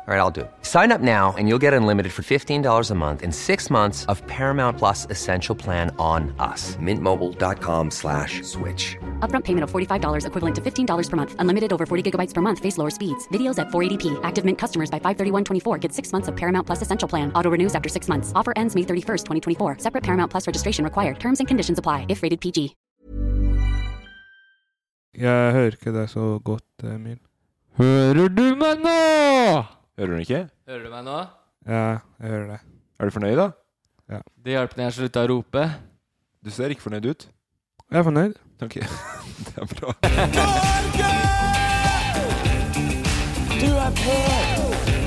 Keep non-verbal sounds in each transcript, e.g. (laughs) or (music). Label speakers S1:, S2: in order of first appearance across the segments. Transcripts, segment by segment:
S1: All right, I'll do it. Sign up now and you'll get unlimited for $15 a month in six months of Paramount Plus Essential Plan on us. Mintmobile.com slash switch.
S2: Upfront payment of $45 equivalent to $15 per month. Unlimited over 40 gigabytes per month. Face lower speeds. Videos at 480p. Active Mint customers by 531.24 get six months of Paramount Plus Essential Plan. Auto renews after six months. Offer ends May 31st, 2024. Separate Paramount Plus registration required. Terms and conditions apply if rated PG.
S3: Jeg hører ikke deg så godt, Emil.
S4: Hører du meg nå?
S5: Hører du ikke?
S4: Hører du meg nå?
S3: Ja, jeg hører deg.
S5: Er du fornøyd, da?
S4: Det hjalp når jeg slutta å rope.
S5: Du ser ikke fornøyd ut.
S3: Jeg er fornøyd.
S5: Ok, (laughs) det er bra. (laughs)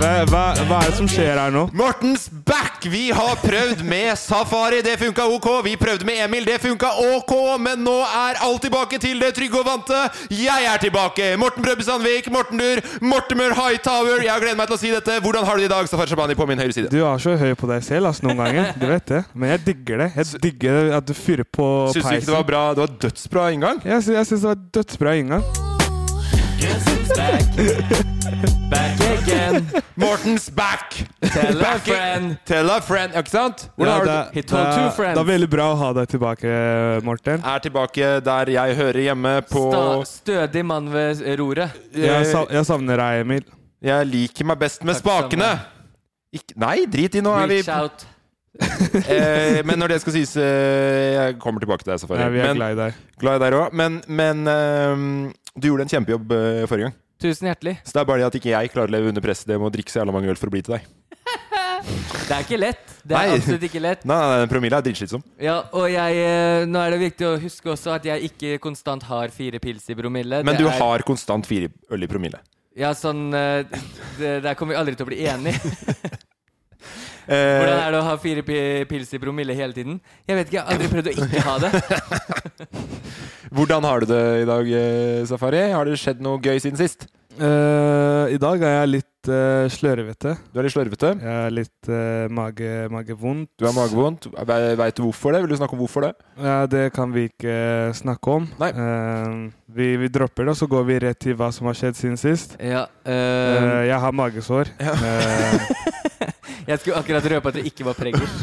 S3: Hva, hva, hva er det som skjer her nå?
S5: Mortens back! Vi har prøvd med Safari, det funka ok. Vi prøvde med Emil, det funka ok. Men nå er alt tilbake til det trygge og vante. Jeg er tilbake! Morten Brøbbe Sandvik, Morten Dur, Mortimer Hightower. Jeg gleder meg til å si dette. Hvordan har du det i dag, Safari Shabani, på min høyre side?
S3: Du er så høy på deg selv ass, noen ganger. Du vet det. Men jeg digger det. Jeg digger at du fyrer på
S5: Syns du ikke det var bra? Det var dødsbra inngang.
S3: Jeg, sy jeg syns det var dødsbra inngang.
S4: Back again.
S5: (laughs) Mortens back!
S4: Tell a
S5: Back in-
S4: friend.
S5: Tell a friend. Ja, Ikke sant?
S3: Ja,
S5: Hvordan har du
S3: det,
S5: det?
S3: er-
S4: He
S3: det,
S4: told two
S3: er-
S4: friends.
S3: det er veldig bra å ha deg tilbake, Morten.
S5: Er tilbake der jeg hører hjemme, på
S4: Sta stødig mann ved roret.
S3: Jeg, sa jeg savner deg, Emil.
S5: Jeg liker meg best med
S4: Takk
S5: spakene. Ikk- nei, drit i nå. Er vi,
S4: Reach out.
S5: (laughs) eh, men når det skal sies eh, Jeg kommer tilbake til deg, Safari.
S3: Ja, vi er
S5: men,
S3: glad i deg.
S5: glad i deg òg. Men, men ehm, du gjorde en kjempejobb eh, forrige gang.
S4: Tusen hjertelig.
S5: Så det er bare det at ikke jeg klarer å leve under presset det med å drikke så jævla mange øl for å bli til deg.
S4: Det er ikke lett. Det
S5: Nei.
S4: er absolutt ikke lett.
S5: (laughs) Nei, nei, nei Promille er dritslitsom.
S4: Ja, og jeg, eh, nå er det viktig å huske også at jeg ikke konstant har fire pils i promille.
S5: Men
S4: Det
S5: du
S4: er,
S5: har konstant fire øl i promille.
S4: Ja, sånn eh, det, Der kommer vi aldri til å bli enige. Hvordan
S5: (laughs) Eh,
S4: er det å ha fire pi- pils i promille hele tiden? Jeg vet ikke, jeg har aldri prøvd å ikke ha det.
S5: (laughs) hvordan har du det i dag, eh, Safari? Har det skjedd noe gøy siden sist?
S3: Eh, I dag er jeg litt eh, slørvete.
S5: Du er litt slørvete.
S3: Jeg er litt eh, mage, magevondt.
S5: Du har magevondt. Veit du hvorfor det? Vil du snakke om hvorfor det?
S3: Ja, det kan vi ikke eh, snakke om.
S5: Nei.
S3: Eh, vi, vi dropper det, og så går vi rett til hva som har skjedd siden sist.
S4: Ja,
S3: Eh,
S4: eh,
S3: jeg har magesår. Eh,
S4: jeg skulle akkurat røpe at det ikke var preggers.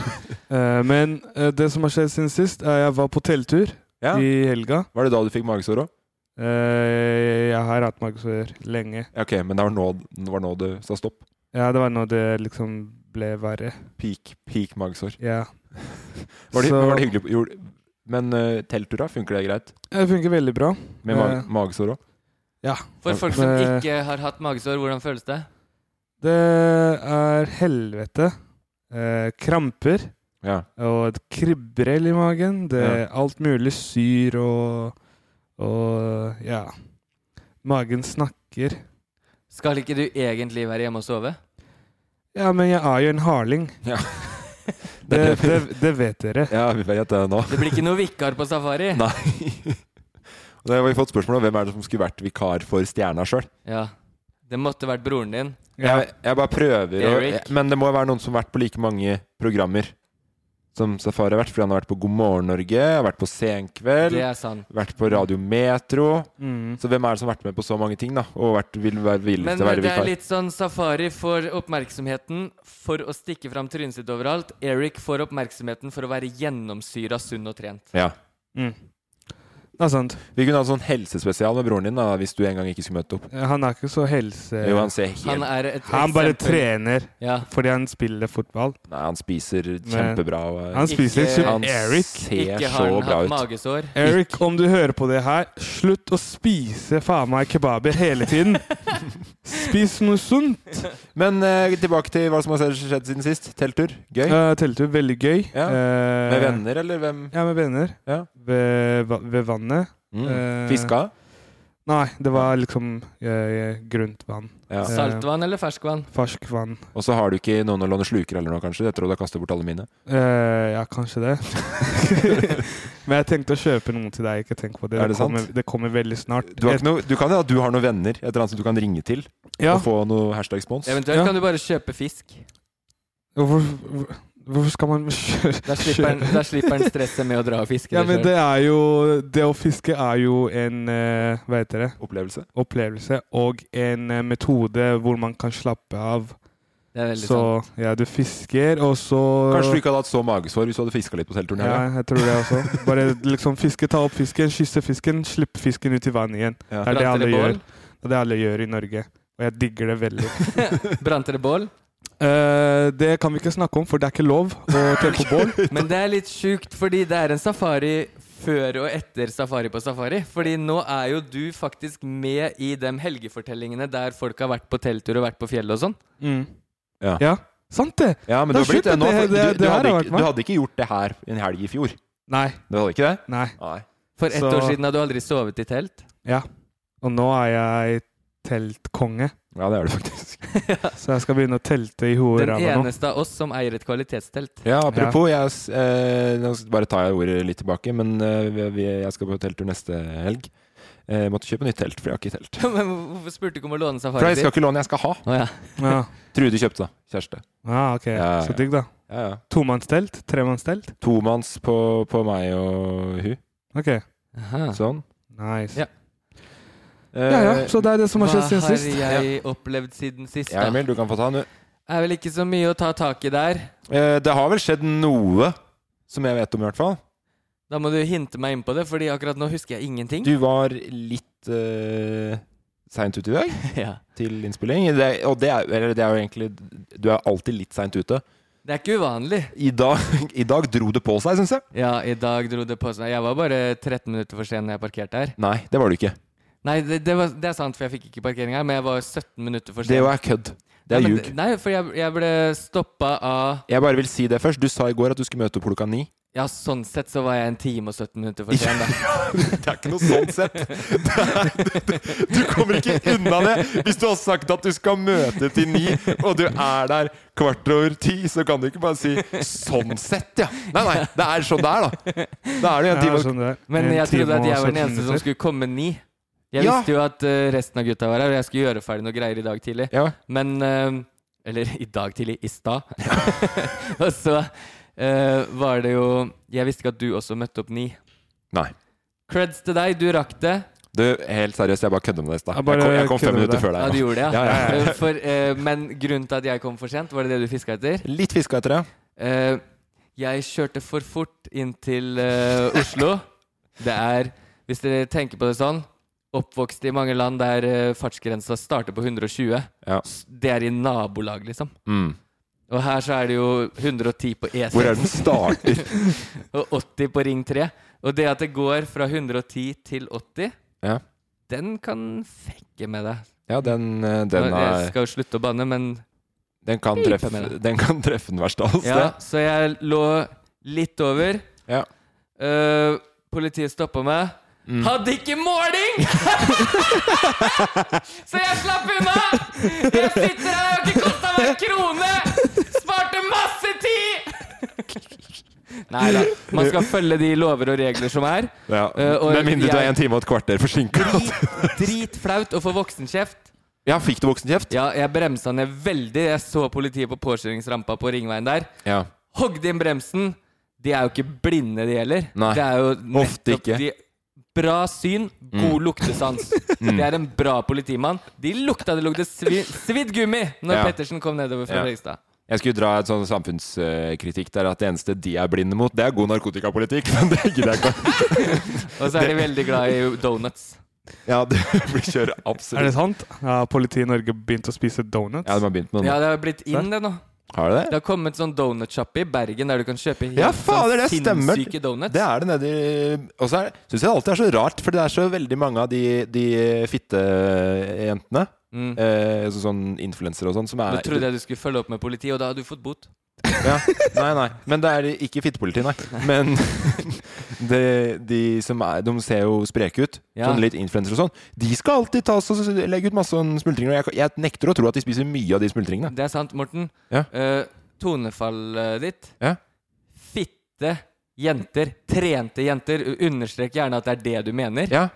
S3: eh, men eh, det som har skjedd siden sist, er jeg var på telttur
S5: Ja.
S3: i helga.
S5: Var det da du fikk magesår òg?
S3: Eh, jeg har hatt magesår lenge.
S5: Ja, ok, men det var nå, det var nå du sa stopp.
S3: Ja, det var nå det liksom ble verre.
S5: Peak, peak magesår.
S3: Ja.
S5: (laughs) Var det,
S3: Så-
S5: var det hyggelig på- gjorde- Men uh, telttura, funker det greit?
S3: Det funker veldig bra.
S5: Med ma
S3: Eh.
S5: magesår òg?
S4: For folk som
S3: Eh.
S4: ikke har hatt magesår, hvordan føles det?
S3: Det er helvete. Eh, kramper.
S5: Ja.
S3: Og et kribbrell i magen. Det er
S5: Ja.
S3: alt mulig syr og Og ja. Magen snakker.
S4: Skal ikke du egentlig være hjemme og sove?
S3: Ja, men jeg er jo en harling. (laughs)
S5: Ja.
S3: det, det, det vet dere.
S5: ja, vi vet det
S4: (laughs)
S5: nå.
S4: Det blir ikke noe vikar på safari.
S5: (laughs) Nei. Og Da har vi fått spørsmål om hvem er det som skulle vært vikar for Stjerna sjøl.
S4: Ja, det måtte vært broren din.
S3: Ja.
S5: Jeg, jeg bare prøver å
S4: Erik.
S5: Men det må jo være noen som har vært på like mange programmer som Safari har vært, fordi han har vært på God morgen Norge, har vært på Senkveld,
S4: Det er sant. Mm.
S5: vært på Radio Metro. Så hvem er det som har vært med på så mange ting, da? Og vært, vil være villig
S4: Men
S5: til å være
S4: det er
S5: vikar?
S4: litt sånn safari får oppmerksomheten for å stikke fram trynet sitt overalt. Eric får oppmerksomheten for å være gjennomsyra sunn og trent.
S5: Ja.
S3: Mm. Det er sant.
S5: Vi kunne hatt sånn helsespesial med broren din da, hvis du en gang ikke skulle møte opp.
S3: Han er ikke så helse...
S5: Jo, han ser
S4: Han
S5: helt
S4: er et
S3: Han bare
S4: eksempel.
S3: trener
S4: Ja.
S3: fordi han spiller fotball.
S5: Nei, han spiser kjempebra. Og, eh,
S3: Han spiser
S4: Ikke-
S3: ikke
S5: han
S3: Eric.
S5: ser
S4: Ikke
S5: så
S4: har han
S5: bra
S4: hatt
S5: ut.
S4: magesår.
S3: Eric, om du hører på det her, slutt å spise faen meg kebaber hele tiden. Spis noe sunt.
S5: Men eh, tilbake til hva som har skjedd siden sist. Telttur. Gøy.
S3: Uh, teltur, veldig gøy.
S5: (laughs) Ja,
S3: Eh,
S5: Med venner, eller hvem?
S3: Ja, med venner.
S5: Ja.
S3: Ved, va- ved vannet.
S5: Mm.
S3: Eh,
S5: Fiska?
S3: Nei, det var liksom eh, grunt vann.
S5: Ja.
S3: Eh.
S4: Saltvann eller ferskvann?
S3: Fersk vann.
S5: Og så har du ikke noen å låne sluker eller noe, kanskje? Etter at du har kastet bort alle mine.
S3: Eh, ja, kanskje det. (laughs) Men jeg tenkte å kjøpe noen til deg. Ikke tenk på det.
S5: Er det sant?
S3: kommer, det kommer veldig snart.
S5: Du, har ikke noe, du kan jo at du har noen venner, et eller annet som du kan ringe til
S3: Ja,
S5: og få noe hashtag-spons.
S4: Eventuelt
S3: Ja.
S4: kan du bare kjøpe fisk.
S3: hvorfor, hvor- hvorfor skal man kjøre
S4: Da slipper han- da slipper
S5: (laughs)
S4: han stresset med å dra og fiske.
S3: Ja,
S4: det
S3: men
S4: selv.
S3: det er jo Det å fiske er jo en eh, Hva heter det?
S5: Opplevelse.
S3: Opplevelse og en eh, metode hvor man kan slappe av.
S4: Det er veldig sant.
S3: Så ja, du fisker, og så
S5: Kanskje du ikke hadde hatt så magesår hvis du hadde fiska litt på teltturen her?
S3: Ja,
S5: da?
S3: jeg tror det også. Bare liksom fiske, ta opp fisken, kysse fisken, slipp fisken ut i vannet igjen.
S5: Ja.
S3: Det er det
S4: Brant
S3: alle
S4: dere
S3: gjør.
S4: bål?
S3: Det er det alle gjør i Norge. Og jeg digger det veldig.
S4: (laughs) Brant dere bål?
S3: Eh, det kan vi ikke snakke om, for det er ikke lov å
S4: (laughs)
S3: tenne på bål.
S4: Men det er litt sjukt, fordi det er en safari før og etter Safari på safari. Fordi nå er jo du faktisk med i de helgefortellingene der folk har vært på telttur og vært på fjellet og sånn.
S5: Mm. Ja.
S3: Ja, sant det!
S5: (laughs) Ja, men du
S3: Det er
S5: har blitt
S3: sjukt
S5: det
S3: at
S5: nå.
S3: det-
S5: for Du,
S3: det-
S5: du,
S3: det her
S5: hadde
S3: har vært
S5: ikke,
S3: meg.
S5: du hadde ikke gjort det her en helg i fjor.
S3: Nei,
S5: Du hadde ikke det?
S3: nei.
S5: Nei.
S4: For ett
S3: Så-
S4: år siden hadde du aldri sovet i telt.
S3: Ja. Og nå er jeg teltkonge,
S5: Ja, det er
S3: (laughs)
S5: du faktisk.
S3: så jeg skal begynne å telte i hodet
S4: Den
S3: ræva nå.
S4: eneste av oss som eier et kvalitetstelt.
S5: Ja,
S4: (laughs)
S5: apropos, jeg s- eh, Nå s- bare tar jeg ordet litt tilbake, men eh, vi- vi, jeg skal på telttur neste helg. Eh, Jeg måtte kjøpe nytt telt, for jeg har ikke telt.
S4: Men hvorfor spurte du ikke om å låne
S5: For
S4: safari
S5: jeg skal ikke låne, jeg skal ha.
S4: Å ja.
S3: Ja.
S5: Trude kjøpte det. Kjæreste.
S3: Ah, ok.
S5: Ja, ja.
S3: Så digg, da.
S5: Ja, ja.
S3: Tomannstelt? Tremannstelt?
S5: Tomanns på, på meg og hun.
S3: Ok,
S4: Aha.
S5: Sånn.
S3: nice.
S4: Ja.
S5: Eh,
S3: Ja ja, så det er det som
S4: Hva
S3: har skjedd siden
S4: har
S3: sist.
S4: jeg opplevd siden sist,
S5: Ja,
S4: da?
S5: Emil, du kan få ta den, du.
S4: Er vel ikke så mye å ta tak i der.
S5: Eh, Det har vel skjedd noe som jeg vet om, i hvert fall.
S4: Da må du hinte meg inn på det, Fordi akkurat nå husker jeg ingenting.
S5: Du var litt uh, seint ute i dag
S4: (laughs) Ja.
S5: til innspilling. Det, og det er, eller det er jo egentlig Du er alltid litt seint ute.
S4: Det er ikke uvanlig.
S5: I dag, (laughs) I dag dro det på seg, syns jeg.
S4: Ja, i dag dro det på seg. Jeg var bare 13 minutter for sen når jeg parkerte her.
S5: Nei, det var du ikke.
S4: Nei, det, det, var, det er sant, for jeg fikk ikke parkering her, men jeg var 17 minutter for sen.
S5: Det er kødd. Det er
S4: Nei, men
S5: ljug.
S4: det- Nei, for jeg, jeg ble stoppa av
S5: Jeg bare vil si det først. Du sa i går at du skulle møte opp klokka ni.
S4: Ja, sånn sett så var jeg en time og 17 minutter for sen, da.
S5: (laughs) Det er ikke noe sånn sett. (laughs) Det er- (laughs) du- Du kommer ikke unna det. Hvis du har sagt at du skal møte til ni, og du er der kvart over ti, så kan du ikke bare si 'sånn sett', ja. Nei, nei, det er sånn det er, da. Da er det jo
S3: Ja,
S5: en time og
S3: sånn det er.
S4: Men
S3: En
S4: jeg
S3: time
S4: trodde at
S3: og sånn, liksom.
S4: jeg var den
S3: 17
S4: eneste som
S3: minutter.
S4: skulle komme ni. Jeg
S5: Ja.
S4: visste jo at eh, resten av gutta var her, og jeg skulle gjøre ferdig noe greier i dag tidlig.
S5: Ja.
S4: Men eh, Eller i dag tidlig. I stad. (laughs) og så eh, var det jo Jeg visste ikke at du også møtte opp ni.
S5: Nei.
S4: Creds til deg, du rakk det.
S5: Du, helt seriøst, jeg bare kødder med deg i
S3: Jeg
S5: stad. Jeg,
S3: bare
S5: kom- jeg kom fem
S3: kødder med
S5: minutter
S3: deg.
S5: før
S4: Ja,
S5: deg.
S4: du
S5: ja.
S4: gjorde det, ja.
S5: Ja, ja,
S4: Eh, For, eh, men grunnen til at jeg kom for sent, var det det du fiska etter?
S5: Litt fiska etter det.
S4: Eh, jeg kjørte for fort inn til eh, Oslo. Det er, hvis dere tenker på det sånn, oppvokst i mange land der eh, fartsgrensa starter på 120.
S5: Ja.
S4: S- Det er i nabolag, liksom.
S5: Mm.
S4: Og her så er det jo 110 på E6
S5: Hvor er det den starter?
S4: (laughs) og 80 på Ring 3. Og det at det går fra 110 til 80,
S5: Ja.
S4: den kan fekke med deg.
S5: Ja, den, eh, den,
S4: Jeg
S5: er,
S4: skal jo slutte å banne, men
S5: den, kan,
S4: Pipe med
S5: treffe,
S4: det.
S5: den kan treffe den verste av oss.
S4: Ja,
S5: det.
S4: så jeg lå litt over.
S5: Ja.
S4: Eh, politiet stoppa meg.
S5: Mm.
S4: Hadde ikke måling! (laughs) så jeg slapp unna! Jeg sitter her, jeg har ikke kosta meg en krone! Sparte masse tid! Nei da. Man skal følge de lover og regler som er.
S5: Ja.
S4: Eh, og
S5: Med mindre du er
S4: jeg-
S5: en time og et kvarter forsinka.
S4: Dritflaut å få voksenkjeft.
S5: Ja, fikk du voksenkjeft?
S4: Ja, jeg bremsa ned veldig. Jeg så politiet på påkjøringsrampa på ringveien der.
S5: Ja.
S4: Hogde inn bremsen. De er jo ikke blinde, de heller.
S6: Nei,
S4: det er jo
S6: ofte
S4: nettopp
S6: ikke.
S4: De, bra syn,
S5: Mm.
S4: god
S5: (laughs)
S4: luktesans. Det er en bra politimann. De lukta det lukta svi, svidd gummi når
S5: Ja.
S4: Pettersen kom nedover fra
S5: Ja.
S4: Fredrikstad.
S5: Jeg skulle dra et sånn samfunnskritikk der at det eneste de er blinde mot, det er god narkotikapolitikk. (laughs) Men det gidder jeg ikke.
S4: (laughs) Og så er de veldig glad i donuts.
S5: Ja, det (laughs) blir
S3: (laughs)
S5: kjør
S3: Er det
S5: absolutt.
S3: sant? Ja, Politiet i Norge begynte å spise donuts.
S5: Ja, de har begynt med
S4: Ja,
S5: det.
S4: det har blitt inn, det nå.
S5: Har de det?
S4: Det har kommet sånn donutsjappe i Bergen der du kan kjøpe helt
S5: Ja, fader, det
S4: sånn
S5: stemmer.
S4: sinnssyke donuts.
S5: Det er det nedi Og så syns jeg det alltid er så rart, for det er så veldig mange av de, de fittejentene,
S4: Mm.
S5: eh, så, sånn influensere og sånn, som er
S4: Nå trodde jeg du skulle følge opp med politiet, og da hadde du fått bot.
S5: ja, (laughs) Nei, nei. Men det er ikke fittepoliti, nei. Men (laughs) de, de som er De ser jo spreke ut.
S4: Ja.
S5: Sånn litt influensere og sånn. De skal alltid ta oss og legge ut masse sånn smultringer. Og jeg, jeg nekter å tro at de spiser mye av de smultringene.
S4: Det er sant, Morten.
S5: Ja.
S4: Eh, tonefallet ditt.
S5: Ja.
S4: Fitte jenter. Trente jenter. Understrek gjerne at det er det du mener.
S5: Ja,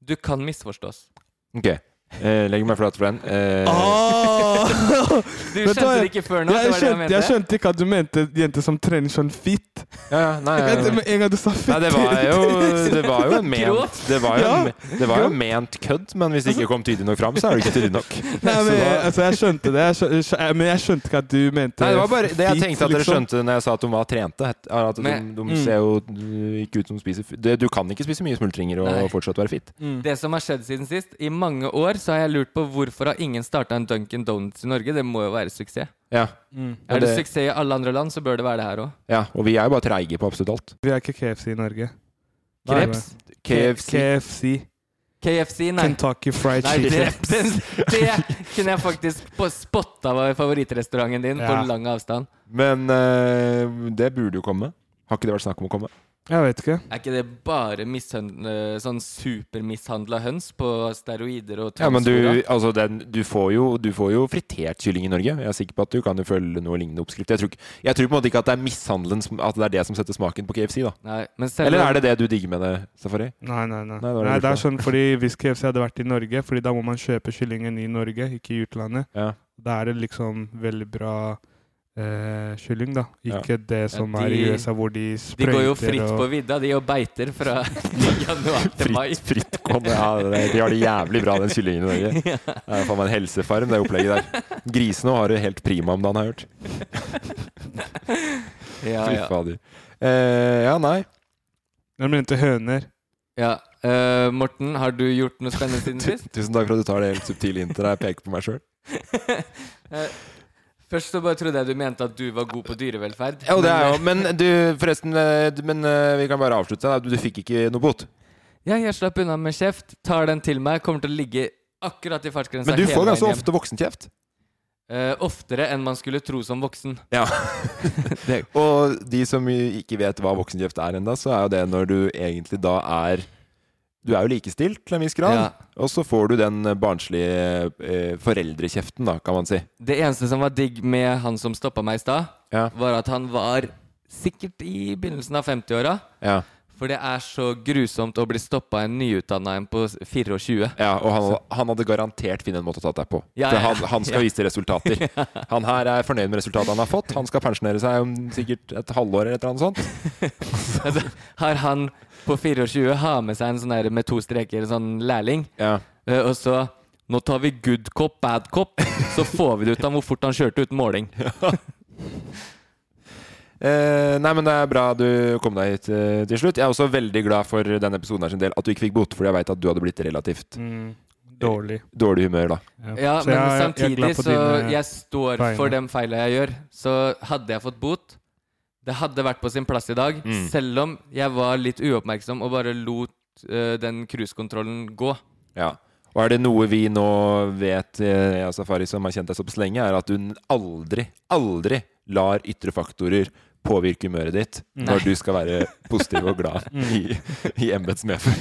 S4: Du kan misforstås.
S5: ok. Eh, legger meg flat for den. Eh,
S3: Ah!
S4: Du
S3: Vet du
S4: skjønte
S3: hva,
S4: det ikke før nå. det var det
S3: Jeg
S4: jeg
S3: skjønte, jeg
S4: mente.
S3: skjønte ikke at du mente jenter som trener sånn fit.
S5: ja, ja, nei, ja, ja.
S3: Med en gang du sa
S5: Nei,
S3: fit
S5: det var jo, det var
S3: (laughs)
S5: jo en ment Det var jo,
S3: Ja.
S5: en- det var jo ment kødd, men hvis det ikke kom tydelig nok fram, så er det ikke tydelig
S3: (laughs)
S5: nok.
S3: Nei, men,
S5: Så da-
S3: altså, jeg skjønte det, jeg skjø- skjø- men jeg skjønte ikke at du mente
S5: Nei, det var bare det jeg
S3: fit,
S5: tenkte at dere
S3: liksom.
S5: skjønte når jeg sa at de var trente. het- er At de,
S4: Men-
S5: de ser jo øh, ikke ut som de spiser f- det, Du kan ikke spise mye smultringer og
S4: Nei.
S5: fortsatt være fit.
S3: Mm.
S4: Det som har skjedd siden sist I mange år så har jeg lurt på hvorfor har ingen starta en Duncan Donuts i Norge. Det må jo være suksess.
S5: Ja.
S3: Mm.
S4: Er det
S5: det-
S4: suksess i alle andre land, så bør det være det her òg.
S5: ja, Og vi er jo bare treige på absolutt alt.
S3: Vi er ikke KFC i Norge. Nei,
S4: Kreps.
S5: KFC
S3: KFC.
S4: KFC, nei.
S3: Kentucky Fried
S4: Nei, det,
S3: Chicken.
S4: det, (laughs) det kunne jeg faktisk på- spotta var favorittrestauranten din på
S3: Ja.
S4: lang avstand.
S5: Men øh, det burde jo komme. Har ikke det vært snakk om å komme?
S3: Jeg vet ikke.
S4: Er ikke det bare mishøn- eh, sånn supermishandla høns på steroider og
S5: Ja,
S4: tannskoler?
S5: men du, altså den, du, får jo, du får jo fritert kylling i Norge. Jeg er sikker på at du kan jo følge noe lignende oppskrift. Jeg tror, ikke, jeg tror på en måte ikke at det er mishandelen som, At det er det som setter smaken på KFC, da.
S4: Nei, men selv
S5: Eller
S4: om-
S5: er det det du digger med det, Safari?
S3: Nei, nei, nei.
S5: det var det
S3: nei
S5: du
S3: det er
S5: sa.
S3: sånn fordi Hvis KFC hadde vært i Norge, Fordi da må man kjøpe kyllingen i Norge, ikke i utlandet.
S5: Ja.
S3: Da er det liksom veldig bra eh, kylling, da. Ikke det som
S4: Ja,
S3: er i
S4: de-
S3: USA, hvor de
S4: De
S3: sprøyter
S4: går jo fritt på
S3: og
S4: vidda, de og beiter
S3: (laughs)
S4: fra januar til mai.
S5: Fritt, frittgående. Ja, det- de har det jævlig bra, den kyllingen i
S4: (laughs)
S5: Norge. Det er faen meg en helsefarm, det opplegget der. Grisene har det helt prima om dagen, har jeg hørt.
S4: Ja,
S5: Fy
S4: (laughs) ja.
S5: fader. Eh, ja, nei.
S3: Jeg mente høner.
S4: ja. Eh, Morten, har du gjort noe spennende siden sist? (laughs)
S5: Tusen takk for at (laughs) du tar det helt subtile inn til deg. Jeg peker på meg sjøl.
S4: Eh, Først så bare trodde jeg du mente at du var god på dyrevelferd.
S5: Ja, og det er
S4: Men, eh,
S5: jo Men du, forresten. eh, du- Men eh, vi kan bare avslutte. da. Du, du fikk ikke noe bot.
S4: eh, Ja, jeg slapp unna med kjeft. Tar den til meg. Kommer til å ligge akkurat i fartsgrensa
S5: Men du
S4: hele
S5: får ganske
S4: veien hjem.
S5: ofte voksenkjeft.
S4: Eh, oftere enn man skulle tro som voksen.
S5: Ja. (laughs) og de som ikke vet hva voksenkjeft er ennå, så er jo det når du egentlig da er Du er jo likestilt til en viss grad,
S4: Ja.
S5: og så får du den barnslige eh, foreldrekjeften, da, kan man si.
S4: (laughs) Det eneste som var digg med han som stoppa meg i stad,
S5: Ja.
S4: var at han var sikkert i begynnelsen av 50-åra.
S5: Ja,
S4: For det er så grusomt å bli stoppa en nyutdanna en på 24.
S5: ja Og han, han hadde garantert funnet en måte å ta deg på.
S4: Ja,
S5: For
S4: ja,
S5: han, han skal vise
S4: (laughs)
S5: resultater. Han her er fornøyd med resultatet han har fått. Han skal pensjonere seg om sikkert et halvår eller et eller annet sånt.
S4: (laughs) Altså, har han på 24 har med seg en sånn der med to streker, en sånn lærling,
S5: Ja.
S4: eh, og så nå tar vi good cop, bad cop, så får vi det ut av hvor fort han kjørte uten måling.
S5: Eh, nei, men det er bra du kom deg hit eh, til slutt. Jeg er også veldig glad for denne episoden her sin del at du ikke fikk bot, fordi jeg veit at du hadde blitt relativt eh,
S3: Mm, dårlig.
S5: dårlig humør da.
S4: Ja, men samtidig så
S3: jeg...
S4: Jeg står
S3: vegne.
S4: for de feila jeg gjør. Så hadde jeg fått bot Det hadde vært på sin plass i dag, selv om jeg var litt uoppmerksom og bare lot eh, den cruisekontrollen gå.
S5: Ja. Og er det noe vi nå vet, eh, jeg og Safari, som har kjent deg såpass lenge, er at du n- aldri, aldri lar ytre faktorer påvirke humøret ditt når du skal være positiv og glad
S3: (laughs)
S5: i, i embets medfør.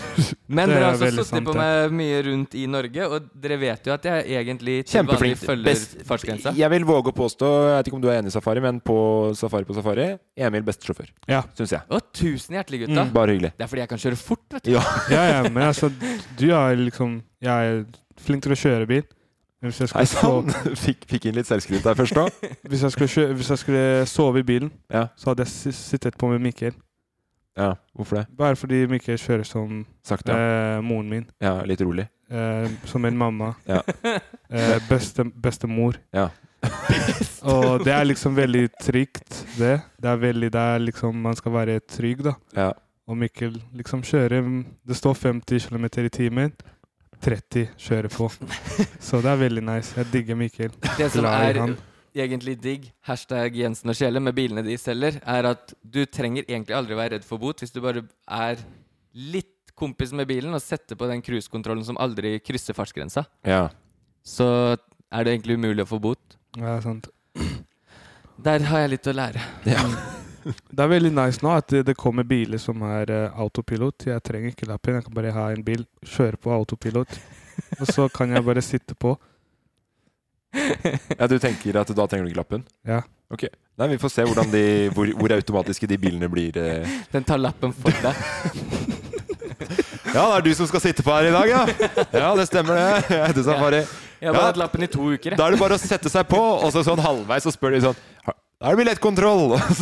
S4: Men
S3: Mm. Det
S4: dere
S3: er
S4: har også
S3: veldig
S4: sittet
S3: sant,
S4: på meg mye rundt i Norge, og dere vet jo at jeg egentlig til vanlig
S5: Kjempeflink.
S4: følger
S5: Best-
S4: fartsgrensa.
S5: Jeg vil våge å påstå, jeg vet ikke om du er enig i Safari, men på Safari på Safari, Emil beste sjåfør.
S3: Ja. Mm.
S5: Syns jeg.
S4: Og tusen hjertelig, gutta.
S5: Bare hyggelig.
S4: Det er fordi jeg kan kjøre
S3: (laughs)
S4: fort, vet du.
S5: Ja.
S3: Ja, ja, men altså, du er liksom Jeg er flink til å kjøre bil, Hvis jeg
S5: Hei
S3: skulle,
S5: sann!
S3: sove,
S5: (laughs) Fikk, fikk inn litt selvskryt der først nå.
S3: (laughs) hvis, jeg skulle, kjø- hvis jeg skulle sove i bilen,
S5: Ja.
S3: så hadde jeg si- sittet på med Mikkel.
S5: Ja, hvorfor det?
S3: Bare fordi Mikkel kjører som
S5: Sakte. ja.
S3: eh, moren min.
S5: Ja, litt rolig.
S3: Eh, som en mamma.
S5: (laughs) Ja.
S3: (laughs) Eh, beste, bestemor.
S5: Ja.
S3: Og det er liksom veldig trygt, det. Det er veldig det er liksom Man skal være trygg, da.
S5: Ja.
S3: Og Mikkel liksom kjører Det står 50 km i timen. 30 kjører
S5: (laughs)
S3: på. Så det er veldig nice. Jeg digger Mikkel.
S4: Det som
S3: Glad i
S4: er
S3: han.
S4: egentlig digg, hashtag Jensen og Sjele, med bilene de selger, er at du trenger egentlig aldri være redd for bot hvis du bare er litt kompis med bilen og setter på den cruisekontrollen som aldri krysser fartsgrensa.
S5: Ja.
S4: Så er det egentlig umulig å få bot.
S3: Ja, sant.
S4: Der har jeg litt å lære.
S3: Mm. Det er veldig nice nå at det- det kommer biler som er eh, autopilot. Jeg trenger ikke lappen. Jeg kan bare ha en bil, kjøre på autopilot, og så kan jeg bare sitte på.
S5: ja, du tenker at da trenger du ikke lappen?
S3: Ja.
S5: Ok. Nei, vi får se hvordan de, hvor, hvor automatiske de bilene blir. eh.
S4: Den tar
S5: (laughs)
S4: lappen for deg.
S5: Ja, det er du som skal sitte på her i dag, ja! Ja, det stemmer det. Jeg heter Safari.
S4: Jeg har
S5: Ja.
S4: bare hatt lappen i to uker. jeg.
S5: Da er det bare å sette seg på, og så sånn halvveis så spør de sånn "Har- Da er det billettkontroll! (laughs) Og
S4: (laughs)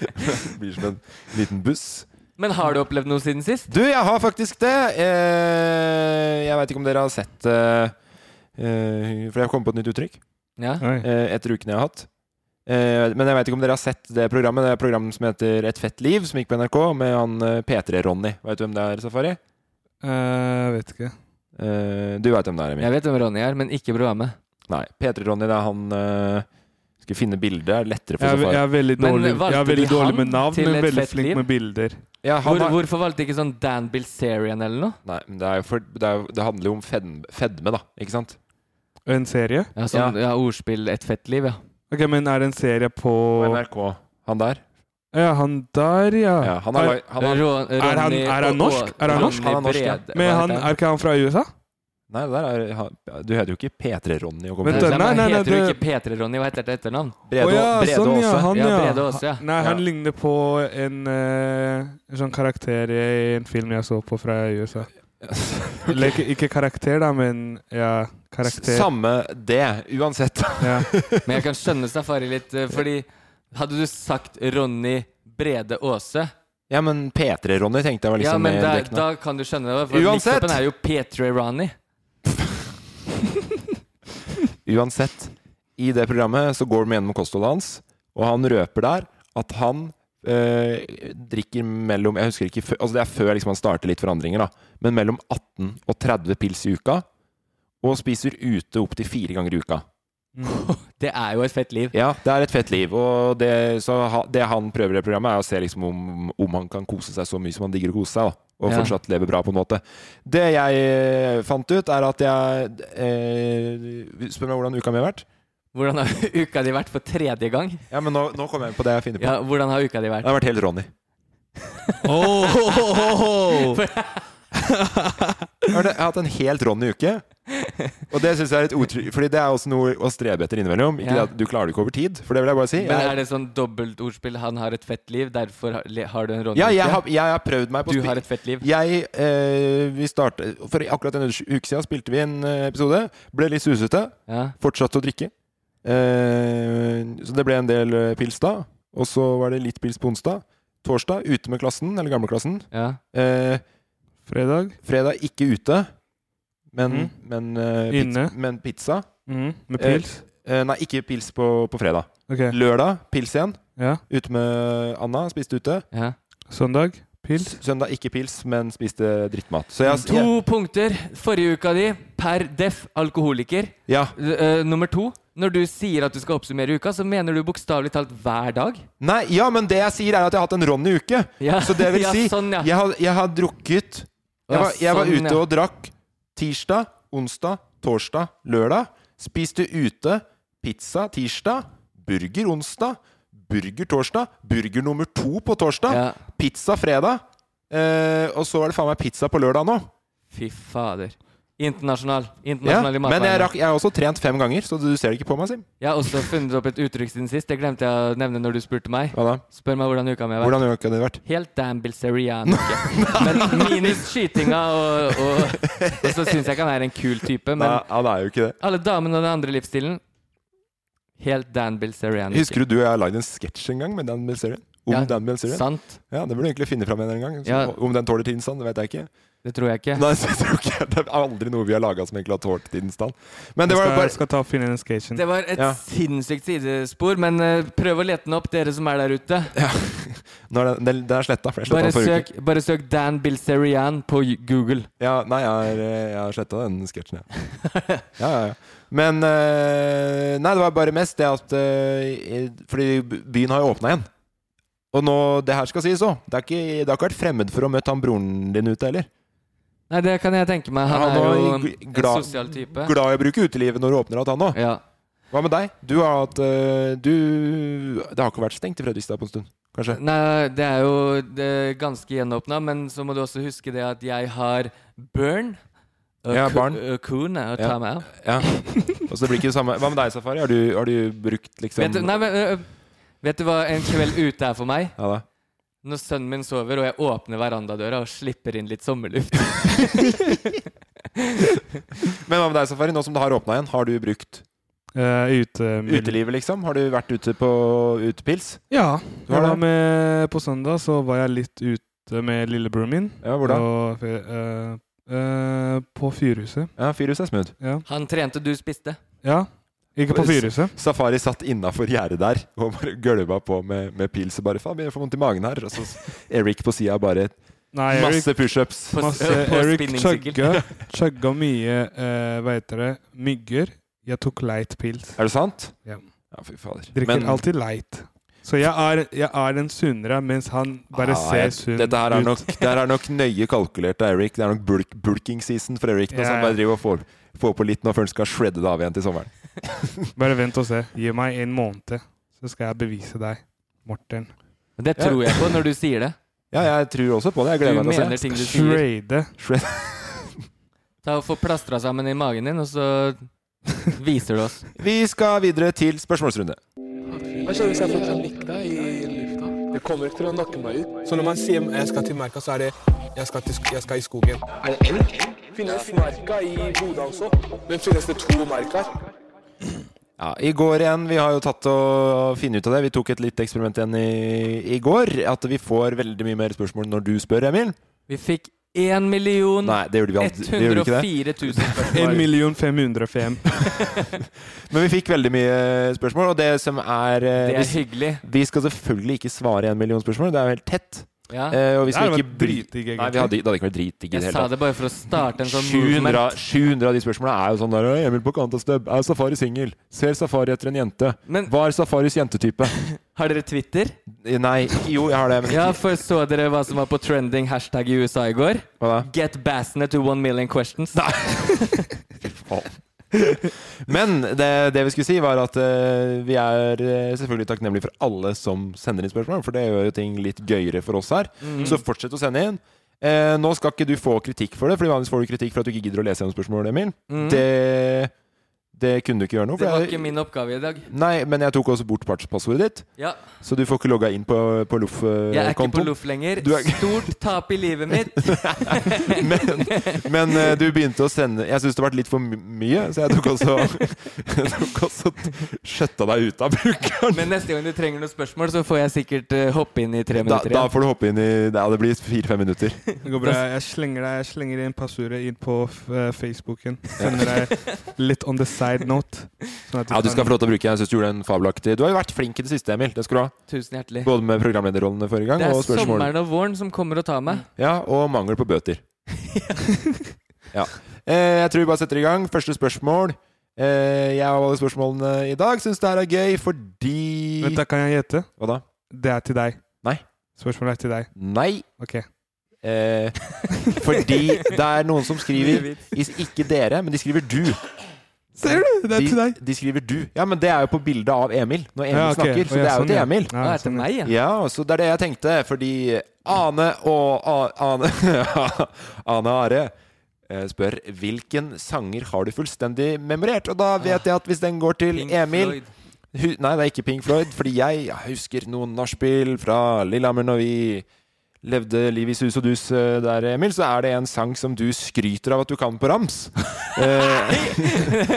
S5: så- Det blir som en liten buss.
S4: Men har du opplevd noe siden sist?
S5: Du, jeg har faktisk det. Eh, jeg veit ikke om dere har sett eh, eh, For jeg kom på et nytt uttrykk
S4: Ja.
S3: Oi.
S5: eh, etter ukene jeg har hatt. Eh, men jeg veit ikke om dere har sett det programmet Det er et program som heter Et fett liv, som gikk på NRK, med han eh, P3-Ronny. Veit du hvem det er, Safari?
S3: Eh, jeg vet ikke.
S5: Eh, du veit hvem det er, Emil.
S4: Jeg vet hvem Ronny er, men ikke programmet.
S5: Nei. P3-Ronny, det er han eh, Skal finne bildet, er lettere for
S3: Jeg, er-
S5: Safari.
S3: jeg er veldig
S4: Men
S3: dårlig,
S4: valgte
S3: jeg er veldig
S4: de
S3: dårlig
S4: han
S3: med navn,
S4: til
S3: men
S4: et
S3: veldig
S4: fett
S3: flink
S4: liv?
S3: med bilder.
S5: Ja, han
S4: Hvor,
S5: har-
S4: hvorfor valgte ikke sånn Dan Bilzerian eller noe?
S5: Nei, men det, er jo for, det, er, jo- det handler jo om fedme, fedme, da. Ikke sant?
S3: Og En serie?
S4: Ja, sånn, ja. ordspill Et fett liv, ja.
S3: Ok, Men er det en serie
S5: På
S3: på
S5: NRK. Han der.
S3: Ja, han der, ja.
S5: Ja, han har, lag- han har,
S4: Ro-
S3: han-
S4: Ronny
S3: er han
S4: og-
S3: norsk? Er han
S4: Ronny
S3: norsk?
S5: Han er norsk, ja.
S4: Brede-
S3: men
S4: hva
S3: han,
S4: heter
S3: er ikke han fra USA?
S5: nei, det der er han- Du heter jo ikke
S3: Men
S5: P3-Ronny.
S4: Nei,
S3: den-
S4: nei,
S3: nei, nei,
S4: men heter
S3: nei,
S4: jo ikke P3-Ronny, hva heter det etternavn?
S5: Brede,
S3: Å ja,
S5: Brede
S3: sånn, ja,
S5: Aase.
S3: han,
S4: Ja,
S3: ja.
S4: Brede Aase, ja.
S3: Nei, han
S5: Ja.
S3: ligner på en, eh, en sånn karakter i en film jeg så på fra
S4: (laughs)
S3: USA. Eller ikke, ikke karakter, da, men ja, karakter.
S5: Samme det, uansett.
S3: Ja.
S5: (laughs)
S4: Men jeg kan skjønne Safari litt, eh, fordi hadde du sagt Ronny Brede Aase
S5: Ja, men P3-Ronny tenkte jeg var liksom
S4: Ja, men
S5: mer
S4: da,
S5: dekkende.
S4: da kan du skjønne det. For
S5: Uansett!
S4: mix-upen er jo P3-Ronny.
S5: Uansett, i det programmet så går de gjennom kostholdet hans, og han røper der at han eh, drikker mellom Jeg husker ikke før, altså Det er før liksom han starter litt forandringer, da. Men mellom 18 og 30 pils i uka. Og spiser ute opptil fire ganger i uka.
S4: Det er jo et fett liv.
S5: Ja, det er et fett liv. Og det, så ha, det han prøver i det programmet, er å se liksom om, om han kan kose seg så mye som han digger å kose seg. Da. Og
S4: Ja.
S5: fortsatt leve bra på en måte. Det jeg eh, fant ut, er at jeg eh, Spør meg hvordan uka mi har vært.
S4: Hvordan har (laughs) uka di vært for tredje gang?
S5: Ja, men nå, nå kommer jeg på det jeg finner på.
S4: Ja, hvordan har uka di
S5: Det
S4: vært?
S5: har vært helt Ronny.
S4: (laughs) Oh!
S5: (laughs) Jeg har jeg har hatt en helt Ronny-uke. Og det syns jeg er et uttrykk Fordi det er også noe å strebe etter innimellom. Ikke
S4: Ja.
S5: det at Du klarer det ikke over tid, for det vil jeg bare si.
S4: Men er det sånn dobbeltordspill 'han har et fett liv', derfor har- le- har du en Ronny?
S5: ja, jeg har, jeg har prøvd meg på
S4: Du
S5: spi-
S4: har et fett liv.
S5: Jeg eh, Vi startet For akkurat en uke siden spilte vi en eh, episode. Ble litt susete.
S4: Ja.
S5: Fortsatte å drikke. Eh, så det ble en del eh, pils da. Og så var det litt pils på onsdag. Torsdag ute med klassen, eller gamleklassen.
S4: ja.
S5: Eh,
S3: Fredag?
S5: Fredag ikke ute, men,
S3: Mhm.
S5: men, eh, pizz-
S3: Inne.
S5: men pizza.
S3: Mhm, Med pils?
S5: Eh, nei, ikke pils på, på fredag.
S3: Ok.
S5: Lørdag pils igjen.
S3: Ja.
S5: Ute med Anna, spiste ute.
S4: ja.
S3: Søndag? Pils?
S5: S- Søndag ikke pils, men spiste drittmat. Så jeg, jeg
S4: To punkter forrige uka di per def alkoholiker.
S5: Ja.
S4: Eh, nummer to. Når du sier at du skal oppsummere uka, så mener du bokstavelig talt hver dag.
S5: Nei, ja, men det jeg sier, er at jeg har hatt en Ronny-uke.
S4: Ja,
S5: Så det
S4: (laughs)
S5: vil
S4: ja,
S5: si,
S4: sånn, ja.
S5: jeg, har, jeg har drukket Jeg
S4: Ja,
S5: var, jeg var
S4: sånn,
S5: ute
S4: ja.
S5: og drakk tirsdag, onsdag, torsdag, lørdag. Spiste ute pizza tirsdag, burger onsdag, burger torsdag, burger nummer to på torsdag,
S4: Ja.
S5: pizza fredag. Eh, og så er det faen meg pizza på lørdag nå.
S4: Fy fader. Internasjonal.
S5: Ja,
S4: Internasjonal i
S5: men jeg,
S4: matveien.
S5: rakk, jeg har også trent fem ganger, så du ser det ikke på meg, Sim.
S4: Jeg har også funnet opp et uttrykk siden sist. Det glemte jeg å nevne når du spurte meg.
S5: Hva da?
S4: Spør meg hvordan uka mi har vært.
S5: Hvordan har det vært?
S4: Helt damn
S5: (laughs)
S4: bilserian. Men minus skytinga, og, og, og så syns jeg ikke han er en kul type.
S5: Nei,
S4: Men
S5: han er jo ikke det.
S4: alle damene og den andre livsstilen Helt Dan Bilzerian.
S5: Husker du du og jeg har lagd en sketsj en gang med Dan Bilzerian? Om
S4: Ja,
S5: Dan Bilzerian?
S4: Sant.
S5: Ja, det burde du egentlig finne fram en eller annen gang. Så,
S4: Ja.
S5: Om den tåler tidens tann, det vet jeg ikke.
S4: Det tror jeg ikke.
S5: Nei, (laughs) så jeg tror ikke Det er aldri noe vi har laga som egentlig har tålt tidens tann. Men det
S3: Jeg
S5: var
S3: skal,
S5: jo
S3: jeg
S5: bare
S3: skal ta og finne den sketsjen.
S4: Det var et
S5: Ja.
S4: sinnssykt sidespor, men eh, prøv å lete den opp, dere som er der ute.
S5: Nå er den, den, den er sletta, for jeg sletta
S4: Bare
S5: den forrige uke.
S4: søk, bare søk Dan Bilzerian på Google.
S5: Ja, nei, jeg har, eh, jeg har sletta den sketsjen, jeg.
S4: (laughs)
S5: Ja, ja, ja. Men eh, Nei, det var bare mest det at eh, i- Fordi byen har jo åpna igjen. Og nå, det her skal sies òg. Det, er ikke- det har ikke vært fremmed for å møte han broren din ute heller.
S4: Nei, det kan jeg tenke meg. Han,
S5: Han var
S4: er jo
S5: gl-
S4: en
S5: glad-
S4: sosial type.
S5: Glad i å bruke utelivet når det åpner igjen, han òg.
S4: Ja.
S5: Hva med deg? Du har hatt eh, Du Det har ikke vært stengt i Fredrikstad på en stund, kanskje?
S4: Nei, det er jo det er ganske gjenåpna, men så må du også huske det at jeg har burn. Og
S5: Ja,
S4: ku-
S5: barn.
S4: Og kone å ta
S5: Ja.
S4: meg av. (laughs)
S5: Ja. Og så det blir ikke det samme Hva med deg, Safari? Har du, har du brukt liksom
S4: Vet, du- nei, men, ø, ø, vet du hva en kveld ute er for meg?
S5: Ja da.
S4: Når sønnen min sover, og jeg åpner verandadøra og slipper inn litt
S5: (laughs)
S4: sommerluft.
S5: Men hva med deg, Safari? Nå som det har åpna igjen, har du brukt
S3: Eh, ute,
S5: utelivet, liksom? Har du vært ute på utepils?
S3: Ja.
S5: Du har
S3: jeg var
S5: det?
S3: med, på søndag så var jeg litt ute med lillebroren min.
S5: Ja, hvordan?
S3: Og, eh, eh, på Fyrhuset.
S5: Ja, Fyrhuset er smooth.
S3: Ja.
S4: Han trente, du spiste.
S3: ja. Ikke på Fyrhuset.
S5: Safari satt innafor gjerdet der og bare gølva på med, med pils og bare faen, jeg får vondt i magen her. Og så Erik på sida bare
S3: Nei, Erik,
S5: masse pushups.
S4: På, s-
S3: masse,
S4: ø, på
S3: Erik
S4: spinningsykkel.
S3: chugga, (laughs) chugga mye, eh, hva heter det, mygger. Jeg tok leit pils.
S5: Er det sant?
S3: Ja.
S5: Ja, fy fader.
S3: Drikker alltid leit. Så jeg er, jeg er en sunnere, mens han bare
S5: Ah,
S3: ser
S5: jeg-
S3: sunn
S5: Dette her er
S3: ut.
S5: nok, det her er nok nøye kalkulert av Eric. Det er nok bulk, bulking season for Eric. Nå,
S3: Ja,
S5: så han
S3: ja.
S5: bare driver og får, får på litt nå før han skal shredde det av igjen til sommeren.
S3: (laughs) Bare vent og se. Gi meg en måned, så skal jeg bevise deg, Morten.
S4: Men Det tror jeg på når du sier det.
S5: Ja, jeg tror også på det. Jeg
S4: Du
S5: gleder meg til å
S4: mener
S5: se.
S4: ting du sier.
S3: Trade.
S4: Ta og Få plastra sammen i magen din, og så viser du oss.
S5: (laughs) Vi skal videre til spørsmålsrunde.
S7: Hva skjer hvis jeg får en mikk deg i lufta? Det kommer ikke til å nakke meg ut. Så når man sier jeg skal til merka, så er det jeg skal, til, sk- jeg skal i skogen. Er det elg? Finnes merka i Bodø også? Men finnes det to merker?
S5: Ja, I går igjen. Vi har jo tatt og funnet ut av det. Vi tok et litt eksperiment igjen i, i går. At vi får veldig mye mer spørsmål når du spør, Emil.
S4: Vi fikk én million
S5: Nei, det gjorde vi aldri. Vi gjorde ikke det.
S4: 104 000
S3: 1
S4: spørsmål.
S3: million 505.
S5: (laughs) Men vi fikk veldig mye eh, spørsmål, og det som er, eh,
S4: Det er
S5: vi-
S4: hyggelig.
S5: Vi skal selvfølgelig ikke svare en million spørsmål. Det er jo helt tett.
S4: Ja.
S5: Eh, og vi
S3: Det
S5: skal
S3: er jo
S5: ikke bry-
S3: dritdigg, egentlig.
S5: Nei, vi hadde, det hadde ikke vært dritdigg i
S4: Jeg
S5: det hele
S4: sa
S5: tatt.
S4: det bare for å starte en sånn
S5: 700,
S4: movement.
S5: 700 av de spørsmålene er jo sånn der «Øy, Emil på kant av stubb. Er Safari singel? Ser Safari etter en jente?
S4: Men-
S5: Hva er Safaris jentetype?
S4: (laughs) Har dere Twitter?
S5: Eh, Nei, ikke- jo, jeg har det, men
S4: Ja,
S5: ikke
S4: for så dere hva som var på trending hashtag i USA i går?
S5: Hva da?
S4: Get bassene to one million questions.
S5: Men det, det vi skulle si, var at eh, vi er eh, selvfølgelig takknemlige for alle som sender inn spørsmål, for det gjør jo ting litt gøyere for oss her.
S4: Mhm.
S5: Så fortsett å sende inn. Eh, nå skal ikke du få kritikk for det, Fordi vanligvis får du kritikk for at du ikke gidder å lese gjennom spørsmålet, Emil. Det, det kunne du ikke gjøre noe. for
S4: Mhm. Det var
S5: jeg-
S4: ikke min oppgave i dag.
S5: Nei, men jeg tok også bort partspassordet ditt,
S4: Ja,
S5: så du får ikke logga inn på, på
S4: jeg er ikke på
S5: Loff-kontoen.
S4: loff (laughs) lenger.
S5: Eh, Du er-
S4: Stort tap i livet mitt.
S5: Men, men eh, du begynte å sende Jeg syns det ble litt for my- mye, så jeg tok også, (laughs) jeg tok også t- skjøtta deg ut av
S4: (laughs)
S5: brukeren.
S4: Men neste gang du trenger noen spørsmål, så får jeg sikkert eh, hoppe inn i tre
S5: Da,
S4: minutter
S5: da
S4: igjen.
S5: får du hoppe inn i Ja, det blir fire-fem minutter.
S3: Det går bra. Jeg slenger deg, jeg slenger inn passordet inn på f- eh, Facebooken. Sender deg litt on the side note. sånn at
S5: (laughs) Ja, Du
S3: kan-
S5: skal få lov til å bruke den. Jeg syns du gjorde en fabelaktig Du har jo vært flink i det siste, Emil. Det skal du ha.
S4: Tusen hjertelig.
S5: Både med programlederrollene forrige gang
S4: Det er
S5: og spørsmål.
S4: sommeren og våren som kommer og tar meg.
S5: Ja, og mangel
S4: (laughs)
S5: på bøter. ja. Eh, jeg tror vi bare setter i gang. Første spørsmål. Eh, jeg og alle spørsmålene i dag syns det her er gøy fordi
S3: Vent, da kan jeg gjette.
S5: Hva da?
S3: Det er til deg.
S5: Nei.
S3: Spørsmålet er til deg.
S5: Nei.
S3: Ok.
S5: Eh, fordi det er noen som skriver is- Ikke dere, men de skriver du.
S3: Ser du? Det er
S5: De,
S3: til deg.
S5: de skriver du. Ja, men det er jo på bildet av Emil, når Emil
S3: Ja, ok.
S5: snakker.
S3: Å,
S5: Så
S3: ja,
S5: det er jo
S3: sånn,
S5: til
S3: ja.
S5: Emil.
S3: Ja,
S4: Å, etter
S3: sånn,
S4: meg, ja.
S5: Ja, så det er det jeg tenkte, fordi (laughs) Ane og A- Ane Ane Are eh, spør hvilken sanger har du fullstendig memorert. Og da vet jeg at hvis den går til
S4: Pink
S5: Emil
S4: Floyd.
S5: Hu Nei, det er ikke Pink Floyd, fordi jeg husker noen nachspiel fra Lillehammer når vi levde livet i sus og dus eh, der, Emil, så er det en sang som du skryter av at du kan på rams. (laughs) Eh, (laughs)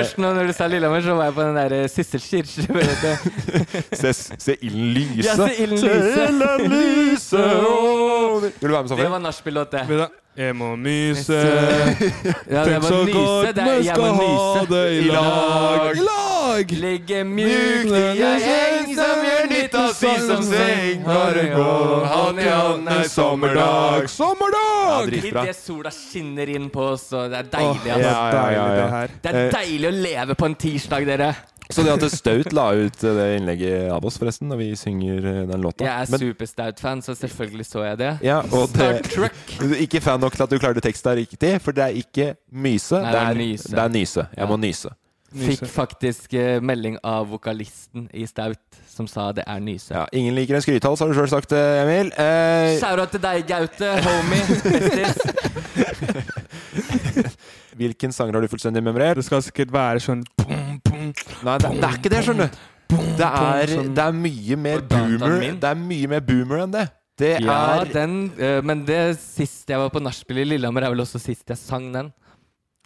S4: Først nå når du sa Lillehammer, så var jeg på den der eh, Sissel (laughs) Kirche.
S5: se, se ilden lyse.
S4: Ja, se ilden lyse.
S5: ilden lyse over Vil du være med,
S4: Det
S5: Safi?
S4: var nachspiel-låt, det.
S3: Men da- Jeg må (laughs) myse,
S4: Ja, det
S3: tenk så
S4: var nyse.
S3: godt
S4: Det
S3: vi
S4: er, jeg
S3: skal
S4: må
S3: ha
S4: nyse.
S3: det i
S5: I
S3: lag.
S5: lag.
S3: I lag!
S4: Ligge mjukt
S5: Mjukt i
S4: i ei heng som gjør nytt av si som seng. Bare gå hånd i hånd ei sommerdag.
S5: Ja,
S3: Sommerdag!
S5: dritbra.
S4: Idet sola skinner inn på oss, og det er deilig,
S5: Åh,
S4: altså.
S5: ja, ja, ja, ja.
S3: det her.
S4: Det
S5: Eh.
S4: er deilig å leve på en tirsdag, dere.
S5: Så det at Staut la ut eh, det innlegget av oss, forresten, når vi synger eh, den låta
S4: Jeg er
S5: Men-
S4: superstout-fan, så selvfølgelig så jeg det.
S5: ja, og
S4: Star
S5: det,
S4: Trek.
S5: du er ikke fan nok til at du klarte teksten riktig, for det er ikke myse,
S4: Nei,
S5: det,
S4: det er
S5: er,
S4: nyse.
S5: det er nyse. Jeg
S4: Ja.
S5: må nyse.
S4: Fikk faktisk eh, melding av vokalisten i Staut, som sa det er nyse.
S5: Ja, ingen liker en skrythals, har du sjøl sagt, eh, Emil. Eh,
S4: Shout-out til deg, Gaute, homie. Bestis.
S5: hvilken sanger har du fullstendig memorert?
S3: Det skal sikkert være sånn pum, pum.
S5: Nei, det, det er ikke det, skjønner du. Det er,
S3: sånn-
S5: det er mye mer
S4: Og dataen
S5: boomer
S4: min.
S5: Det er mye mer boomer enn det. (laughs) Det
S4: Ja,
S5: er
S4: den, eh, men det sist jeg var på nachspiel i Lillehammer, er vel også sist jeg sang den.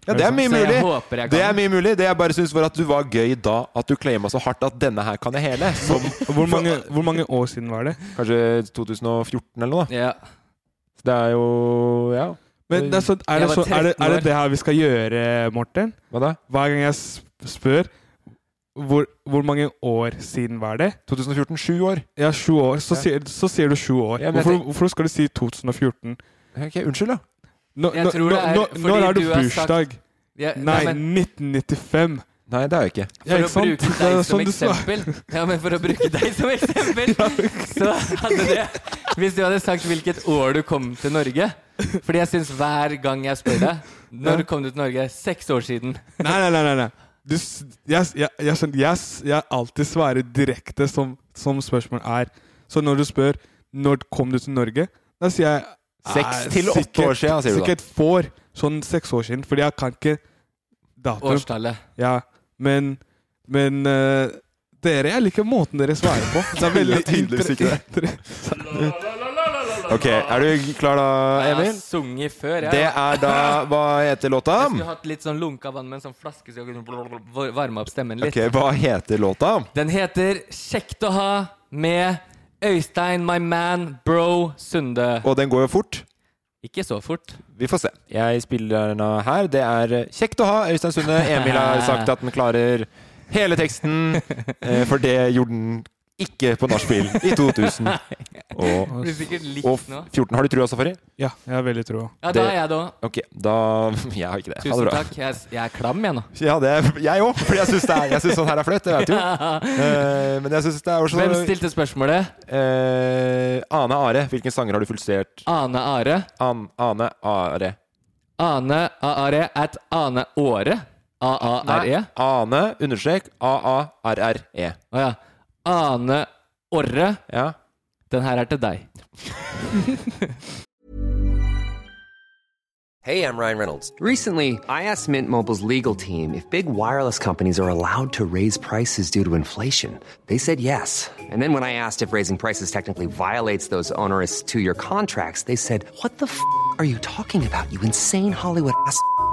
S5: Ja, det er mye
S4: Så jeg
S5: mulig.
S4: håper jeg
S5: Det
S4: kan.
S5: er mye mulig. Det jeg bare syns var at du var gøy da, at du claima så hardt at 'denne her kan jeg hele'.
S3: (laughs)
S5: Som
S3: Hvor mange, hvor mange år siden var det?
S5: kanskje 2014 eller noe. da.
S4: Ja.
S5: Det er jo Ja,
S3: Men det er, sånn, er,
S4: Jeg
S3: det
S4: var
S3: så, er, det,
S4: 13
S3: er det
S4: år.
S3: det her vi skal gjøre, Morten?
S5: hva da?
S3: Hver gang jeg s- spør hvor, hvor mange år siden var det?
S5: 2014? Sju år.
S3: Ja, sju år. Så,
S5: Ja.
S3: sier, så sier du sju år.
S5: Ja, men jeg
S3: hvorfor,
S5: tenk-
S3: hvorfor skal du si 2014?
S5: Ok, Unnskyld, da.
S3: Nå,
S4: Jeg
S3: nå,
S4: tror
S3: nå,
S4: det er
S3: nå,
S4: fordi
S3: når er du
S4: du har sagt-
S3: bursdag?
S4: Ja,
S3: Nei,
S4: men
S3: 1995.
S5: Nei, det er jeg ikke.
S3: Ja,
S4: for
S3: ikke
S4: å
S3: sant?
S4: bruke
S3: Det
S4: deg
S3: er
S4: som
S3: sånn du svarer.
S4: eksempel Ja, men for å bruke deg som
S5: (laughs)
S4: eksempel, så hadde det Hvis du hadde sagt hvilket år du kom til Norge Fordi jeg syns hver gang jeg spør deg Når kom du til Norge? Seks år siden.
S3: Nei, nei, nei. nei, nei. Du, s- jeg, jeg, jeg, skjønner- jeg, s- jeg alltid svarer direkte som, som spørsmål er. Så når du spør når kom du til Norge, da sier jeg
S5: Seks
S3: eh,
S5: til åtte
S3: sikkert-
S5: år siden, sier du da.
S3: Sikkert får. Sånn seks år siden. Fordi jeg kan ikke datoen.
S4: Årstallet.
S3: Ja, men men eh, dere, jeg liker måten dere svarer
S4: (laughs)
S3: på. Det
S5: (laughs)
S3: er veldig
S5: Tydeligvis ikke det.
S3: inter-
S5: Ok, Er du klar da,
S4: Jeg har
S5: Emil?
S4: sunget før,
S5: Det
S4: jeg.
S5: er da Hva heter låta?
S4: Jeg skulle hatt litt sånn lunka vann med en sånn flaske, så jeg kunne varme opp stemmen litt.
S5: Ok, Hva heter låta?
S4: Den heter 'Kjekt å ha' med Øystein, my man, bro, Sunde.
S5: Og den går jo fort.
S4: Ikke så fort.
S5: Vi får se. Jeg spiller den av her. Det er eh, kjekt å ha Øystein Sunde. Emil har sagt at den klarer hele teksten, eh, for det gjorde den ikke på nachspiel
S3: (laughs)
S4: (laughs)
S5: i 2000. Og,
S4: Blir sikkert likt
S5: og
S4: nå.
S5: 14. Har du trua, Safari?
S3: Ja, jeg har veldig troa.
S4: Ja,
S5: det-
S4: da er jeg da.
S5: Ok, da (laughs) Jeg har ikke det. Ha
S4: Tusen
S5: det bra.
S4: takk. Jeg, jeg er klam, jeg nå.
S5: Ja, det er jeg òg, for jeg syns sånn her er flaut. Det vet du. Eh, Men jeg syns det er
S4: Hvem
S5: også
S4: stilte spørsmålet?
S5: eh, Ane Are. Hvilken sanger har du fullstert?
S4: Ane Are.
S5: An, Ane Are.
S4: Ane Are E at Ane Åre. A-A-R-E.
S5: Nei, Ane understrek E. A-A-R-R-E.
S4: Å ja. Ane Orre.
S5: Ja.
S4: Den her er til deg.
S1: Hey, I'm Ryan Reynolds. Recently, I asked Mint Mobile's legal team if big wireless companies are allowed to raise prices due to inflation. They said yes. And then when I asked if raising prices technically violates those onerous two year contracts, they said, What the f are you talking about, you insane Hollywood ass? f- a-"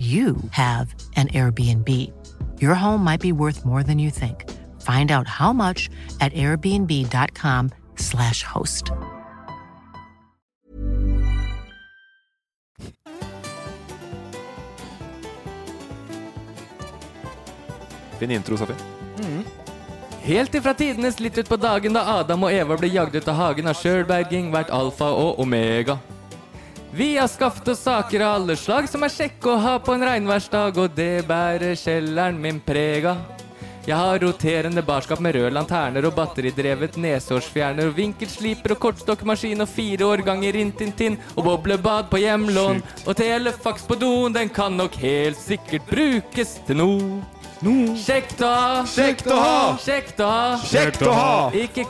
S8: you have an Airbnb. Your home might be worth more than you think. Find out how much at airbnb.com/slash host.
S5: Fin intro, Safi.
S4: Helt ifra tidenes litt ut på dagen da Adam og Eva ble jagd ut av hagen, har sjølberging vært alfa og omega. Vi har skaffet oss saker av alle slag som er kjekke å ha på en regnværsdag, og det bærer kjelleren min preg av. Jeg har roterende barskap med røde lanterner og batteridrevet nesehårsfjerner og vinkelsliper og kortstokkmaskin og fire årganger Rintintin og boblebad på hjemlån og telefaks på doen, den kan nok helt sikkert brukes til noe. Kjekt å ha!
S6: Kjekt å ha!
S4: Kjekt å ha!
S6: Kjekt å ha!
S4: Ikke,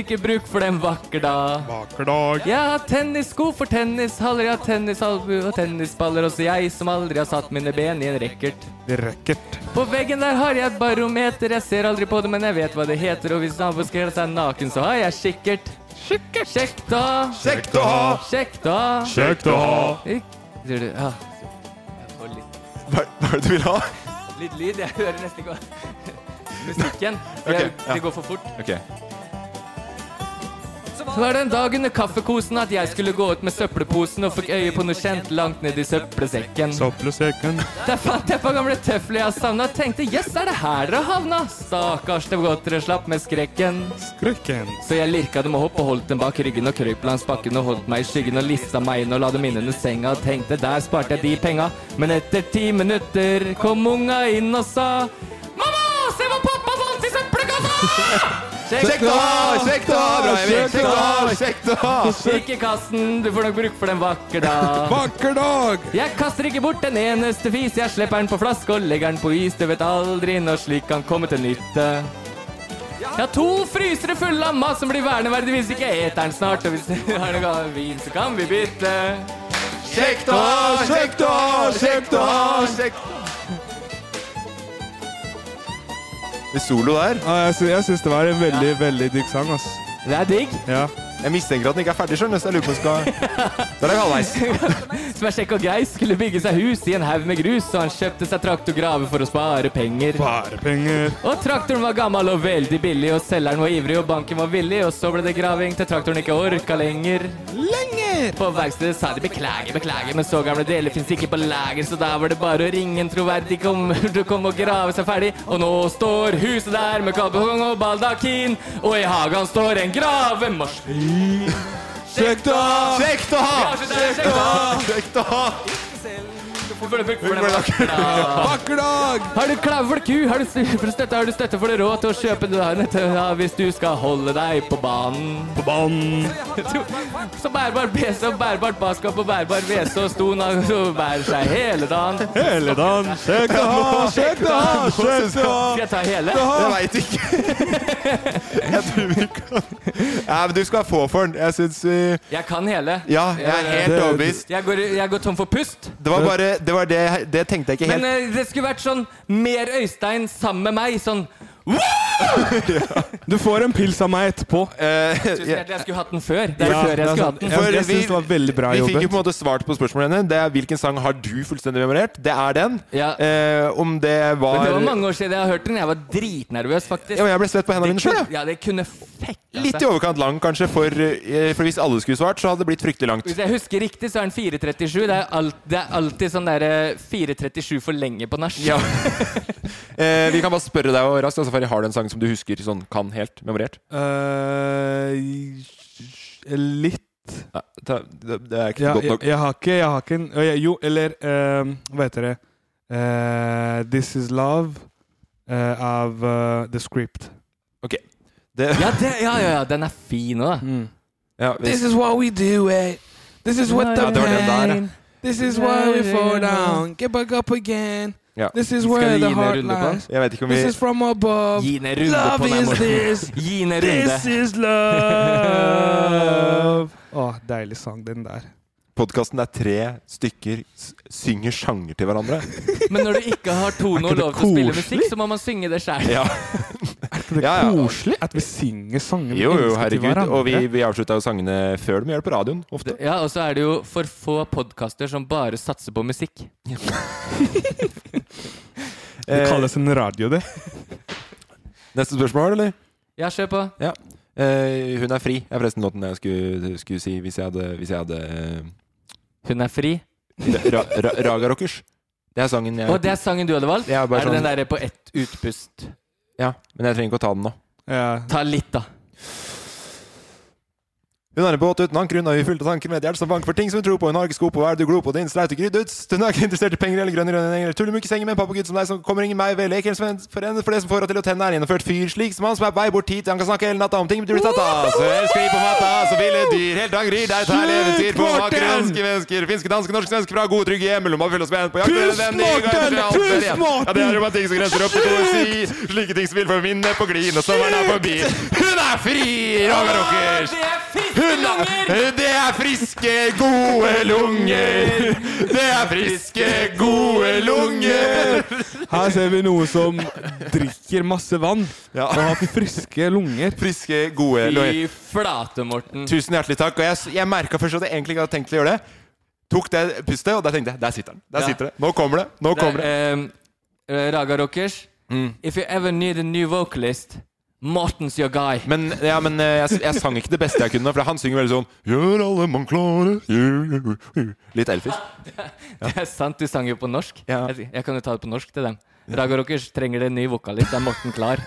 S4: ikke bruk for dem vakker dag.
S3: Vakker dag.
S4: Jeg har tennissko for tennishaller, jeg har tennisalbu og tennisballer, også jeg som aldri har satt mine ben i en racket.
S3: Racket.
S4: På veggen der har jeg et barometer, jeg ser aldri på det, men jeg vet hva det heter, og hvis naboen skal kle seg naken, så har jeg kikkert. Kjekt å ha!
S6: Kjekt å ha!
S4: Kjekt å ha!
S5: Ah. Kjekt å ha!
S4: Ik- Tror du- ah. Jeg får litt,
S5: Hva hva er det du vil ha?
S4: litt lyd, jeg hører nesten ikke hva (laughs) Musikken. Jeg,
S5: Ok, ja.
S4: det går for fort.
S5: Ok.
S4: Så var det en dag under kaffekosen at jeg skulle gå ut med søppelposen og fikk øye på noe kjent langt ned i søppelsekken.
S3: Søppelsekken.
S4: Der fant jeg på gamle tøfler jeg savna. Tenkte jøss, yes, er det her dere havna? Stakkars, det var godt dere slapp med skrekken.
S3: Skrekken.
S4: Så jeg lirka dem opp og holdt dem bak ryggen og krøp langs bakken og holdt meg i skyggen og lista meg inn og la dem inn under senga og tenkte der sparte jeg de penga. Men etter ti minutter kom unga inn og sa Mamma, se hva pappa fant i
S3: (laughs)
S4: søppelkassa!
S6: Kjekt å ha! Kjekt å ha! Bra, Emil. Kjekt å ha! Kjekt å ha!
S4: Ikke kast den, du får nok bruk for den vakker dag.
S5: Vakker dag!
S4: Jeg kaster ikke bort en eneste fis, jeg slipper den på flaske og legger den på is. Du vet aldri når slik kan komme til nytte. Jeg har to frysere fulle av mat som blir verneverdig hvis ikke jeg eter den snart. Og hvis du har noe av vin, så kan vi bytte.
S6: Kjekt å ha! Kjekt å ha! Kjekt å ha! Kjekt
S5: I solo der.
S3: Ja, jeg, sy jeg syns det var en veldig, veldig digg sang, ass.
S4: Det er digg.
S3: Ja.
S5: Jeg mistenker at den ikke er ferdig, skjønner du, så jeg lurer på om
S4: (laughs)
S5: den skal Der er vi halvveis.
S4: Som er kjekk og grei, skulle bygge seg hus i en haug med grus, og han kjøpte seg traktor grave for å spare penger.
S3: Bare penger.
S4: Og traktoren var gammel og veldig billig, og selgeren var ivrig, og banken var villig, og så ble det graving til traktoren ikke orka lenger. Lenger! På verkstedet sa de beklager, beklager, men så gamle deler fins ikke på lager, så da var det bare å ringe en troverdig kommer til å komme og grave seg ferdig, og nå står huset der med kalbehong og baldakin, og i hagen står en gravemaskin. Kjekt å ha!
S6: Kjekt å ha! Kjekt å ha! Kjekt å ha!
S5: Vakker dag!
S4: Har du klaue for ku? Har du stø- for støtte? Har du støtte for det råd til å kjøpe det der nett- ja, hvis du skal holde deg på banen?
S3: På banen.
S4: Så bærbar BC og bærbart baskap og bærbar WC og sto nag og bærer seg hele dagen.
S3: Hele dagen. Kjekt å ha, kjekt å ha, kjekt å ha.
S4: Skal jeg ta hele?
S5: Jeg veit ikke. Jeg tror vi kan Nei, men du skal få for den. Jeg eh, syns vi
S4: Jeg kan hele.
S5: Ja, jeg er helt overbevist.
S4: Jeg går, jeg går tom for pust.
S5: Det var bare Det var det Det tenkte jeg ikke
S4: Men
S5: helt.
S4: eh, det skulle vært sånn mer Øystein sammen med meg. Sånn
S3: Du får en pils av meg etterpå.
S5: Eh,
S4: Tusen
S5: (laughs) ja.
S4: hjertelig, jeg skulle hatt den før. Det er
S3: Ja,
S4: før
S3: det
S4: jeg
S3: er
S4: skulle
S3: sant.
S4: hatt den.
S5: For
S3: Jeg, jeg
S5: vi-
S3: syns det var veldig bra
S5: Vi fikk jo på
S3: jobbet.
S5: en måte svart på spørsmålene henne. Det er Hvilken sang har du fullstendig memorert? Det er den.
S4: Ja.
S5: Eh, om det var,
S4: Men det var mange altså. år siden jeg har hørt den. Jeg var dritnervøs, faktisk.
S5: Ja, men Jeg ble svett på hendene mine sjøl, jeg.
S4: ja, det kunne fekka
S5: Litt i overkant lang, kanskje, for, eh, for hvis alle skulle svart, så hadde det blitt fryktelig langt.
S4: Hvis jeg husker riktig, så er den eh, (laughs) 4.37. Det er, alt, det er alltid sånn derre 4.37 for lenge på nach.
S5: Ja. Eh, vi kan bare spørre deg og raskt. Altså, Safari, har du en sang som du husker sånn kan helt memorert?
S3: Eh, litt.
S5: Nei, det, det, det er ikke
S3: Ja,
S5: godt
S3: jeg,
S5: nok.
S3: jeg har ikke Jeg har ikke en øh, jeg- Jo, eller ehm, Hva heter det? Eh, This Is Love eh, av eh, The Script.
S5: Det,
S4: Ja, det, ja, ja, ja, den er fin òg.
S3: Mm.
S5: ja, hvis,
S3: is what we do it. This is
S4: what the
S5: ja, det var den der. ja.
S3: This
S4: is why we fall down.
S3: Get back up again.
S5: Ja.
S3: This is
S4: where Skal vi the gi ned heart runde på lies.
S5: Jeg vet ikke om vi
S3: from above.
S4: Gi ned runde på den, Morten. Gi ned runde.
S3: is love. Å, deilig sang, den der.
S5: Podkasten er tre stykker s- synger sjanger til hverandre.
S4: Men når du ikke har tonen
S5: Er
S4: og
S5: ikke det
S4: lov til å spille
S5: koselig?
S4: musikk, så må man synge det sjæl.
S5: (laughs) Ja,
S3: Det er
S5: Ja, ja.
S3: koselig at vi synger sanger vi
S5: jo, jo,
S3: elsker til
S5: herregud.
S3: hverandre.
S5: Og vi, vi avslutta jo sangene før de gjør det på radioen, ofte.
S4: Ja, og så er det jo for få podkaster som bare satser på musikk.
S3: Det
S5: Eh,
S3: kalles en radio, det.
S5: (laughs) Neste spørsmål, eller?
S4: Ja, kjør på.
S5: Eh, hun er fri, er forresten låten jeg skulle, skulle si hvis jeg hadde, hvis jeg hadde eh,
S4: Hun er fri.
S5: ra, ra, Raga Rockers. Det er sangen jeg
S4: Og det er sangen du hadde valgt?
S5: Jeg er bare
S4: er det
S5: sånn-
S4: den derre på ett utpust?
S5: Ja, men jeg trenger ikke å ta den nå.
S3: Ja.
S4: Ta litt, da.
S5: Hun er en båt uten anker, hun har fullt av tanker med et hjerte som banker for ting som hun tror på. Hun har ikke sko på, hva er det du glor på, din streite gryduts? Hun er ikke interessert i penger eller grønne grønne engler. Tullemukkesenger med en pappagutt som deg som kommer ingen meg ved leker som en for en for det som får henne til å tenne er gjennomført fyr, slik som han som er på vei bort hit, han kan snakke hele natta om ting du blir tatt av. Så elsker vi på matta, så ville dyr, helt han gryr, det er et herlig eventyr på makrelske mennesker, finske, danske, norske, svenske fra gode, trygge hjem, lomma full av spenn på jakt med en venn i gang,
S3: Morten!
S5: det er alt
S3: Pust,
S5: ferie. Ja, det er jo bare ting som grenser opp til poesi, slike ting som vil forminne på glid når sommeren er forbi. Hun er fri, Raga Rockers!
S4: Det er
S5: Hun
S4: fiskelunger!
S5: er, det er friske, gode lunger. Det er friske, gode lunger.
S3: Her ser vi noe som drikker masse vann
S5: (laughs) Ja.
S3: og har friske lunger.
S5: Friske, gode lunger.
S4: Fy flate, Morten.
S5: Tusen hjertelig takk. Og jeg, s- jeg merka først at jeg egentlig ikke hadde tenkt til å gjøre det. Tok det pustet, og der tenkte jeg der sitter den. Der
S4: Ja.
S5: sitter det. Nå kommer det. Nå
S4: Der,
S5: kommer det. Mm.
S4: ehm, eh, Raga Rockers, if you ever need a new vocalist, Morten's your guy.
S5: Men, ja, men eh, jeg, s- jeg sang ikke det beste jeg kunne, for han synger veldig sånn Gjør alle man klarer gjør- gjør- gjør». Litt Elvis.
S4: (laughs) Det er sant, du sang jo på norsk.
S5: Ja.
S4: Jeg, jeg kan jo ta det på norsk til dem. Raga Rockers trenger en ny vokalist. Det er Morten
S5: (laughs)
S4: Klar.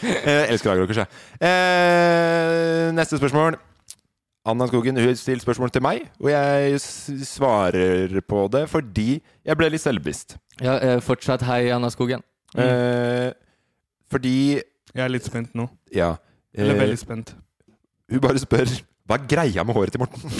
S5: Eh, elsker Lageråkers, jeg. Eh, neste spørsmål. Anna Skogen hun stilte spørsmål til meg, og jeg s- svarer på det fordi jeg ble litt selvbevisst.
S4: Ja, eh, fortsatt hei, Anna Skogen.
S5: Eh, fordi
S3: Jeg er litt spent nå.
S5: Ja.
S3: Eller
S5: Eh,
S3: veldig spent.
S5: hun bare spør Hva er greia med håret til Morten?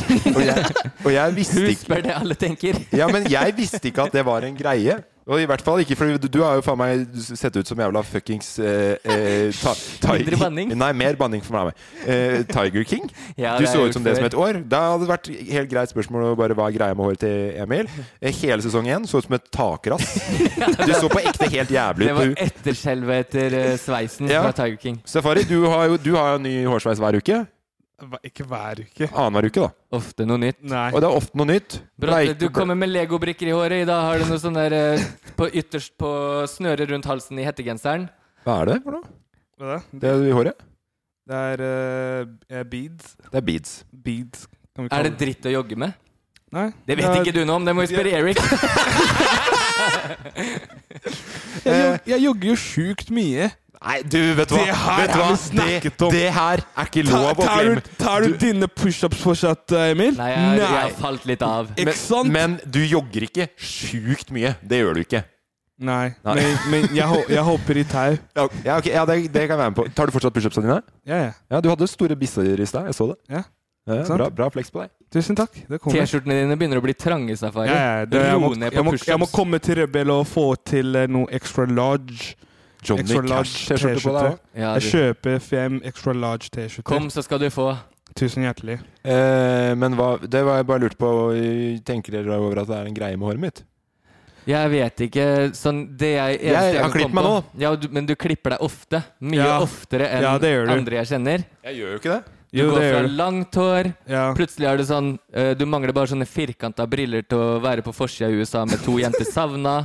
S5: (laughs) og, jeg, og jeg visste
S4: Hun
S5: ikke
S4: spør det alle tenker.
S5: (laughs) Ja, men jeg visste ikke at det var en greie. Og i hvert fall ikke, for du, du har jo faen meg sett ut som jævla fuckings eh, eh,
S4: (laughs)
S5: ta, ta,
S4: Mindre banning.
S5: Nei, mer banning for meg. Eh, Tiger King.
S4: (laughs) Ja,
S5: du
S4: det har
S5: så
S4: jeg
S5: ut som
S4: gjort
S5: det
S4: før.
S5: som et år. Da hadde det vært helt greit spørsmål å bare hva er greia med håret til Emil. Eh, Hele sesong én så ut som et
S4: (laughs)
S5: takrass. Du så på ekte helt jævlig
S4: Det
S5: ut. på
S4: var
S5: hu-
S4: etterskjelvet etter eh, sveisen
S5: Ja.
S4: fra Tiger King.
S5: Safari, du har jo du har jo ny hårsveis hver uke.
S3: Hva- Ikke hver uke.
S5: Annenhver uke, da.
S4: Ofte noe nytt.
S3: Nei.
S5: Og det er ofte noe nytt.
S4: Bratte,
S5: Bleik-
S4: du kommer med legobrikker i håret. I dag har du noe sånn der eh, på ytterst på snøret rundt halsen i hettegenseren.
S5: Hva er det for noe?
S3: Hva da?
S5: Det er i håret?
S3: Det er eh, beads.
S5: Det er beads.
S3: Beads, kan vi kalle
S4: Er det dritt å jogge med?
S3: Nei.
S4: Det vet
S3: er-
S4: ikke du noe om, det må vi spørre
S5: (laughs)
S4: Erik.
S3: Jeg, jog- jeg jogger jo sjukt mye.
S5: Nei, du, vet du hva?
S3: Det her
S5: vet du
S3: har
S5: hva?
S3: vi snakket
S5: det,
S3: om.
S5: det her er ikke
S3: Ta,
S5: lov å
S3: tar,
S5: glemme.
S3: du, tar du,
S5: Du-
S3: dine pushups fortsatt, eh, Emil?
S4: Nei, jeg, jeg
S3: Nei.
S4: har falt litt av.
S3: Ikke sant?
S5: Men du jogger ikke sjukt mye. Det gjør du ikke.
S3: Nei.
S5: Nei.
S3: Men, men jeg, ho- jeg hopper i tau.
S5: (laughs) Ja, ok, ja det, det kan jeg være med på. Tar du fortsatt pushupsene dine?
S3: Ja, ja.
S5: Ja, du hadde store bisser i stad. Jeg så det.
S3: Ja.
S5: Ja,
S3: Ikke sant?
S5: bra, bra flex på deg.
S3: Tusen takk. Det kommer.
S4: T-skjortene dine begynner å bli trange, Safari.
S3: Ja, ja, det, jeg, må,
S4: Ro ned
S3: jeg,
S4: på
S3: må, jeg må
S4: pushups.
S3: komme til Rebel og få til eh, noe extra large.
S5: Johnny
S3: Extra large
S5: Cash-T-skjorte på deg
S3: T-skjorte.
S5: òg.
S4: Ja,
S3: Jeg
S4: du.
S3: kjøper fem extra large
S4: Kom,
S3: T-skjorter.
S4: så skal du få.
S3: Tusen hjertelig.
S5: Eh, men hva, det var jeg bare lurt på. Tenker dere over at det er en greie med håret mitt?
S4: Jeg vet ikke sånn Det jeg eneste
S5: Jeg har
S4: kan
S5: klippet
S4: komme
S5: meg
S4: på- Ja, du, men du klipper deg ofte. Mye
S3: Ja.
S4: oftere enn
S3: Ja, det gjør du.
S4: andre jeg kjenner.
S5: Jeg gjør jo ikke det.
S4: Du
S3: Jo,
S4: går
S3: det
S4: fra
S3: gjør du.
S4: langt hår
S3: Ja.
S4: Plutselig er det sånn eh, Du
S3: (laughs)
S4: mangler bare sånne firkanta briller til å være på forsida i USA med to jenter savna.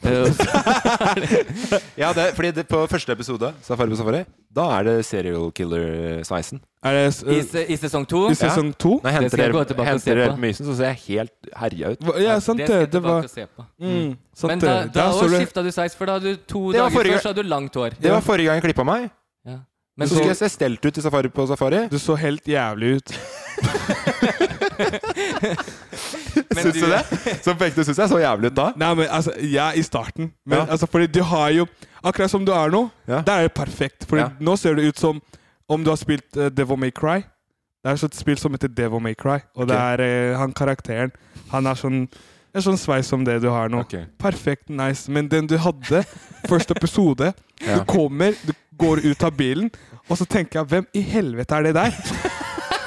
S4: Eh, og så-
S5: Ja, det, fordi det, på første episode, Safari på Safari, da er det serial eh, killer-sveisen.
S3: Er det s-
S4: I, se- I sesong to
S3: i sesong to?
S4: Det skal
S5: Når jeg henter
S4: jeg gå
S5: dere,
S4: tilbake og
S5: henter
S4: se
S5: dere
S4: på.
S5: på mysen, så ser jeg helt herja ut.
S3: Hva- Ja, sant
S4: det skal jeg
S3: det. Det
S4: tilbake
S3: var
S4: og se på.
S3: mm, sant
S4: Men
S3: det.
S4: da, da
S3: Der så du-
S4: skifta du sveis, for da hadde du to
S5: Det var
S4: dager
S5: forrige
S4: før
S5: gang.
S4: så hadde du langt hår.
S5: Det var forrige gang jeg klippa meg.
S4: Ja.
S5: Men
S4: Men
S5: så
S4: så,
S5: skulle jeg se stelt ut i Safari på Safari.
S3: Du så helt jævlig
S5: (laughs)
S3: ut.
S4: men
S5: Syns
S4: du-
S5: du det? Som på ekte syns jeg så jævlig ut da.
S3: Nei, men altså, jeg i starten. Men
S5: Ja.
S3: altså, fordi du har jo Akkurat som du er nå,
S5: Ja.
S3: der er det perfekt. Fordi
S5: Ja.
S3: nå ser det ut som om du har spilt eh, Devil May Cry. Det er så et spill som heter Devil May Cry, og det
S5: Ok.
S3: er eh, han karakteren Han er sånn en sånn sveis som det du har nå.
S5: Ok.
S3: Perfekt, nice. Men den du
S5: (laughs)
S3: hadde, første episode
S5: Ja.
S3: Du kommer, du går ut av bilen, og så tenker jeg 'Hvem i helvete er det der?'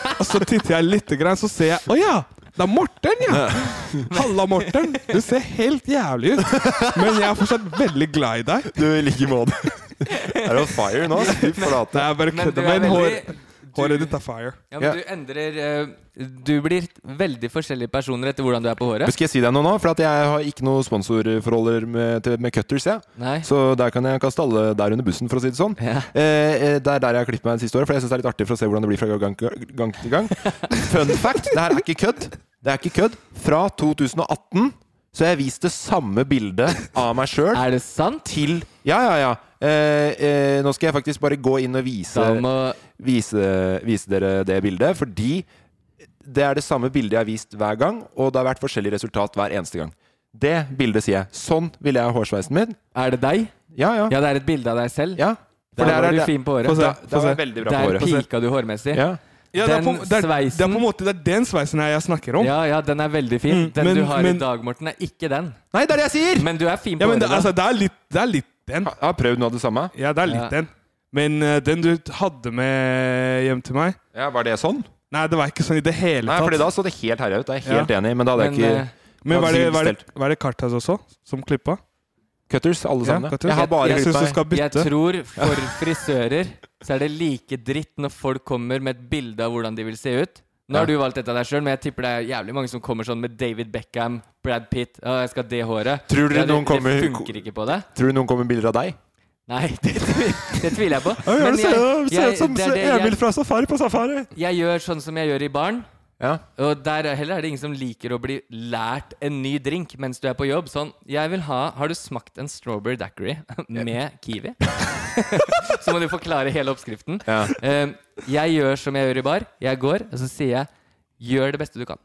S5: (laughs)
S3: og så titter jeg litt, grann, så ser jeg 'Å ja, det er Morten, ja'. Halla, Morten. Du ser helt jævlig ut. Men jeg er fortsatt veldig glad i deg.
S5: Du, i like måte. Er du on fire nå? Fy flate.
S3: Nei, jeg bare
S4: men du
S3: kødder.
S4: er
S3: Men hår,
S4: veldig
S3: håret ditt er fire.
S4: ja,
S5: Ja.
S4: men du endrer eh, Du blir veldig forskjellige personer etter hvordan du er på
S5: Men
S4: håret.
S5: Skal jeg si deg noe nå? For at jeg har ikke noen sponsorforholder med, til- med Cutters. jeg.
S4: Nei.
S5: Så der kan jeg kaste alle der under bussen, for å si det sånn.
S4: Ja.
S5: Eh, eh, det er der jeg har klippet meg det siste året, for jeg syns det er litt artig for å se hvordan det blir fra gang, gang
S4: (laughs)
S5: til gang. Fun fact, det her er ikke kødd. Det er ikke kødd. Fra 2018 så har jeg vist det samme bildet av meg sjøl
S4: Er det sant?
S5: til Ja, ja, ja. Eh, eh, nå skal jeg faktisk bare gå inn og vise
S4: Da må
S5: vise, vise dere det bildet, fordi det er det samme bildet jeg har vist hver gang, og det har vært forskjellig resultat hver eneste gang. Det bildet sier jeg. Sånn vil jeg ha hårsveisen min.
S4: Er det deg?
S5: Ja, ja.
S4: Ja, det er et bilde av deg selv.
S5: ja. For
S4: Der
S5: der
S4: var
S5: er
S4: du
S5: det,
S4: fin på håret.
S3: Få se.
S5: da, da var
S3: se.
S5: jeg veldig bra på
S4: Der
S5: håret.
S4: pika du hårmessig.
S5: Ja.
S3: Ja, det, er på,
S4: Den
S3: det, er, det er på
S4: sveisen-
S3: en måte det er den sveisen her jeg snakker om. Ja,
S4: Ja, ja, den er veldig fin.
S3: Mm,
S4: Den
S3: men-
S4: du har
S3: men-
S4: i dag, Morten, er ikke den.
S5: Nei, det er det jeg sier!
S4: Men du er fin på
S3: men det,
S4: håret. da.
S3: altså, det, er litt, det er litt den.
S5: Jeg har prøvd noe av det samme.
S3: Ja, det er litt
S4: Ja.
S3: den. Men eh, den du hadde med hjem til meg
S5: Ja, Var det sånn?
S3: Nei, det var ikke sånn i det hele
S5: Nei, fordi
S3: tatt.
S5: da så det helt herja ut. Det er jeg helt enig i, men da hadde jeg
S4: Men, eh,
S5: ikke
S3: Men var det,
S5: hadde
S3: var det,
S5: sikkert
S3: var det Kartas også som klippa?
S5: Cutters, alle
S3: Ja,
S5: sammen.
S3: cutters.
S5: Jeg har bare
S4: Jeg-
S3: Jeg syns du
S5: klippet meg.
S3: skal
S4: Jeg
S3: bytte.
S4: tror for frisører så er det like dritt når folk kommer med et bilde av hvordan de vil se ut. Nå har
S5: Ja.
S4: du valgt dette av deg sjøl, men jeg tipper det er jævlig mange som kommer sånn med David Beckham, Brad Pitt Å, jeg skal ha det håret.
S5: Tror dere
S4: Ja,
S5: noen kommer-
S4: Det funker ikke på deg.
S5: Tror du noen kommer med bilder av deg?
S4: Nei, (laughs) det, tvi- det tviler jeg på.
S5: Ja,
S4: Men
S5: det ser
S4: jeg-
S5: ser
S4: jeg-
S5: ut som
S4: det er det jeg-
S5: Emil fra Safari på Safari!
S4: Jeg gjør sånn som jeg gjør i baren.
S5: Ja.
S4: Og der er- heller er det ingen som liker å bli lært en ny drink mens du er på jobb. Sånn, jeg vil ha Har du smakt en strawberry daiquiri (laughs) med kiwi? (laughs) så må du forklare hele oppskriften.
S5: Ja.
S4: Eh, jeg gjør som jeg gjør i bar. Jeg går, og så sier jeg Gjør det beste du kan.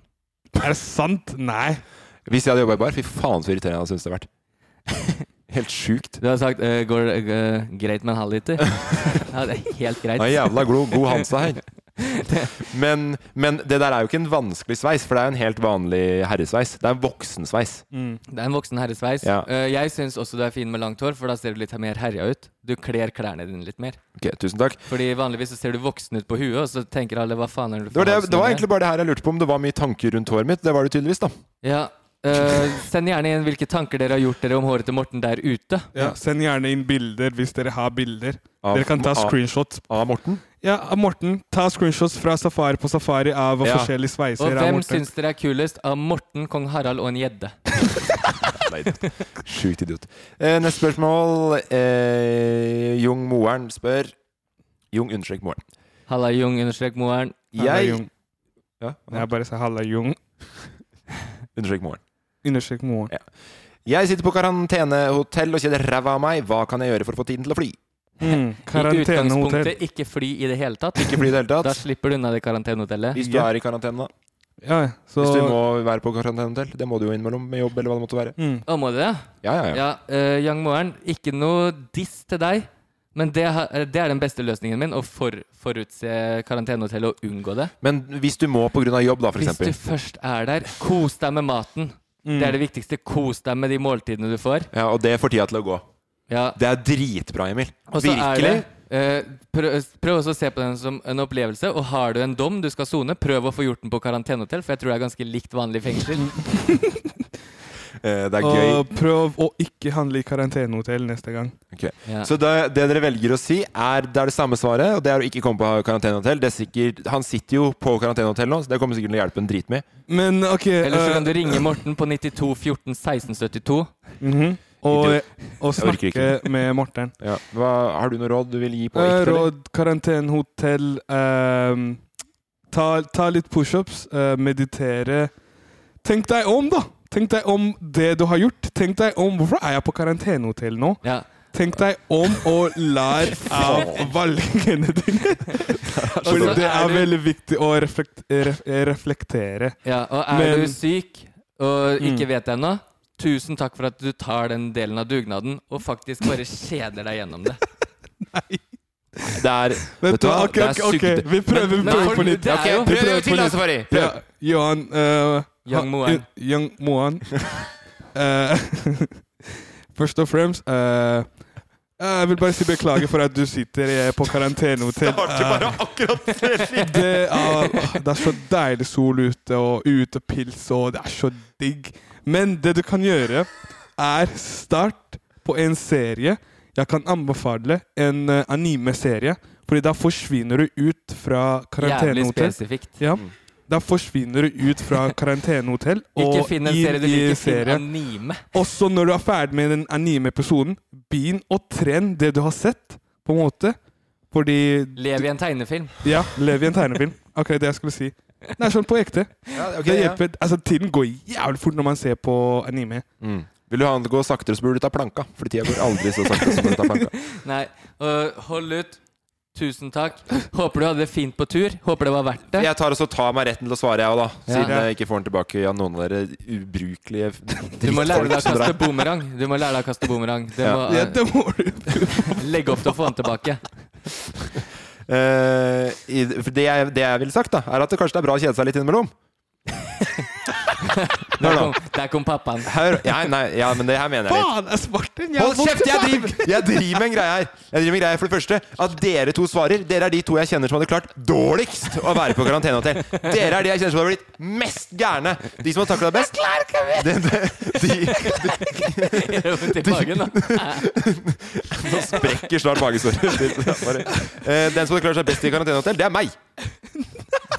S3: Er det sant? Nei.
S5: Hvis jeg hadde jobba i bar, fy faen så irriterende jeg hadde syntes det hadde vært. (laughs) Helt sjukt.
S4: Du har sagt eh, går, det- eh, 'greit med en halvliter'. (laughs) ja, det er helt greit.
S5: Han er jævla god, god
S4: (laughs)
S5: Hansa her. Men, men det der er jo ikke en vanskelig sveis, for det er jo en helt vanlig herresveis. Det er en voksensveis.
S4: Det er en voksen herresveis.
S5: Ja.
S4: Eh, jeg syns også du er fin med langt hår, for da ser du litt mer herja ut. Du kler klærne dine litt mer.
S5: Ok, tusen takk.
S4: Fordi vanligvis så ser du voksen ut på huet, og så tenker alle 'hva faen er det du
S5: Det
S4: for
S5: var, det, det var
S4: voksen
S5: egentlig bare det her jeg lurte på om det var mye tanker rundt håret mitt. Det var det tydeligvis, da.
S4: Ja. eh, send gjerne inn hvilke tanker dere har gjort dere om håret til Morten der ute.
S3: Ja, send gjerne inn bilder hvis dere har bilder.
S5: Av-
S3: dere kan ta
S5: av-
S3: screenshots.
S5: Av Morten.
S3: Ja, av Morten, ta screenshots fra Safari på Safari av
S5: Ja.
S3: forskjellige sveiser.
S4: Og
S3: av
S4: hvem
S3: Morten.
S4: syns dere er kulest av Morten, kong Harald og en gjedde?
S5: (laughs) Nei, idiot. Sjukt idiot. Eh, neste spørsmål. Eh, Jung Moeren spør Jung understrek Moeren.
S4: Halla Jung understrek Moeren.
S3: Halla,
S5: Jeg
S3: Jung.
S5: ja,
S3: Jeg bare sier halla, Jung.
S5: Understrek Moeren.
S3: Understrek moren.
S5: Jeg sitter på karantenehotell og kjeder ræva av meg. Hva kan jeg gjøre for å få tiden til å fly?
S3: Mm,
S4: I
S3: Karantenehotell.
S4: utgangspunktet ikke fly i det hele tatt.
S5: Ikke fly i det hele
S4: Da
S5: tatt.
S4: slipper du unna det karantenehotellet.
S5: Hvis du er i karantene, da.
S3: Ja, så
S5: Hvis du må være på karantenehotell. Det må du jo innimellom med jobb eller hva det måtte være.
S3: mm.
S4: Å, må du det?
S5: Ja, ja, ja.
S4: Ja, uh, Young Moeren, ikke noe diss til deg. Men det, ha- eh, det er den beste løsningen min, å for, forutse karantenehotellet og unngå det.
S5: Men hvis du må pga. jobb, da, for
S4: Hvis du
S5: eksempel. Mm.
S4: først er der, kos deg med maten. Det er det viktigste. Kos deg med de måltidene du får.
S5: Ja, og det får tida til å gå.
S4: Ja,
S5: Det er dritbra, Emil.
S4: Og så er
S5: Virkelig.
S4: det eh, prøv, prøv også å se på den som en opplevelse. Og har du en dom du skal sone, prøv å få gjort den på karantenehotell, for jeg tror det er ganske likt vanlig fengsel.
S5: (laughs) Eh, Det er gøy.
S3: Og prøv å ikke handle i karantenehotell neste gang.
S5: Ok.
S4: Ja.
S5: Så det, det dere velger å si, er det, er det samme svaret, og det er å ikke komme på karantenehotell. Det er sikkert, han sitter jo på karantenehotell nå, så det kommer sikkert til å hjelpe en drit med.
S3: Men OK
S4: Eller så
S3: eh,
S4: kan du ringe Morten på 92 14 16 72.
S3: mhm. og, og
S5: Jeg orker
S3: snakke med Morten.
S5: Ja. Hva, har du noe råd du vil gi på
S3: Eh,
S5: ekte? eller?
S3: Råd, karantenehotell ehm, ta, ta litt pushups, eh, meditere. Tenk deg om, da! Tenk deg om det du har gjort. Tenk deg om Hvorfor er jeg på karantenehotell nå?
S4: Ja.
S3: Tenk deg om og
S4: (laughs)
S3: lær av valgene dine. (laughs) Fordi
S4: så
S3: det
S4: er
S3: er
S4: du-
S3: veldig viktig å reflekt, ref, reflektere.
S4: Ja, og er
S3: Men- Mm.
S4: du syk og ikke vet det ennå, tusen takk for at du tar den delen av dugnaden og faktisk bare kjeder deg gjennom
S3: (laughs)
S4: det.
S5: Det er
S3: Vet du hva,
S5: hva,
S3: ok,
S5: det er
S3: ok, ok.
S5: sykt-
S3: Vi prøver, vi
S4: Men-
S3: prøver på
S4: men-
S3: nytt.
S4: det er
S3: Ok,
S4: jo-
S3: vi
S6: Prøv
S3: prøver
S6: til,
S3: på
S6: da,
S3: nytt.
S6: Safari! Prøv.
S3: Ja, Johan eh,
S4: Young
S3: ha-
S4: Moan.
S3: y- Young
S5: (laughs)
S3: Moan. Eh, (laughs) først og fremst eh, Jeg vil bare si beklager for at du sitter eh, på karantenehotell.
S5: Starter bare akkurat
S3: Eh, (laughs) det, er- åh, det er så deilig sol ute, og ute pils, og det er så digg. Men det du kan gjøre, er start på en serie. Jeg kan anbefale en eh, anime-serie, Fordi da forsvinner du ut fra
S4: Jævlig
S3: karantenehotell.
S4: spesifikt. Mm.
S3: Ja. Da forsvinner du ut
S5: (laughs)
S3: fra karantenehotell og
S4: Ikke finn en
S3: inn
S4: serie du
S3: i
S4: liker, finn
S3: serie.
S4: anime.
S3: Også når du er ferdig med den anime-episoden, begynn å trene det du har sett, på en måte. Fordi
S4: Lev i en tegnefilm.
S3: Ja, lev i en tegnefilm. Akkurat det jeg skulle si. Det er sånn på ekte.
S5: Ja, ok,
S3: det
S5: ja.
S3: hjelper. Altså, tiden går jævlig fort når man ser på anime.
S5: Mm. Vil du ha den til å gå saktere, så burde du ta planka. Fordi tida går aldri så sakte som når du
S3: (laughs)
S5: tar planka.
S4: Nei, og hold ut. Tusen takk. Håper du hadde det fint på tur. Håper det var verdt det.
S5: Jeg tar også tar meg retten til å svare, jeg òg, da.
S4: Ja.
S5: Siden eh, jeg ikke får den tilbake av noen av dere ubrukelige (laughs)
S4: Du må lære deg
S5: drittfolk
S4: å
S5: som
S4: kaste
S5: drar.
S4: boomerang. Du må lære deg å kaste boomerang. Det
S5: Ja.
S4: må
S3: Ja,
S4: eh,
S3: det må du.
S4: legge opp til å få den tilbake.
S5: (laughs) Eh, i, for det, jeg, det jeg ville sagt, da, er at det kanskje det er bra å kjede seg litt
S4: (laughs)
S5: innimellom.
S4: Der
S5: nå.
S4: kom, der kom pappaen.
S5: Her, ja, nei, ja, men det her mener jeg litt.
S3: Faen, det er Martin! Jeg har
S5: Hold
S3: vondt i
S5: kjeft! Jeg
S3: magen.
S5: driver, jeg driver med en greie her. Jeg driver med en greie For det første at dere to svarer. Dere er de to jeg kjenner som hadde klart dårligst å være på karantenehotell. Dere er de jeg kjenner som har blitt mest gærne. De som har takla det best. De, de, de,
S4: Det gjør vondt i magen, da.
S5: nå sprekker snart magesåret.
S4: (laughs)
S5: Eh, Den som hadde klart seg best i karantenehotell, det er meg.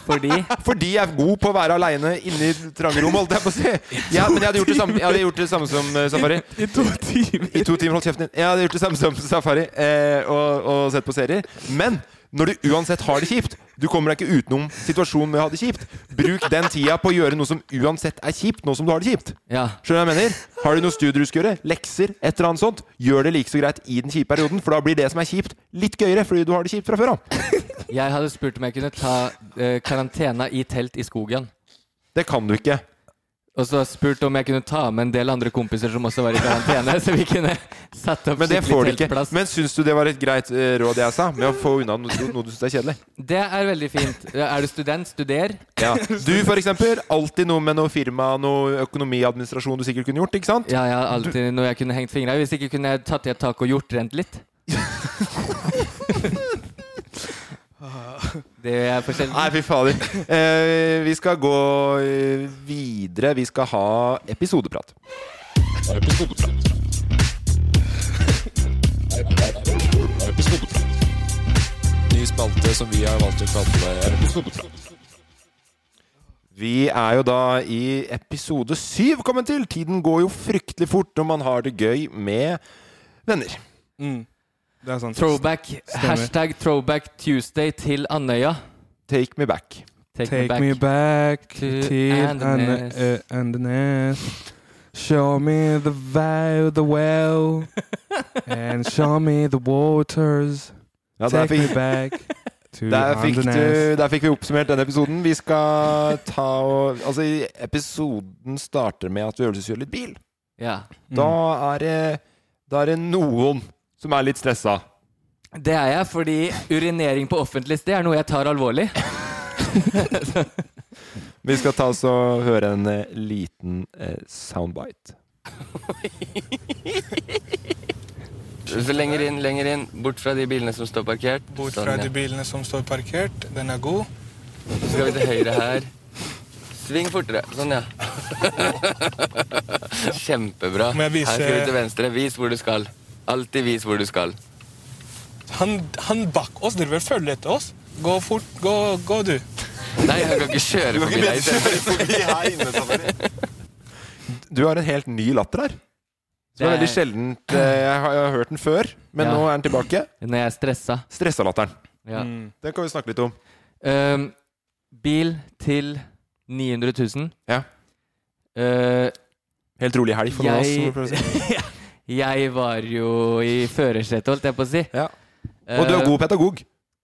S4: Fordi
S5: (laughs) Fordi jeg er god på å være aleine inne i trange rom, holdt jeg på å si. Ja, men jeg hadde gjort det samme, jeg hadde gjort det samme som eh, Safari.
S3: I to timer.
S5: I to timer, hold kjeften din. Jeg hadde gjort det samme som Safari eh, og, og sett på serier. Men når du uansett har det kjipt, du kommer deg ikke utenom situasjonen med å ha det kjipt. Bruk den tida på å gjøre noe som uansett er kjipt, nå som du har det kjipt.
S4: Ja.
S5: Skjønner du hva jeg mener? Har du noe studier du skal gjøre, lekser, et eller annet sånt, gjør det like så greit i den kjipe perioden, for da blir det som er kjipt, litt gøyere, fordi du har det kjipt fra før av.
S4: Jeg hadde spurt om jeg kunne ta eh, karantena i telt i skogen.
S5: Det kan du ikke.
S4: Og så spurt om jeg kunne ta med en del andre kompiser som også var i karantene. (laughs) Så vi kunne satt opp
S5: Men det får du
S4: skikkelig
S5: ikke.
S4: teltplass.
S5: Men syns du det var et greit eh, råd jeg sa, med å få unna no- noe du syns er kjedelig?
S4: Det er veldig fint. Er du student, studer.
S3: (laughs)
S5: Ja. Du, for eksempel. Alltid noe med noe firma, noe økonomiadministrasjon du sikkert kunne gjort, ikke sant?
S4: Ja, jeg har alltid noe jeg kunne hengt fingra i. Hvis ikke kunne jeg tatt i et tak og gjort rent litt.
S5: (laughs)
S4: (laughs) Det er forskjellig.
S5: Nei, fy fader. Eh, vi skal gå eh, videre. Vi skal ha episodeprat.
S7: Ny spalte som vi har valgt å kalle
S5: Vi er jo da i episode syv kommet til. Tiden går jo fryktelig fort når man har det gøy med venner.
S3: Mm. Det er sant.
S4: Throwback. Hashtag throwback Tuesday til Andøya.
S5: Take me back.
S4: Take,
S3: Take me back
S4: to
S3: till
S4: Andenes.
S3: Ande- eh, Andenes. Show me the vow, the (laughs) well, and show me the waters.
S5: Ja, der,
S3: Take me
S5: fikk, (laughs)
S3: back to
S5: der, fikk du,
S3: Andenes.
S5: der fikk vi oppsummert den episoden. Vi skal ta og Altså, episoden starter med at vi øvelseskjører litt bil.
S4: Ja.
S5: Da
S4: Mm.
S5: er det Da er det noen som er litt stressa.
S4: Det er jeg fordi urinering på offentlig sted er noe jeg tar alvorlig.
S5: Vi skal ta oss og høre en eh, liten eh, soundbite.
S9: (laughs) Så lenger inn, lenger inn. Bort fra de bilene som står parkert. Sånn,
S7: Bort fra
S3: Sånn,
S7: de bilene som står parkert. Den er god.
S9: Så skal vi til høyre her. Sving fortere. Sånn, ja. Kjempebra.
S7: Må jeg vise-
S9: Her skal vi til venstre. Vis hvor du skal. Alltid vis hvor du skal.
S7: Han, han bak oss. Dere bør følge etter oss. Gå fort. Gå, gå du.
S9: Nei, han kan ikke kjøre forbi deg.
S5: Du har en helt ny latter her. Som er
S4: Det
S5: veldig
S4: er-
S5: sjeldent eh, Jeg har, jeg har hørt den før, men
S4: Ja.
S5: nå er den tilbake.
S4: Når jeg er stressa.
S5: Stressalatteren.
S4: Ja.
S5: Den kan vi snakke litt om.
S4: Ehm, bil til 900 000.
S5: Ja.
S4: Eh,
S5: Helt rolig helg for nå, som vi prøver å si.
S4: (laughs) jeg, jeg var jo i førersetet, holdt jeg på å si.
S5: Ja. Og du er
S4: Eh,
S5: god pedagog.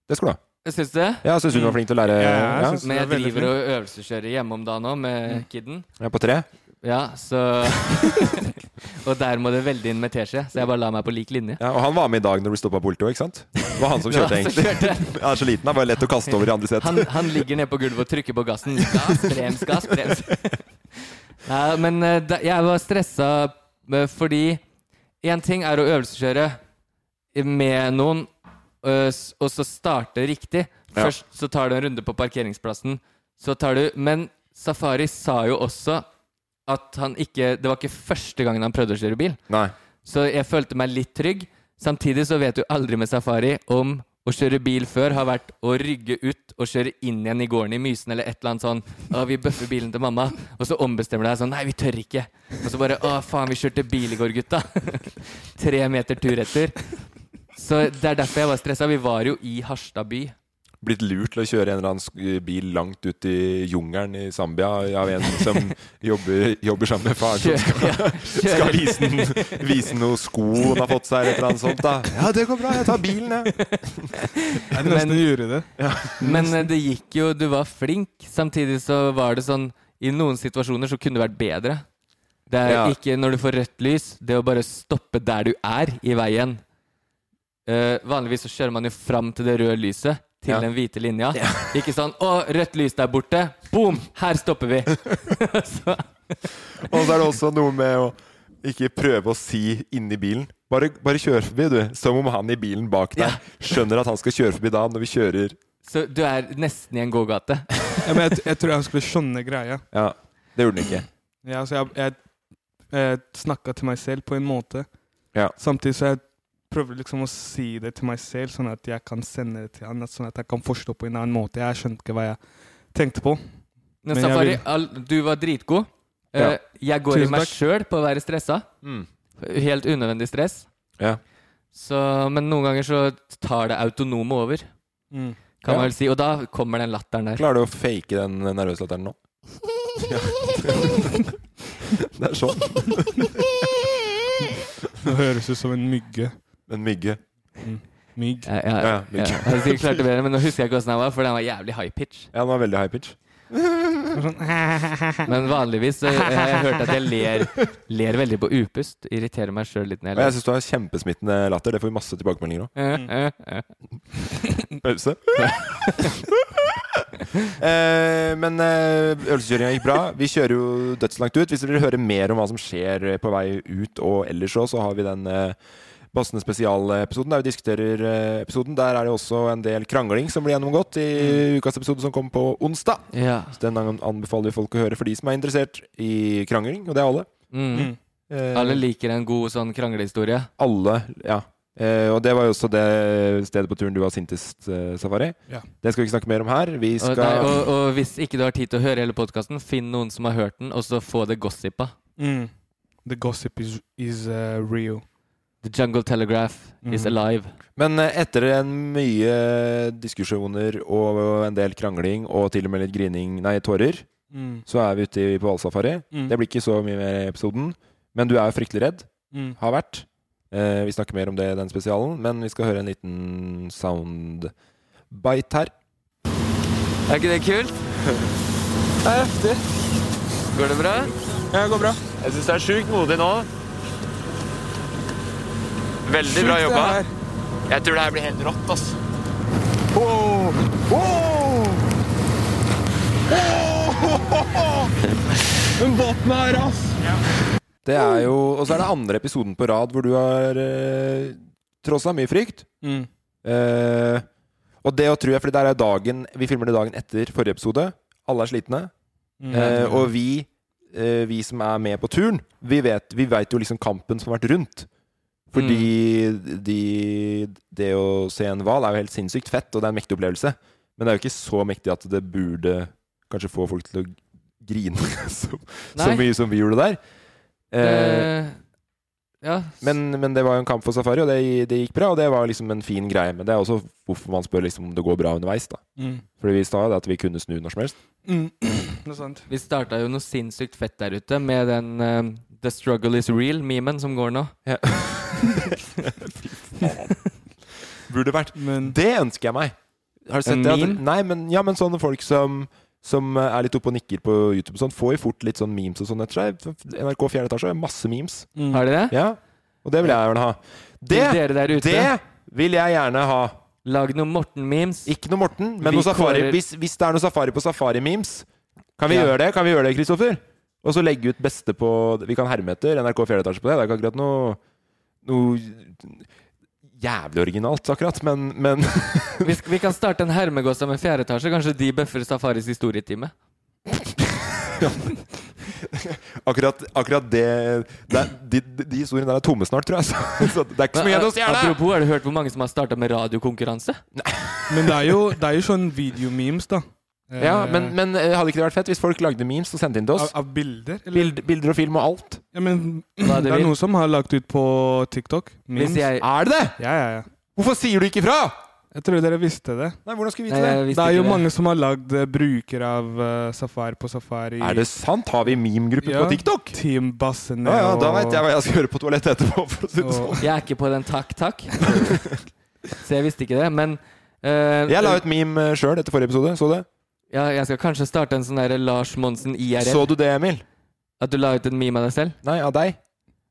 S5: Det skal du ha.
S4: Syns du det?
S5: Ja, Jeg syns hun var flink til å lære.
S3: Ja, jeg
S5: Ja, Mm.
S3: synes-
S4: Men jeg
S3: det er veldig
S4: driver og øvelseskjører hjemme om dagen nå med kidden.
S5: jeg er på tre.
S4: Ja, så (laughs) Og der må det veldig inn med teskje, så jeg bare la meg på lik linje.
S5: Ja, og han var med i dag når du stoppa politiet òg, ikke sant? Det var han som
S4: Det var
S5: kjørte,
S4: han som
S5: egentlig. (laughs) Han er så liten, han var lett å kaste over i andre sett.
S4: Han, han ligger nede på gulvet og trykker på gassen. Gass, brems, gass, brems. (laughs) Nei, men eh, da, jeg var stressa eh, fordi én ting er å øvelseskjøre med noen, eh, s- og så starte riktig.
S5: Ja.
S4: Først så tar du en runde på parkeringsplassen, så tar du Men Safari sa jo også at han ikke Det var ikke første gangen han prøvde å kjøre bil.
S5: Nei.
S4: Så jeg følte meg litt trygg. Samtidig så vet du aldri med safari om å kjøre bil før har vært å rygge ut og kjøre inn igjen i gården i Mysen eller et eller annet sånn. Å, vi bøffer bilen til mamma. Og så ombestemmer du deg sånn. Nei, vi tør ikke. Og så bare Å, faen, vi kjørte bil i går, gutta. (laughs) Tre meter tur-retur. Så det er derfor jeg var stressa. Vi var jo i Harstad by.
S5: Blitt lurt til å kjøre en eller annen sk- bil langt ut i jungelen i Zambia av en som (laughs) jobber, jobber sammen med faren. Som skal, skal vise, den, vise noe sko han har fått seg, eller et eller annet sånt. da Ja, det går bra, jeg tar bilen, jeg.
S3: Jeg er nesten
S4: Men-
S3: jury det.
S4: Men eh, det gikk jo, du var flink. Samtidig så var det sånn I noen situasjoner så kunne det vært bedre. Det er
S5: Ja.
S4: ikke når du får rødt lys, det å bare stoppe der du er i veien. Eh, vanligvis så kjører man jo fram til det røde lyset, til
S5: Ja.
S4: den hvite linja. (laughs) Ikke sånn 'Å, rødt lys der borte. Boom! Her stopper vi.' (laughs) så,
S5: Og så er det også noe med å ikke prøve å si inni bilen. Bare, bare kjør forbi, du. Som om han i bilen bak deg skjønner at han skal kjøre forbi da, når vi kjører
S4: så du er nesten i en gågate.
S3: Ja, men jeg, jeg tror han skulle skjønne greia.
S5: Ja, det gjorde den ikke.
S3: Ja, altså jeg jeg, jeg snakka til meg selv på en måte.
S5: Ja.
S3: Samtidig så jeg prøver liksom å si det til meg selv, sånn at jeg kan sende det til han. Sånn at jeg kan forstå på en annen måte. Jeg skjønte ikke hva jeg tenkte på.
S4: Men,
S3: Men jeg
S4: Safari,
S3: vil- (laughs)
S4: all, du var dritgod. Eh,
S5: Ja.
S4: Jeg går
S3: Tusen
S4: i meg
S3: takk.
S4: sjøl på å være stressa.
S5: Mm.
S4: Helt unødvendig stress.
S5: Ja.
S4: Så, men noen ganger så tar det autonome over,
S3: Mm.
S4: kan
S5: Ja.
S4: man vel si. Og da kommer den latteren der.
S3: (laughs)
S5: Klarer du å fake den nervøse latteren nå? Ja. det
S4: (laughs)
S5: er sånn.
S3: Det høres ut som en mygge. Mm.
S5: En mygge.
S3: Mygg.
S4: Ja, ja,
S5: Ja,
S4: ja.
S5: ja, mygg.
S4: Jeg hadde sikkert klart det bedre, men nå husker jeg ikke åssen den var, for den var jævlig high pitch.
S5: Ja, den var veldig high pitch.
S3: Sånn, (laughs)
S4: Men vanligvis så jeg, jeg har hørt at jeg ler, ler veldig på upust. Irriterer meg sjøl litt
S5: Og
S4: når
S5: jeg
S4: jeg ler.
S5: syns du har kjempesmittende latter. Det får vi masse tilbakemeldinger om.
S4: Eh, eh, eh.
S5: (laughs) Pause. eh, men eh, øvelseskjøringa gikk bra. Vi kjører jo dødslangt ut. Hvis dere vil høre mer om hva som skjer eh, på vei ut og ellers òg, så har vi den eh, Bassene spesialepisoden der vi diskuterer eh, episoden. Der er det også en del krangling som blir gjennomgått i ukas episode som kommer på onsdag.
S4: Ja.
S5: Så Den an- anbefaler vi folk å høre for de som er interessert i krangling, og det er alle.
S4: Mm.
S5: Eh,
S4: Alle liker en god sånn kranglehistorie.
S5: alle, ja. Eh, og det var jo også det stedet på turen du var sintest, eh, Safari.
S3: Ja.
S5: Det skal vi ikke snakke mer om her. Vi skal
S4: Og, nei, og, og hvis ikke du har tid til å høre hele podkasten, finn noen som har hørt den, og så få det gossipa.
S3: Mm. The gossip is, is uh, real.
S4: The Jungle Telegraph is
S3: Mhm.
S4: alive.
S5: Men eh, etter en mye diskusjoner og en del krangling og til og med litt grining, nei, tårer,
S3: Mm.
S5: så er vi ute i- på hvalsafari.
S3: Mm.
S5: Det blir ikke så mye mer i episoden, men du er jo fryktelig redd.
S3: Mm.
S5: Har vært. Eh, vi snakker mer om det i den spesialen, men vi skal høre en liten soundbite her.
S4: Er ikke det
S5: (laughs)
S4: kult?
S7: Det er heftig.
S4: Går det bra?
S3: Ja, det går bra.
S9: Jeg syns det er sjukt modig nå. Veldig bra jobba. Jeg tror det her blir helt rått, ass.
S5: (laughs) Det er jo, og så er det andre episoden på rad hvor du har eh, trossa mye frykt.
S3: Mm.
S5: Eh, og det å tro jeg, fordi der er dagen Vi filmer det dagen etter forrige episode. Alle er slitne.
S3: Mm.
S5: Eh, og vi, eh, vi som er med på turen, vi vet, vi vet jo liksom kampen som har vært rundt. Fordi
S3: Mm.
S5: de, det å se en hval er jo helt sinnssykt fett, og det er en mektig opplevelse. Men det er jo ikke så mektig at det burde kanskje få folk til å grine (laughs) så, så
S4: Nei.
S5: mye som vi gjorde der. Eh,
S4: Eh, Ja.
S5: Men, men det var jo en kamp for Safari, og det, det gikk bra. Og det var liksom en fin greie. Men det er også hvorfor man spør liksom om det går bra underveis. da
S3: Mm.
S5: Fordi vi sa jo det at vi kunne snu når som helst. (clears throat)
S3: Mm. Noe sånt.
S4: Vi starta jo noe sinnssykt fett der ute med den eh, The struggle is real-memen som går nå. (laughs)
S5: (laughs) Burde vært
S3: Men
S5: Det ønsker jeg meg! Har du sett
S4: En
S5: det? At,
S4: meme?
S5: nei, men, ja, men sånne folk som som eh, er litt oppe og nikker på YouTube, og sånn, får jo fort litt sånn memes og sånn etter seg. NRK 4 etasje, masse memes.
S4: Mm. Har dere det?
S5: Ja, Og det vil jeg gjerne ha. Det,
S4: Dere der ute,
S5: det vil jeg gjerne ha!
S4: lag noen Morten-memes.
S5: Ikke noe Morten, men
S4: Vi
S5: noe safari.
S4: kårer-
S5: Hvis, hvis det er noe safari på safari-memes, kan vi
S4: Ja.
S5: gjøre det? Kan vi gjøre det, Kristoffer? Og så legge ut beste på Vi kan herme etter NRK 4 etasje på det. Det er ikke akkurat noe Noe jævlig originalt, akkurat, men, men
S4: (laughs) Vi, sk- vi kan starte en hermegåsa med fjerde etasje. Kanskje de bøffer Safaris historietime.
S5: akkurat, akkurat det, det er- de, de, de historiene der er tomme snart, tror jeg. (laughs) Så, så det er ikke så mye igjen å stjele!
S4: Apropos, har du hørt hvor mange som har starta med radiokonkurranse?
S3: (laughs) Men det er jo, det er jo sånn videomemes, da. Eh,
S5: Ja, men, men eh, hadde ikke det vært fett hvis folk lagde memes og sendte inn til
S3: av,
S5: oss?
S3: av bilder? Eller?
S5: Bild, bilder og film og alt.
S3: Ja, men
S4: Hva
S3: (clears throat) det
S4: du
S3: er
S4: vil.
S3: noen som har lagt ut på TikTok. Memes.
S4: Hvis jeg
S5: Er det det?!
S3: Ja, ja, ja.
S5: Hvorfor sier du ikke fra?!
S3: Jeg tror dere visste det.
S5: Nei, hvordan skal vi
S4: Nei,
S5: vite det?
S4: jeg
S3: det
S4: visste
S3: er jo
S4: ikke det.
S3: mange som har lagd eh, bruker av eh, Safari på Safari.
S5: Er det sant? Har vi meme-gruppe
S3: Ja.
S5: på TikTok?
S3: Team Bassene
S5: Ja, ja, da
S3: og-
S5: veit jeg hva jeg skal gjøre på toalettet etterpå. For å si det sånn.
S3: og
S4: Jeg er ikke på den takk, takk. (laughs) Så jeg visste ikke det, men eh,
S5: Jeg la ut meme sjøl etter forrige episode. Så det?
S4: ja, Jeg skal kanskje starte en sånn der Lars Monsen IRL.
S5: Så du det, Emil?
S4: At du la ut en meme av deg selv?
S5: Nei, av deg?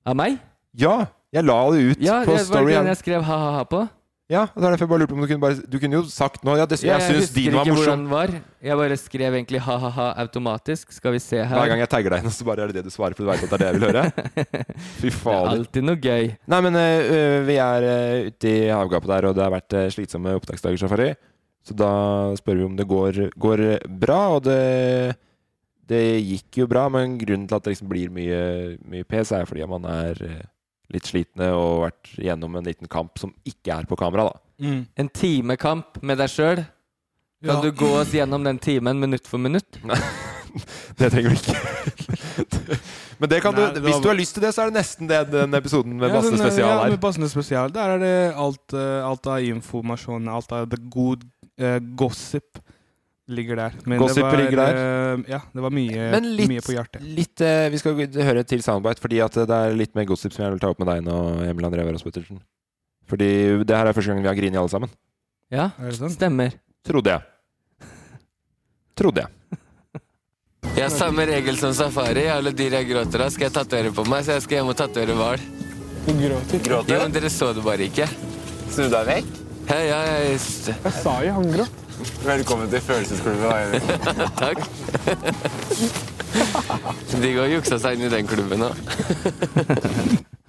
S4: Av meg?
S5: Ja, jeg la det ut
S4: Ja,
S5: på
S4: det var
S5: Story.
S4: ikke den jeg skrev ha-ha-ha på.
S5: Ja, og da er det derfor jeg bare lurte på om du kunne, bare, du kunne jo sagt nå ja, det, Jeg,
S4: husker
S5: syns din var
S4: ikke
S5: morsom.
S4: hvordan den var. Jeg bare skrev egentlig ha-ha-ha automatisk. Skal vi se her
S5: Hver gang jeg tagger deg, så bare er det det du svarer, for du veit at det er det jeg vil
S3: (laughs)
S5: høre. Fy
S4: Det er
S5: fader.
S4: alltid noe gøy.
S5: Nei, men øh, øh, vi er øh, ute i havgapet der, og det har vært øh, slitsomme opptaksdager, Safari. Så da spør vi om det går, går eh, bra, og det, det gikk jo bra. Men grunnen til at det liksom blir mye, mye pes, er fordi man er øh, litt slitne og vært gjennom en liten kamp som ikke er på kamera, da.
S3: Mm.
S4: En timekamp med deg sjøl. Kan
S3: Ja.
S4: du gå oss gjennom den timen minutt for minutt?
S5: (laughs) Det trenger du ikke. men det kan
S3: Nei,
S5: du,
S3: det
S5: hvis
S3: var-
S5: du har lyst til det, så er det nesten det den episoden med
S3: Ja,
S5: Basse
S3: sånn, eh,
S5: spesial
S3: Ja,
S5: er.
S3: med Bassene spesial. Der er det alt, eh, alt av informasjon, alt av the good eh, gossip ligger der. Men
S5: Gossip ligger
S3: der? ja, det var mye,
S5: Men litt-
S3: Eh, mye på hjertet.
S5: Litt, eh, Vi skal gå- høre til soundbite, fordi at eh, det er litt mer gossip som jeg vil ta opp med deg nå, Emil André Wærås Pettersen. Fordi det her er første gang vi har grinet alle sammen.
S4: Ja,
S3: Er det sånn?
S4: stemmer.
S5: Trodde jeg. Trodde jeg.
S9: Jeg har samme regel som safari. Alle dyr jeg gråter av, skal jeg tatovere på meg. Så jeg skal hjem og tatovere hval.
S7: Du gråter.
S9: Ja, men dere så det bare ikke.
S6: Snu deg vekk.
S9: Ja, ja, jeg,
S7: Jeg sa jo han gråt.
S6: Velkommen til følelsesklubben.
S9: (laughs) takk. De går og juksa seg inn i den klubben nå.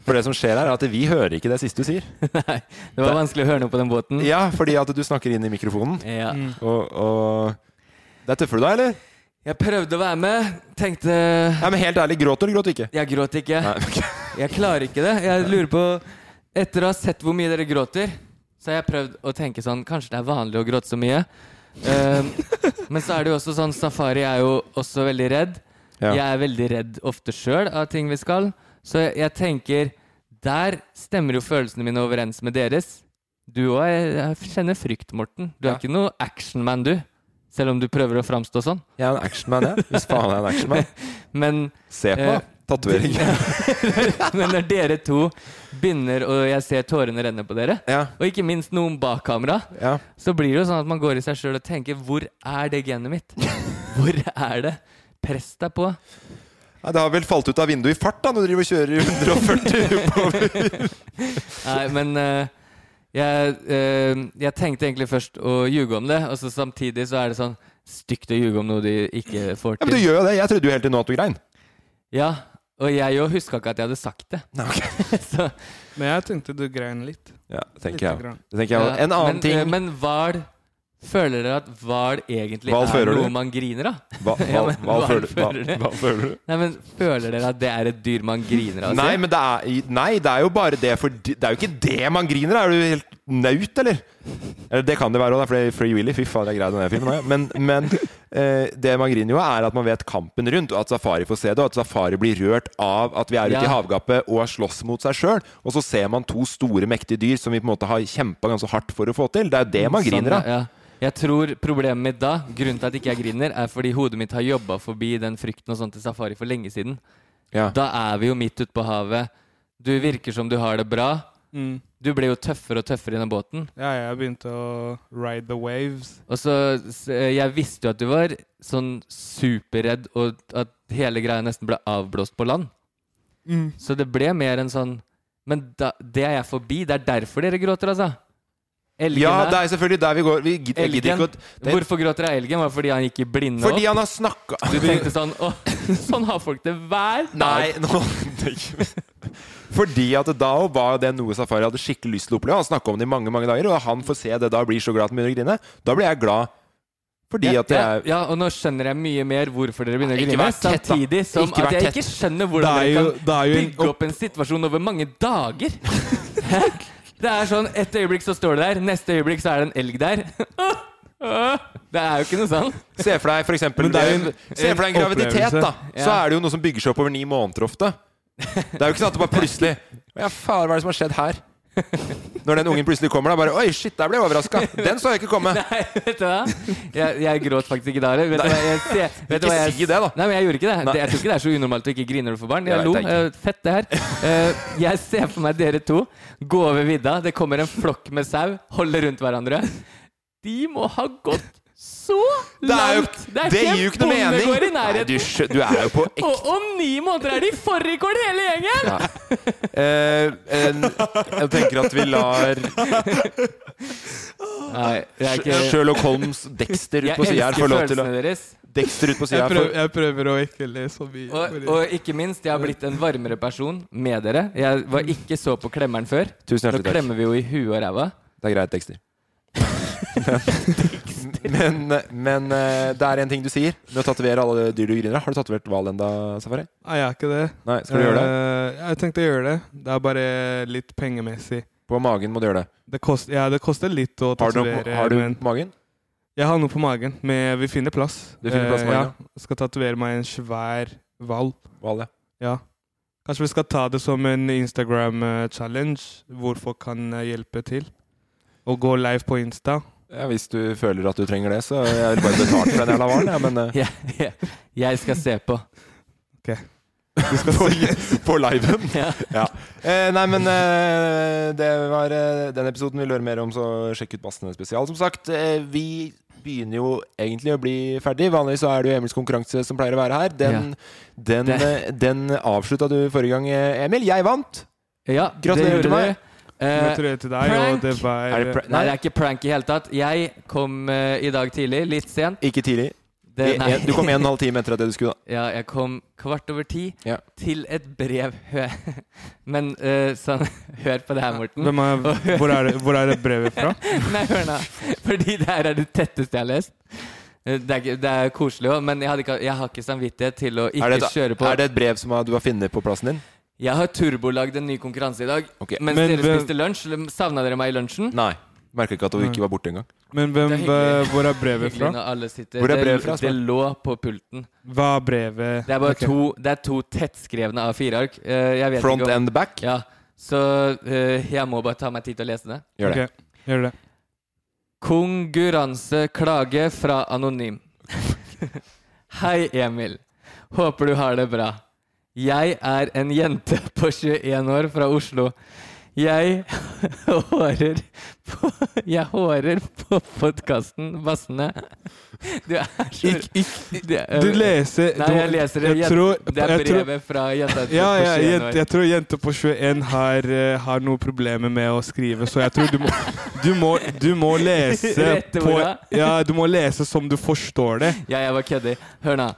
S5: For det som skjer her, er at vi hører ikke det siste du sier.
S4: (laughs) Nei, det var vanskelig å høre noe på den båten.
S5: Ja, fordi at du snakker inn i mikrofonen.
S4: Ja.
S3: Mm.
S5: Og, og Det er tøffer du deg, eller?
S4: Jeg prøvde å være med. Tenkte
S5: Ja, men helt ærlig, gråt eller gråt ikke?
S4: Jeg gråt ikke.
S5: Nei, ok. (laughs)
S4: Jeg klarer ikke det. Jeg lurer på Etter å ha sett hvor mye dere gråter, så har jeg prøvd å tenke sånn Kanskje det er vanlig å gråte så mye.
S5: (laughs)
S4: Um, men så er det jo også sånn Safari er jo også veldig redd.
S5: Ja.
S4: Jeg er veldig redd ofte sjøl av ting vi skal. Så jeg, jeg tenker Der stemmer jo følelsene mine overens med deres. Du òg jeg, jeg kjenner frykt, Morten. Du er
S5: Ja.
S4: ikke noe actionman, du. Selv om du prøver å framstå sånn.
S5: Jeg er en actionman, jeg. Hvis faen jeg er en actionman.
S4: (laughs) Men
S5: Se på
S4: Eh,
S5: meg. Tatovering.
S4: (laughs) Men når dere to begynner, og jeg ser tårene renne på dere,
S5: Ja,
S4: og ikke minst noen bak kamera,
S5: ja.
S4: så blir det jo sånn at man går i seg sjøl og tenker Hvor er det genet
S5: (laughs)
S4: mitt? Hvor er det? Press deg på.
S5: Nei, det har vel falt ut av vinduet i fart, da, når du driver og kjører i (laughs) 140
S3: (laughs)
S5: oppover.
S4: Nei, men eh, jeg, eh, jeg tenkte egentlig først å ljuge om det, og så samtidig så er det sånn stygt å ljuge om noe de ikke får
S5: Ja, men du
S4: til.
S5: gjør jo det. Jeg trodde jo helt til nå at du grein.
S4: Ja, og jeg òg huska ikke at jeg hadde sagt det.
S5: Nei,
S4: (laughs) så,
S3: Men jeg tenkte du grein litt.
S5: Ja, det tenker
S3: Lite
S5: jeg.
S3: grann.
S5: Det tenker jeg. også. En annen
S4: men,
S5: ting
S4: eh, Men hval Føler dere at hval egentlig er
S5: Hval fører du?
S4: noe man griner av?
S5: Hva, hva,
S4: (laughs) Ja, men
S5: hva,
S4: hva
S5: føler, hva,
S4: føler du?
S5: hva føler du?
S4: Nei, men Føler dere at det er et dyr man griner av? å se?
S5: Nei, men det er, nei, det er jo bare det for Det er jo ikke det man griner av! Er du helt
S4: (laughs)
S5: naut, eller? Eller det kan det være òg, for det er Free Willy. Fy faen, jeg greide den filmen òg, ja. Men, men eh, det man griner jo av, er at man vet kampen rundt, og at Safari får se det, og at Safari blir rørt av at vi er ute
S4: Ja.
S5: i havgapet og slåss mot seg sjøl. Og så ser man to store, mektige dyr som vi på en måte har kjempa ganske hardt for å få til. Det er jo det man griner av.
S4: Sånn, ja. Jeg tror problemet mitt da, grunnen til at ikke jeg griner, er fordi hodet mitt har jobba forbi den frykten og sånt til safari for lenge siden.
S5: Ja.
S4: Da er vi jo midt ute på havet. Du virker som du har det bra.
S3: Mm.
S4: Du ble jo tøffere og tøffere i den båten.
S3: Ja, jeg begynte å ride the waves.
S4: Og så, s- eh, Jeg visste jo at du var sånn superredd, og at hele greia nesten ble avblåst på land. Så det ble mer en sånn Men da, det er jeg forbi. Det er derfor dere gråter, altså. Elgen
S5: Ja,
S4: er-
S5: det er selvfølgelig der vi går. Vi gid- jeg gidder
S4: Elgen.
S5: ikke å det,
S4: Hvorfor gråter jeg elgen? Var det fordi han gikk i blinde
S5: Fordi
S4: opp?
S5: han har snakka
S4: Du tenkte sånn Å, (laughs) sånn har folk det hver
S5: Nei,
S4: dag!
S5: nå (laughs) Fordi at da og var det noe Safari hadde skikkelig lyst til å oppleve. Han snakka om det i mange mange dager, og han får se det da og blir så glad at han begynner å grine. Da blir jeg glad. Fordi
S4: (laughs) ja,
S5: at det
S4: ja,
S5: er
S4: ja, og nå skjønner jeg mye mer hvorfor dere begynner å
S5: Nei, ikke
S4: grine.
S5: vær tett, da.
S4: Samtidig som
S5: Ikke vær
S4: at jeg
S5: tett.
S4: ikke skjønner
S3: Det
S4: hvordan
S3: er
S4: dere
S3: jo,
S4: kan
S3: det er jo en
S4: bygge opp en situasjon over mange dager. (laughs) Hæ? Det er sånn et øyeblikk så står du der, neste øyeblikk så er det en elg der. (laughs) Det er jo ikke noe sånn.
S5: Se for deg for eksempel
S3: Men det er jo en-
S5: Se for deg en graviditet,
S3: opplevelse.
S5: da. Så
S4: Ja.
S5: er det jo noe som bygger seg opp over ni måneder ofte. Det er jo ikke sånn at det bare plutselig Ja, faen, hva er det som har skjedd her? Når den ungen plutselig kommer, da bare Oi, shit, der ble jeg overraska. Den så jeg ikke komme.
S4: Nei, vet du hva? Jeg, jeg gråt faktisk ikke da heller. Vet du hva jeg ser? Vet du
S5: Ikke
S4: hva jeg,
S5: si det, da.
S4: Nei, men jeg gjorde ikke det.
S5: Nei.
S4: det. Jeg tror ikke det er så unormalt å ikke grine når du får barn.
S5: Det
S4: Jeg
S5: vet
S4: lo.
S5: jeg ikke.
S4: Eh, Fett, det her. Eh, Jeg ser for meg dere to gå over vidda. Det kommer en flokk med sau, holder rundt hverandre. De må ha gått så
S5: Det, er jo,
S4: langt!
S5: det, gir jo ikke noe
S4: en bondegård i
S5: mening. Nei, du,
S4: nærheten.
S5: skjø- du er jo på ekte
S4: og om ni måneder er de fårikål hele gjengen!
S5: Ja. Eh, en, jeg tenker at vi lar
S4: Nei, jeg er ikke
S5: Sherlock Holmes Dexter ut
S4: Jeg
S5: på sida her
S4: elsker
S5: få lov til å
S4: følelsene deres.
S5: Dexter ut på sida
S3: Jeg
S5: her
S3: prøver,
S5: for
S3: jeg prøver å ikke le så mye.
S4: Og,
S3: fordi-
S4: og ikke minst, jeg har blitt en varmere person med dere. Jeg var ikke så på klemmeren før. Nå
S5: Tusen hjertelig takk.
S4: klemmer vi jo i huet og ræva.
S5: Det er greit, Dexter. Men, men eh, det er en ting du sier. Med å tatovere alle dyr du griner av. Har du tatovert hval enda, Safari?
S3: Nei, jeg er ikke det.
S5: Nei, skal du gjøre det?
S3: Eh, Jeg tenkte å gjøre det. Det er bare litt pengemessig.
S5: På magen må du gjøre det.
S3: Det, kost, ja, det koster litt å
S5: Har du noe
S3: tatovere.
S5: på- har du
S3: men-
S5: på magen?
S3: Jeg har noe på magen, men vi finner plass.
S5: Du finner plass på
S3: Eh,
S5: magen,
S3: ja. Jeg skal tatovere meg en svær hval.
S5: Hval, ja.
S3: Ja. Kanskje vi skal ta det som en Instagram-challenge, hvor folk kan eh, hjelpe til. Og gå live på Insta.
S5: ja. Hvis du føler at du trenger det, så jeg vil bare betalt for den jævla hvalen, ja,
S4: (laughs)
S5: men eh,
S4: Jeg, jeg, jeg skal se på.
S5: på, (laughs) på liven.
S4: (laughs) Ja.
S5: Ja. Eh, nei, men eh, det var eh, den episoden vi lurer mer om, så sjekk ut Bassene spesial. Som sagt, eh, vi begynner jo egentlig å bli ferdig. Vanligvis så er det jo Emils konkurranse som pleier å være her. Den, den,
S4: Det-
S5: eh, den avslutta du forrige gang, eh, Emil. Jeg vant!
S4: Ja,
S5: Gratulerer til meg.
S4: Uh,
S3: Gratulerer til deg,
S4: prank!
S3: og det var
S5: Er det pra
S4: nei, det er ikke prank i hele tatt. Jeg kom eh, i dag tidlig, litt sent.
S5: Ikke tidlig.
S4: Det,
S5: I-
S4: nei.
S5: en- Du kom en og en halv time etter at det du skulle. da.
S4: Ja, jeg kom kvart over ti
S5: Ja.
S4: til et brev. (laughs) Hø- Men eh, sånn, (laughs) hør på det her, Morten.
S3: Hvem er, hvor, er det, hvor er det brevet fra?
S4: (laughs) Nei, hør nå. Fordi det her er det tetteste jeg har lest. Eh, Det er, ikke- det er koselig òg, men jeg, hadde ikke, jeg har ikke samvittighet til å (laughs) ikke
S5: Er det,
S4: kjøre
S5: et,
S4: på.
S5: er det et brev som har- du har funnet på plassen din?
S4: Jeg har turbolagd en ny konkurranse i dag.
S5: Ok.
S4: Mens
S3: Men
S4: dere
S3: hvem-
S4: spiste lunsj, savna dere meg i lunsjen?
S5: Nei. Merka ikke at
S4: Mm.
S5: du ikke var borte engang.
S3: Men hvem,
S4: Det er hyggelig.
S3: eh, hvor er brevet
S4: Hyggelig
S3: fra?
S4: når alle sitter.
S5: Hvor er
S4: Det-
S5: brevet fra,
S4: Det lå på pulten.
S3: Hva er brevet
S4: Det er bare
S3: Ok.
S4: to, det er to tettskrevne A4-ark. Eh, Jeg vet
S5: Front
S4: ikke om
S5: and back.
S4: ja. Så eh, jeg må bare ta meg tid til å lese det.
S5: Gjør det.
S3: Ok, Gjør det.
S4: Konkurranseklage fra Anonym. (laughs) Hei, Emil. Håper du har det bra. Jeg er en jente på 21 år fra Oslo. Jeg (laughs) hårer på Jeg hårer på podkasten Vassene. Du er så (laughs)
S3: Du leser
S4: Nei,
S3: du-
S4: jeg leser det.
S3: Jeg
S4: Jen-
S3: tror,
S4: det er
S3: jeg tror-
S4: brevet fra jenta på
S3: ja, ja,
S4: 21
S3: jente,
S4: år.
S3: jeg tror jenter på 21 har, eh, har noen problemer med å skrive, så jeg tror du må, du må, du må
S4: (laughs)
S3: lese
S4: Rette
S3: på,
S4: orda.
S3: ja, Du må lese som du forstår det.
S4: Ja, jeg var kødder. Hør nå.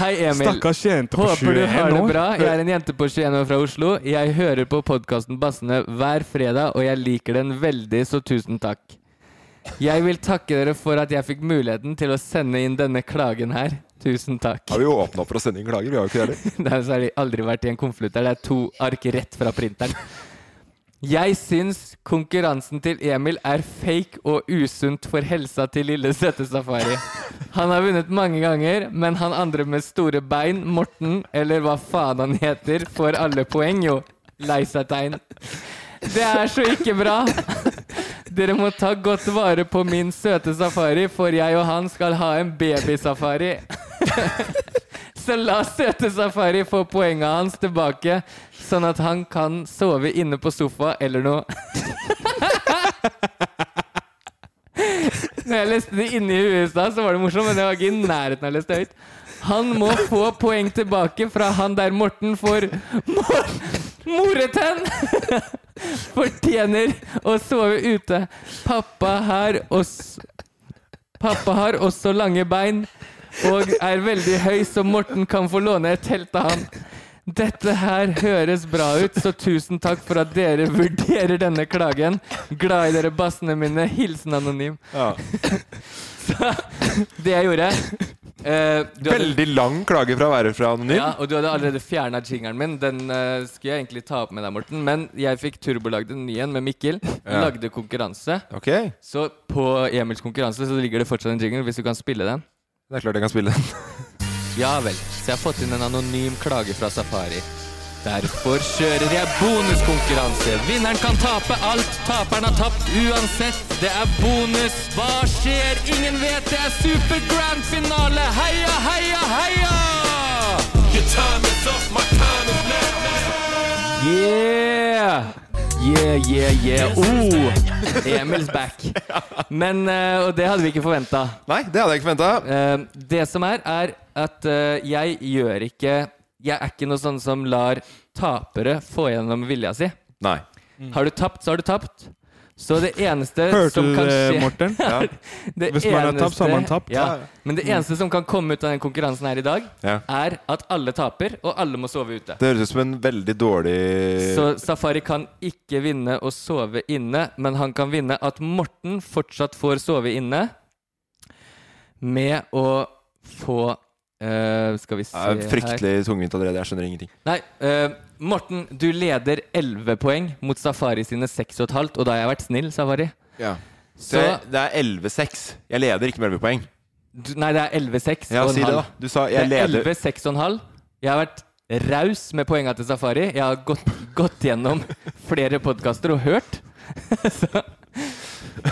S4: Hei, Emil.
S3: Stakkars jente på
S4: Håper du
S3: 21
S4: har det
S3: år.
S4: bra. Jeg er en jente på 21 år fra Oslo. Jeg hører på podkasten Bassene hver fredag, og jeg liker den veldig, så tusen takk. Jeg vil takke dere for at jeg fikk muligheten til å sende inn denne klagen her. Tusen takk.
S5: Har vi jo åpna for å sende inn
S4: (laughs)
S5: klager? Vi har jo ikke det heller.
S4: Der så har de aldri vært i en konvolutt der det er to ark rett fra printeren. Jeg syns konkurransen til Emil er fake og usunt for helsa til lille søte Safari. Han har vunnet mange ganger, men han andre med store bein, Morten, eller hva faen han heter, får alle poeng, jo. Lei seg-tegn. Det er så ikke bra. Dere må ta godt vare på min søte safari, for jeg og han skal ha en babysafari. Så la søte Safari få poenget hans tilbake, sånn at han kan sove inne på sofa eller noe. Når jeg leste det inni huet i stad, så var det morsomt, men jeg var ikke i nærheten av å lese det høyt. Han må få poeng tilbake fra han der Morten for mor Moretenn! Fortjener å sove ute. Pappa her og s- Pappa har også lange bein og er veldig høy, så Morten kan få låne et telt av han. Dette her høres bra ut, så tusen takk for at dere vurderer denne klagen. Glad i dere bassene mine. Hilsen anonym.
S5: Ja.
S4: (laughs) Så det jeg gjorde eh, du hadde-
S5: Veldig lang klage fra å være fra anonym.
S4: ja, og du hadde allerede fjerna jingeren min. Den eh, skulle jeg egentlig ta opp med deg, Morten. Men jeg fikk turbolagd en ny en med Mikkel.
S5: Ja.
S4: Lagde konkurranse.
S5: Ok,
S4: Så på Emils konkurranse så ligger det fortsatt en jingle, hvis du kan spille den.
S5: det er klart jeg kan spille den.
S4: Ja vel, så jeg har fått inn en anonym klage fra Safari. Derfor kjører jeg bonuskonkurranse. Vinneren kan tape alt. Taperen har tapt uansett. Det er bonus. Hva skjer? Ingen vet. Det er super grand finale. Heia, heia, heia! Yeah! Yeah, yeah, yeah. Oh! Emil's back. Men, eh, og det hadde vi ikke forventa.
S5: Nei, det hadde jeg ikke venta.
S4: Eh, det som er, er at eh, jeg gjør ikke Jeg er ikke noe sånn som lar tapere få gjennom vilja si.
S5: Nei.
S4: Har du tapt, så har du tapt. Så det eneste
S3: Mm. Hørte
S4: som
S3: du
S4: kan skje
S3: det,
S4: (laughs)
S3: Morten?
S5: Ja.
S4: det
S3: Hvis man har tapt, så har man tapt. Mm.
S4: Ja. Men det eneste som kan komme ut av den konkurransen her i dag,
S5: Ja.
S4: er at alle taper, og alle må sove ute.
S5: Det høres ut som en veldig dårlig Eh,
S4: Så Safari kan ikke vinne å sove inne, men han kan vinne at Morten fortsatt får sove inne med å få eh, Skal vi se
S5: Ja, Fryktelig tungvint allerede. Jeg skjønner ingenting.
S4: her Nei, eh, Morten, du leder 11 poeng mot Safari sine 6,5, og da har jeg vært snill, Safari.
S5: Så
S4: Så
S5: jeg- det er 11-6. Jeg leder ikke med 11 poeng.
S4: du, Nei, det er 11,6
S5: Ja,
S4: og
S5: si
S4: en
S5: det, da.
S4: halv.
S5: Du sa
S4: Det
S5: jeg
S4: er
S5: leder
S4: 11, 6,5. Jeg har vært raus med poenga til Safari. Jeg har gått, gått gjennom flere podkaster og hørt. (laughs) Så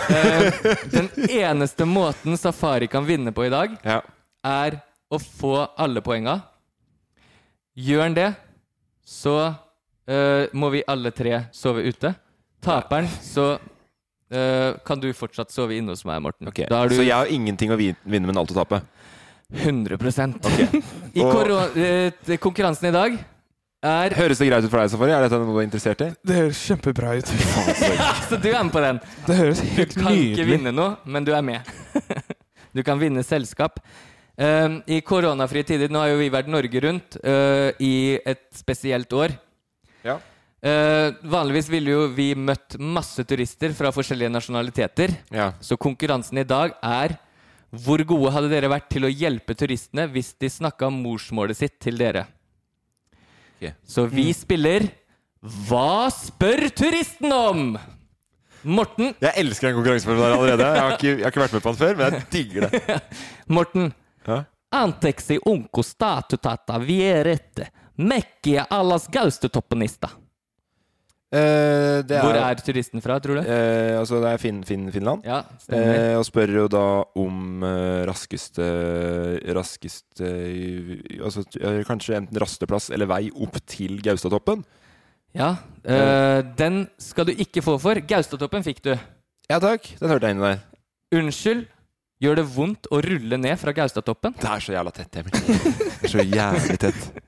S4: eh, Den eneste måten Safari kan vinne på i dag,
S5: Ja.
S4: er å få alle poenga. Gjør han det, så eh, må vi alle tre sove ute. Taperen, så eh, kan du fortsatt sove inne hos meg, Morten.
S5: Ok,
S4: Da har du
S5: Så jeg har ingenting å vin- vinne, men alt å tape.
S4: 100 (laughs) I
S5: Og-
S4: korona- eh, t- konkurransen i dag er
S5: Høres det greit ut for deg, Safari? Er dette noe du er interessert i?
S3: Det høres kjempebra ut.
S4: (laughs) Så du er med på den.
S3: Det høres
S4: Du
S3: helt
S4: kan ikke
S3: nydelig
S4: vinne noe, men du er med. (laughs) Du kan vinne selskap. Um, I koronafrie tider, nå har jo vi vært Norge rundt uh, i et spesielt år.
S5: Ja.
S4: Uh, vanligvis ville jo vi møtt masse turister fra forskjellige nasjonaliteter.
S5: Ja.
S4: Så konkurransen i dag er hvor gode hadde dere vært til å hjelpe turistene hvis de snakka morsmålet sitt til dere?
S5: Ok. Mm.
S4: Så vi spiller Hva spør turisten om? Morten,
S5: Jeg elsker den konkurranseformen der allerede. Jeg har, ikke, jeg har ikke vært med på den før, men jeg digger det.
S4: Morten.
S5: Ja.
S4: Antexi unko statutata vierette mekkia allas gaustutoppenista.
S5: Eh, det
S4: Hvor er turisten fra, tror du?
S5: eh, Altså, det er Finn, Finn, Finland.
S4: Ja, stemmer.
S5: Eh, og spør jo da om eh, raskeste Raskeste altså, eh, Kanskje enten rasteplass eller vei opp til Gaustatoppen.
S4: Ja, eh, den skal du ikke få for. Gaustatoppen fikk du.
S5: Ja takk, den hørte jeg inni der.
S4: Unnskyld, gjør det vondt å rulle ned fra Gaustatoppen?
S5: Det er så jævla tett, Emil. Det er Så jævlig tett.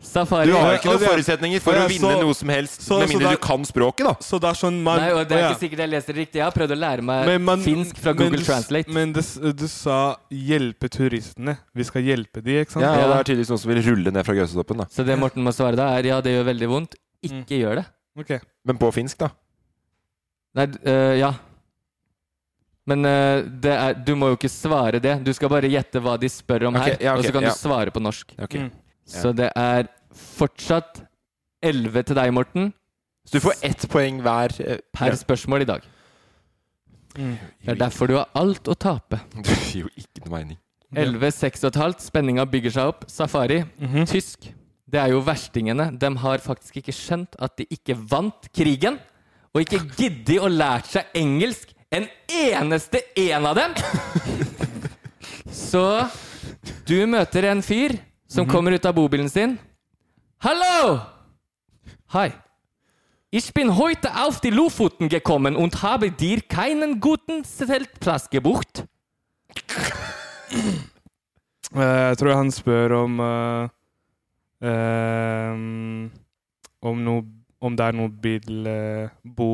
S4: Safari
S5: Du har
S3: Ja,
S5: ikke noen
S4: altså,
S3: og det-
S5: forutsetninger for
S3: og
S5: å
S3: jeg
S5: vinne
S3: så-
S5: noe som helst,
S3: så-
S5: med
S3: så
S5: mindre
S3: det-
S5: du kan språket, da.
S3: Så det er sånn man
S4: Nei, og det er
S3: Å, ja.
S4: ikke sikkert jeg leser det riktig. Jeg har prøvd å lære meg
S3: Men man-
S4: finsk fra
S3: men
S4: Google
S3: du s-
S4: Translate.
S3: Men det, s- du sa 'hjelpe turistene'. Vi skal hjelpe de, ikke sant?
S5: Ja,
S4: Ja.
S5: Det er tydeligvis noen som vil rulle ned fra Gaustatoppen, da.
S4: Så det Morten må svare da, er ja, det gjør veldig vondt.
S5: Mm.
S4: Ikke gjør det.
S3: Ok.
S5: Men på finsk, da.
S4: Nei, d- øh, ja. Men øh, det er, du må jo ikke svare det. Du skal bare gjette hva de spør om
S5: Ok,
S4: her,
S5: ja, ok,
S4: og så kan
S5: ja.
S4: du svare på norsk.
S5: Ok.
S3: Mm.
S4: Så det er fortsatt 11 til deg, Morten.
S5: Så du får ett poeng hver eh,
S4: per
S5: ja.
S4: spørsmål i dag. Mm. Det er derfor du har alt å tape.
S5: (laughs) Det gir jo ikke noe mening.
S4: 11, 6,5. Spenninga bygger seg opp. Safari, tysk. Det er jo verstingene. De har faktisk ikke skjønt at de ikke vant krigen. Og ikke giddet å lære seg engelsk, en eneste en av dem! Så du møter en fyr som kommer ut av bobilen sin. Hallo! Hi. Ich bin heute auf die Lofoten gekommen und habe dir keinen guten Zeltplatz gebucht.
S3: Eh, Jeg tror han spør om eh, ehm, om, noe- om det er noen bilboplasser bo,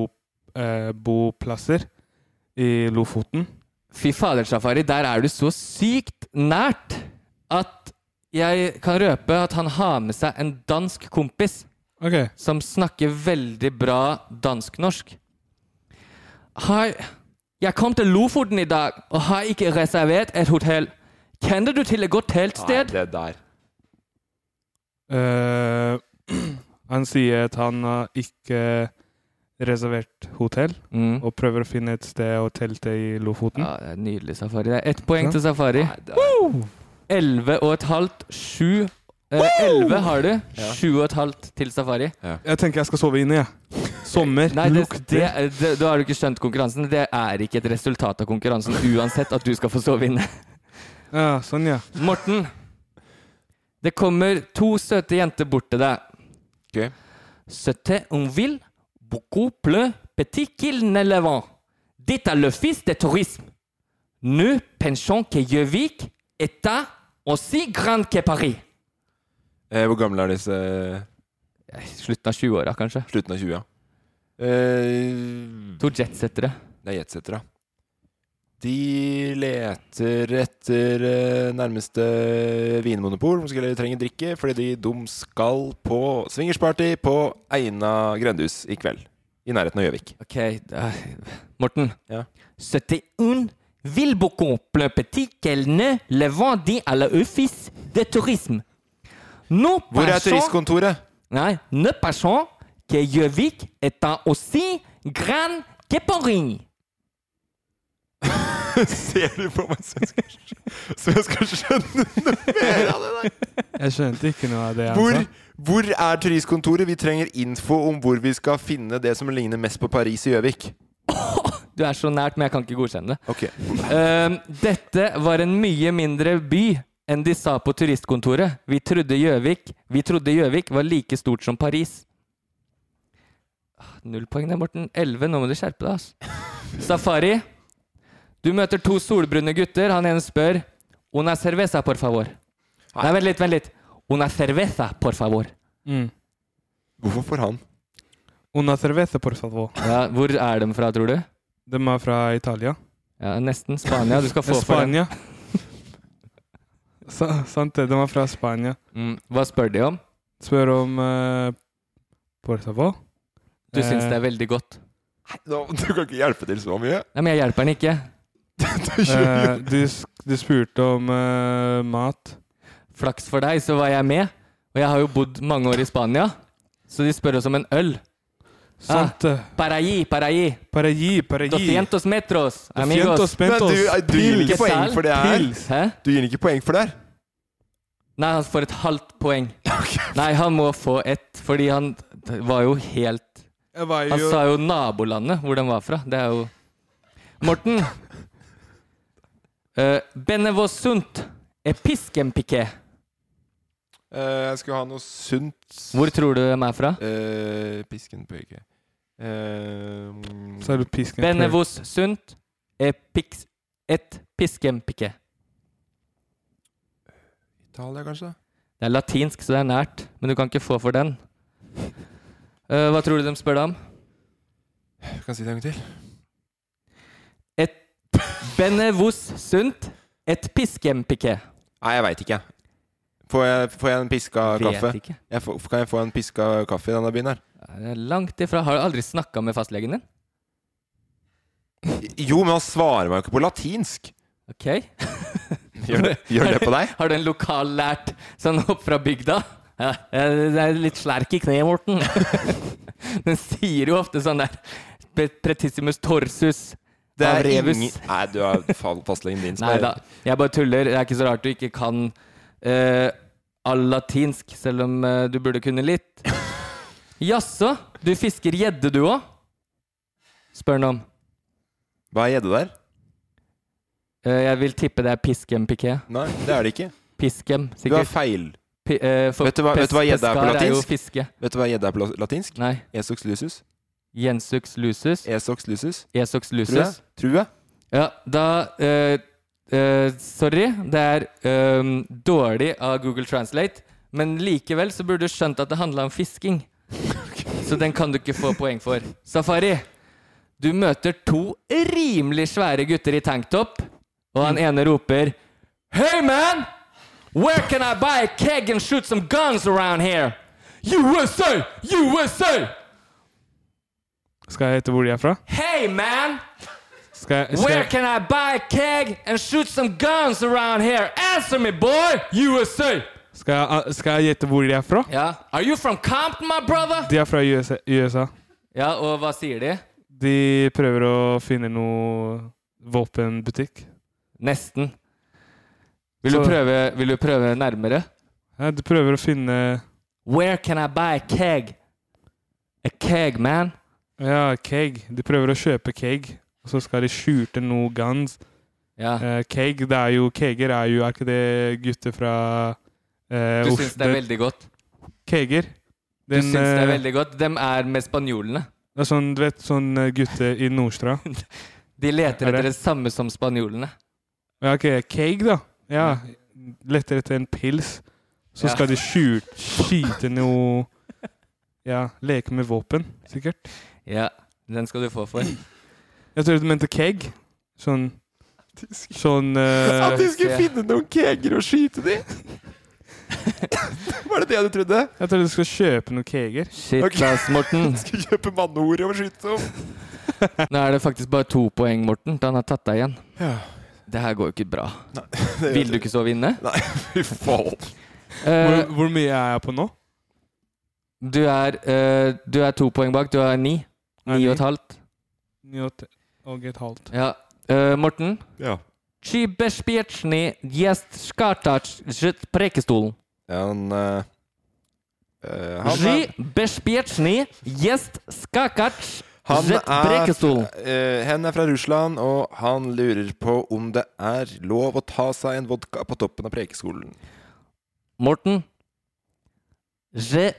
S3: eh, boplasser i Lofoten.
S4: Fy fader, Safari, der er du så sykt nært at jeg kan røpe at han har med seg en dansk kompis
S3: Ok.
S4: som snakker veldig bra dansk-norsk. Hei, jeg kom til Lofoten i dag og har ikke reservert et hotell. Kjenner du til et godt teltsted?
S5: det der.
S3: Eh, (clears throat) han sier at han har ikke reservert hotell,
S4: Mm.
S3: og prøver å finne et sted å telte i Lofoten.
S4: Ja, det er nydelig, Safari. Det er ett poeng
S3: Ja.
S4: til Safari. Elleve og et halvt. Sju. eh, Elleve har du. Sju og et halvt til Safari.
S3: Jeg tenker jeg skal sove inne, jeg. Sommer,
S4: Nei, det, det,
S3: lukter
S4: det, da har du ikke skjønt konkurransen. Det er ikke et resultat av konkurransen uansett at du skal få sove inne.
S3: Ja, Sånn, ja.
S4: (laughs) Morten, det kommer to søte jenter bort til deg.
S5: Ok.
S4: Søte on ville, beaucoup pleu, petit qu'il ne le vent. Dit er le fils de tourisme. Nous pensons que Gjøvik est à aussi grand que Paris.
S5: Eh, hvor gamle er disse
S4: Eh, Slutten av 20-åra, kanskje.
S5: Slutten av 20, ja. Eh,
S4: To jetsettere.
S5: det er jetsettere. De leter etter eh, nærmeste vinmonopol, for de trenger drikke, fordi de dum skal på swingersparty på Eina grendehus i kveld. I nærheten av Gjøvik.
S4: Ok, da, Morten.
S5: Ja.
S4: 71 Vilbocon plein petit qu'elle ne le vendit à l'office de tourisme. Nous
S5: Hvor er
S4: pensons,
S5: turistkontoret?
S4: Nei, nous pensons que Gjøvik est un aussi grand que Paris.
S5: (laughs) Ser du på meg så jeg skal, så jeg skal skjønne
S3: (laughs) Jeg skjønte ikke noe av det han
S5: hvor,
S3: sa.
S5: hvor er turistkontoret? Vi trenger info om hvor vi skal finne det som ligner mest på Paris i Gjøvik.
S4: Du er så nært, men jeg kan ikke godkjenne det.
S5: Ok.
S4: Ehm, dette var en mye mindre by enn de sa på turistkontoret. Vi trodde Gjøvik Vi trodde Gjøvik var like stort som Paris. Ah, Null poeng der, Morten. Elleve. Nå må du skjerpe deg, ass. Safari. Du møter to solbrune gutter. Han ene spør Una cerveza, por favor. Nei, vent litt, vent litt. Una cerveza, por favor.
S3: Mm.
S5: Hvorfor får han?
S3: Una cerveza, por favor.
S4: Ja, hvor er de fra, tror du?
S3: De er fra Italia.
S4: Ja, Nesten. Spania. Du skal få for den.
S3: Spania. Sa- Sant det, de er fra Spania.
S4: Mm, hva spør de om?
S3: Spør om eh, Por favor.
S4: Du syns
S3: Eh,
S4: det er veldig godt.
S5: Nå, du kan ikke hjelpe til så mye.
S4: Nei, men jeg hjelper
S5: (laughs)
S4: den ikke.
S3: eh, du, sk- du spurte om eh, mat.
S4: Flaks for deg, så var jeg med. Og jeg har jo bodd mange år i Spania, så de spør oss om en øl. Ah,
S3: Sant det.
S4: Paraí, paraí.
S3: Para gi, para gi.
S4: 200 metros,
S3: Fientos,
S4: amigos.
S5: Men
S3: mentos.
S5: du, du gir
S4: Pils.
S5: ikke poeng for det her.
S3: Pils.
S4: Hæ?
S5: Du gir ikke poeng for det her.
S4: Nei, han får et halvt
S3: (laughs)
S4: poeng. Nei, han må få ett, fordi han var jo helt
S3: Jeg var
S4: Han
S3: jo
S4: sa jo nabolandet hvor den var fra. Det er jo Morten. Uh, Benevosund episkempiqué.
S5: Eh, jeg skulle ha noe sunt
S4: Hvor tror du de er fra?
S5: Eh, Pisken pøyke.
S3: Så er du pisken.
S4: Benevosund epiks... Et piskempiqué.
S5: Italia, kanskje?
S4: Det er latinsk, så det er nært. Men du kan ikke få for den. Eh, hva tror du de spør deg om?
S5: Jeg kan si det en gang til.
S4: Et benevos sunt, et piskempiké.
S5: Nei, jeg veit ikke. Får jeg, får jeg en piska kaffe?
S4: Vet ikke.
S5: Jeg får, kan jeg få en piska kaffe i denne byen her?
S4: Det er langt ifra. Har du aldri snakka med fastlegen din?
S5: Jo, men han svarer meg jo ikke på latinsk.
S4: Ok. (laughs)
S5: Gjør det, gjør det på deg?
S4: Har du en lokallært sånn opp fra bygda? Ja, eh, det er litt slerk i kneet, Morten. (laughs) Den sier jo ofte sånn der "Pe- Pretissimus torsus.
S5: Det
S4: av
S5: er
S4: revus."
S5: ingen Nei, du er fa- fastlegen din som
S4: Nei
S5: er-
S4: da, jeg bare tuller. Det er ikke så rart du ikke kan eh, all latinsk, selv om eh, du burde kunne litt. Jaså, du fisker gjedde du òg? Spør han om.
S5: Hva er gjedde der?
S4: Eh, jeg vil tippe det er piskem piqué.
S5: Nei, det er det ikke.
S4: Piskem,
S5: Du har
S4: sikkert.
S5: feil.
S4: Pi- eh, for
S5: Vet du hva- vet du hva
S4: pes-
S5: gjedde er på
S4: pescar jo
S5: latinsk?
S4: fiske.
S5: Vet du hva gjedde er på la- latinsk?
S4: Nei.
S5: Esox lusus.
S4: Jensux lusus.
S5: Esox lusus.
S4: Esox
S5: Tror jeg.
S4: lusus.
S5: Tror jeg.
S4: Ja, da eh, eh, Sorry, det er ehm, dårlig av Google Translate, men likevel så burde du skjønt at det handla om fisking. Så den kan du ikke få poeng for. Safari, du møter to rimelig svære gutter i tanktop, og han ene roper Hey man! Where can I buy a keg and shoot some guns around here? USA! USA!
S3: Skal jeg hete hvor de er fra?
S4: Hey man!
S3: Skal jeg, skal
S4: Where
S3: jeg,
S4: can I buy a keg and shoot some guns around here? Answer me, boy! USA!
S3: skal jeg, ah, skal jeg gjette hvor de er fra?
S4: Ja. Are you from Compton, my brother?
S3: De er fra USA. USA.
S4: Ja, og hva sier de?
S3: De prøver å finne noe våpenbutikk.
S4: Nesten. Vil du
S3: Så-
S4: prøve, vil du prøve nærmere?
S3: Ja, de prøver å finne
S4: Where can I buy a keg? A keg, man.
S3: Ja, keg. De prøver å kjøpe keg, og så skal de skjule noe guns.
S4: Ja.
S3: Eh, keg, det er jo Keger er jo Er ikke det gutter fra eh,
S4: Du
S3: Os-
S4: syns det er
S3: det-
S4: veldig godt.
S3: Keger.
S4: Du syns det er
S3: eh,
S4: veldig godt. Dem er med spanjolene.
S3: det er sånn, du vet, sånn eh, gutte i Nordstrand.
S4: (laughs) De leter
S3: Er det-
S4: etter det samme som spanjolene.
S3: Ja, ok, keg da. Ja, lettere etter en pils. Så
S4: Ja.
S3: skal de skjute, skyte noe Ja, leke med våpen, sikkert.
S4: Ja, den skal du få for.
S3: Jeg tror du mente keg. Sånn Sånn
S5: (laughs)
S3: eh,
S5: At de skulle
S4: se.
S5: finne noen keger og skyte
S4: (laughs)
S5: de! Var det det du trodde?
S3: Jeg tror du skal kjøpe noen keger.
S4: Shit,
S5: Ok.
S4: ass, Morten.
S5: (laughs) Skulle kjøpe manneord og skyte dem?
S4: (laughs) Nå er det faktisk bare to poeng, Morten. Da han har tatt deg igjen.
S5: Ja.
S4: Det her går jo ikke bra.
S5: (laughs)
S4: Vil du ikke sove inne?
S5: Fy faen.
S3: Hvor,
S4: Eh,
S3: hvor mye er jeg på nå?
S4: du, er, eh, du er to poeng bak. Du er ni.
S3: (laughs) Er
S4: Ni og
S3: ni?
S4: et halvt.
S3: Ni og et- og et halvt.
S4: Ja. Eh, Morten?
S5: Ja.
S4: Ci bezpieczny jest skattacz z prekestolen.
S5: En eh, eh, han,
S4: Ci
S5: er,
S4: bezpieczny jest skakacz
S5: han
S4: z
S5: er
S4: prekestolen.
S5: eh, Hen er fra Russland, og han lurer på om det er lov å ta seg en vodka på toppen av prekeskolen.
S4: Morten? Z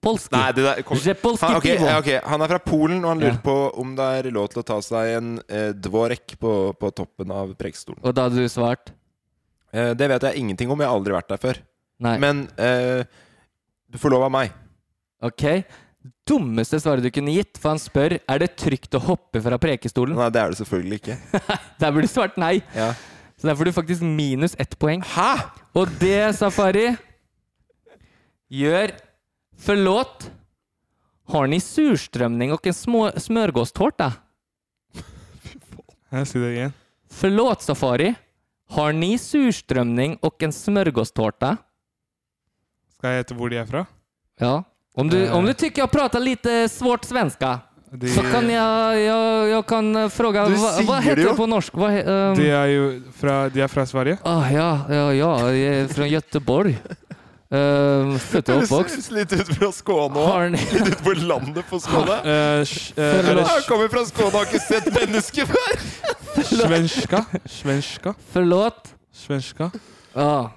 S4: polski.
S5: Nei, det der kom.
S4: Z polski
S5: Han, ok,
S4: pivo.
S5: ja, ok. han er fra Polen, og han lurer
S4: Ja.
S5: på om det er lov til å ta seg en eh, dvorek på, på toppen av prekestolen.
S4: Og da hadde du svart?
S5: Eh, det vet jeg ingenting om, jeg har aldri vært der før.
S4: Nei.
S5: Men eh, du får lov av meg.
S4: Ok. Dummeste svaret du kunne gitt, for han spør er det trygt å hoppe fra prekestolen.
S5: Nei, det er det selvfølgelig ikke.
S4: (laughs) Der burde du svart nei.
S5: Ja.
S4: Så der får du faktisk minus ett poeng.
S5: Hæ?!
S4: Og det, Safari, gjør Forlåt. Har ni surstrømning og en små smørgåstårta?
S3: Jeg sier det igjen.
S4: Forlåt, Safari. Har ni surstrømning og en smørgåstårta?
S3: Skal jeg gjette hvor de er fra? Eh.
S4: Ja. Om du, om du tycker jag pratar lite eh, svårt svenska
S3: De,
S4: så kan jag, jag, jag kan eh, fråga
S5: Du
S4: vad, vad
S5: säger
S4: heter
S5: det ju.
S4: det på norsk? Vad, he- ehm,
S3: de er jo fra, de er fra Sverige.
S4: Ah, ja, ja, ja, jag är från Göteborg. Uh, Född och uppvuxen.
S5: Høres litt ut fra Skåne òg.
S4: Har ni...
S5: Litt ut på landet på
S4: (laughs)
S5: Skåne.
S3: Eh, sj- eh, er det
S5: Jeg kommer fra Skåne og har ikke sett mennesker før!
S3: svenska? Svenska?
S4: Förlåt?
S3: Svenska?
S4: Ja,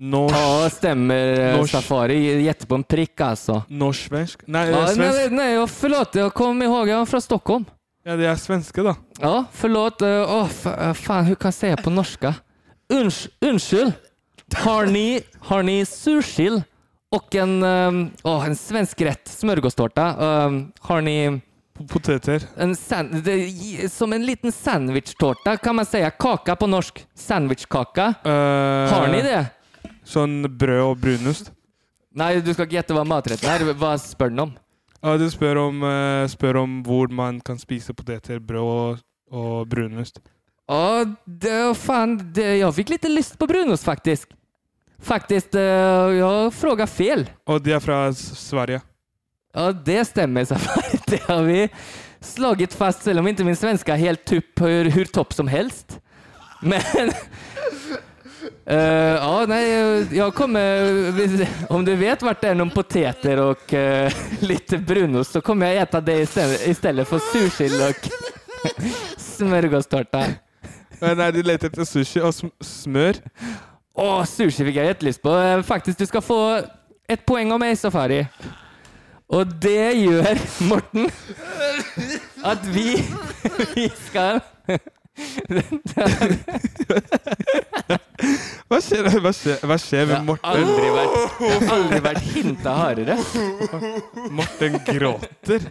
S3: Norsk?
S4: Ja, stämmer. eh,
S3: Norsk.
S4: Safari jätte på en prick alltså.
S3: Norsk-svensk? (laughs) Nei, eh,
S4: Ja, nej,
S3: svensk.
S4: nej, jag- förlåt. Jag kom ihåg, jag är från Stockholm.
S3: Ja, de er svenske, da.
S4: Ja, förlåt. eh, Åh, fa- eh, fan, hur kan jag säga på norska? Uns, undskyld. Har ni, har ni sursill och en, ehm, åh, en svensk rätt, smörgåstårta? Ehm, har ni
S3: P- Poteter.
S4: en san, det, som en liten sandwichtårta kan man säga. Kaka på norsk. Sandwichkaka.
S3: Eh,
S4: Har ni det?
S3: Sånn brød og brunost.
S4: Nej, du ska inte gätta vad maträtten är. Vad spör ni om?
S3: Ja, du spør om, eh, spør om hvor man kan spise poteter, brød og, og brunost.
S4: Ja, det, fan, det, jag fick lite lyst på brunost faktiskt. Faktiskt, eh, jag frågar fel.
S3: Og de er fra S- Sverige.
S4: Ja, det stämmer Safari. (laughs) Det har vi slagit fast, även om inte min svenska är helt tupp hur, hur topp som helst. Men... Eh, ja, nej, jag kommer... Om du vet vart det är någon poteter och eh, lite brunost så kommer jag äta det istället, istället för sursill och (laughs) smörgåstårta.
S3: Men Nei, de leter etter sushi og sm smør.
S4: Åh, sushi fick jag jättelyst på. Eh, Faktiskt, du ska få ett poäng av mig, Safari. Och det gör, Morten, att vi, (laughs) vi ska...
S3: Hva skjer, hva skjer, hva skjer med Morten?
S4: Aldri vært,
S3: (laughs)
S4: jeg har aldri vært hinta hardere.
S3: Morten gråter.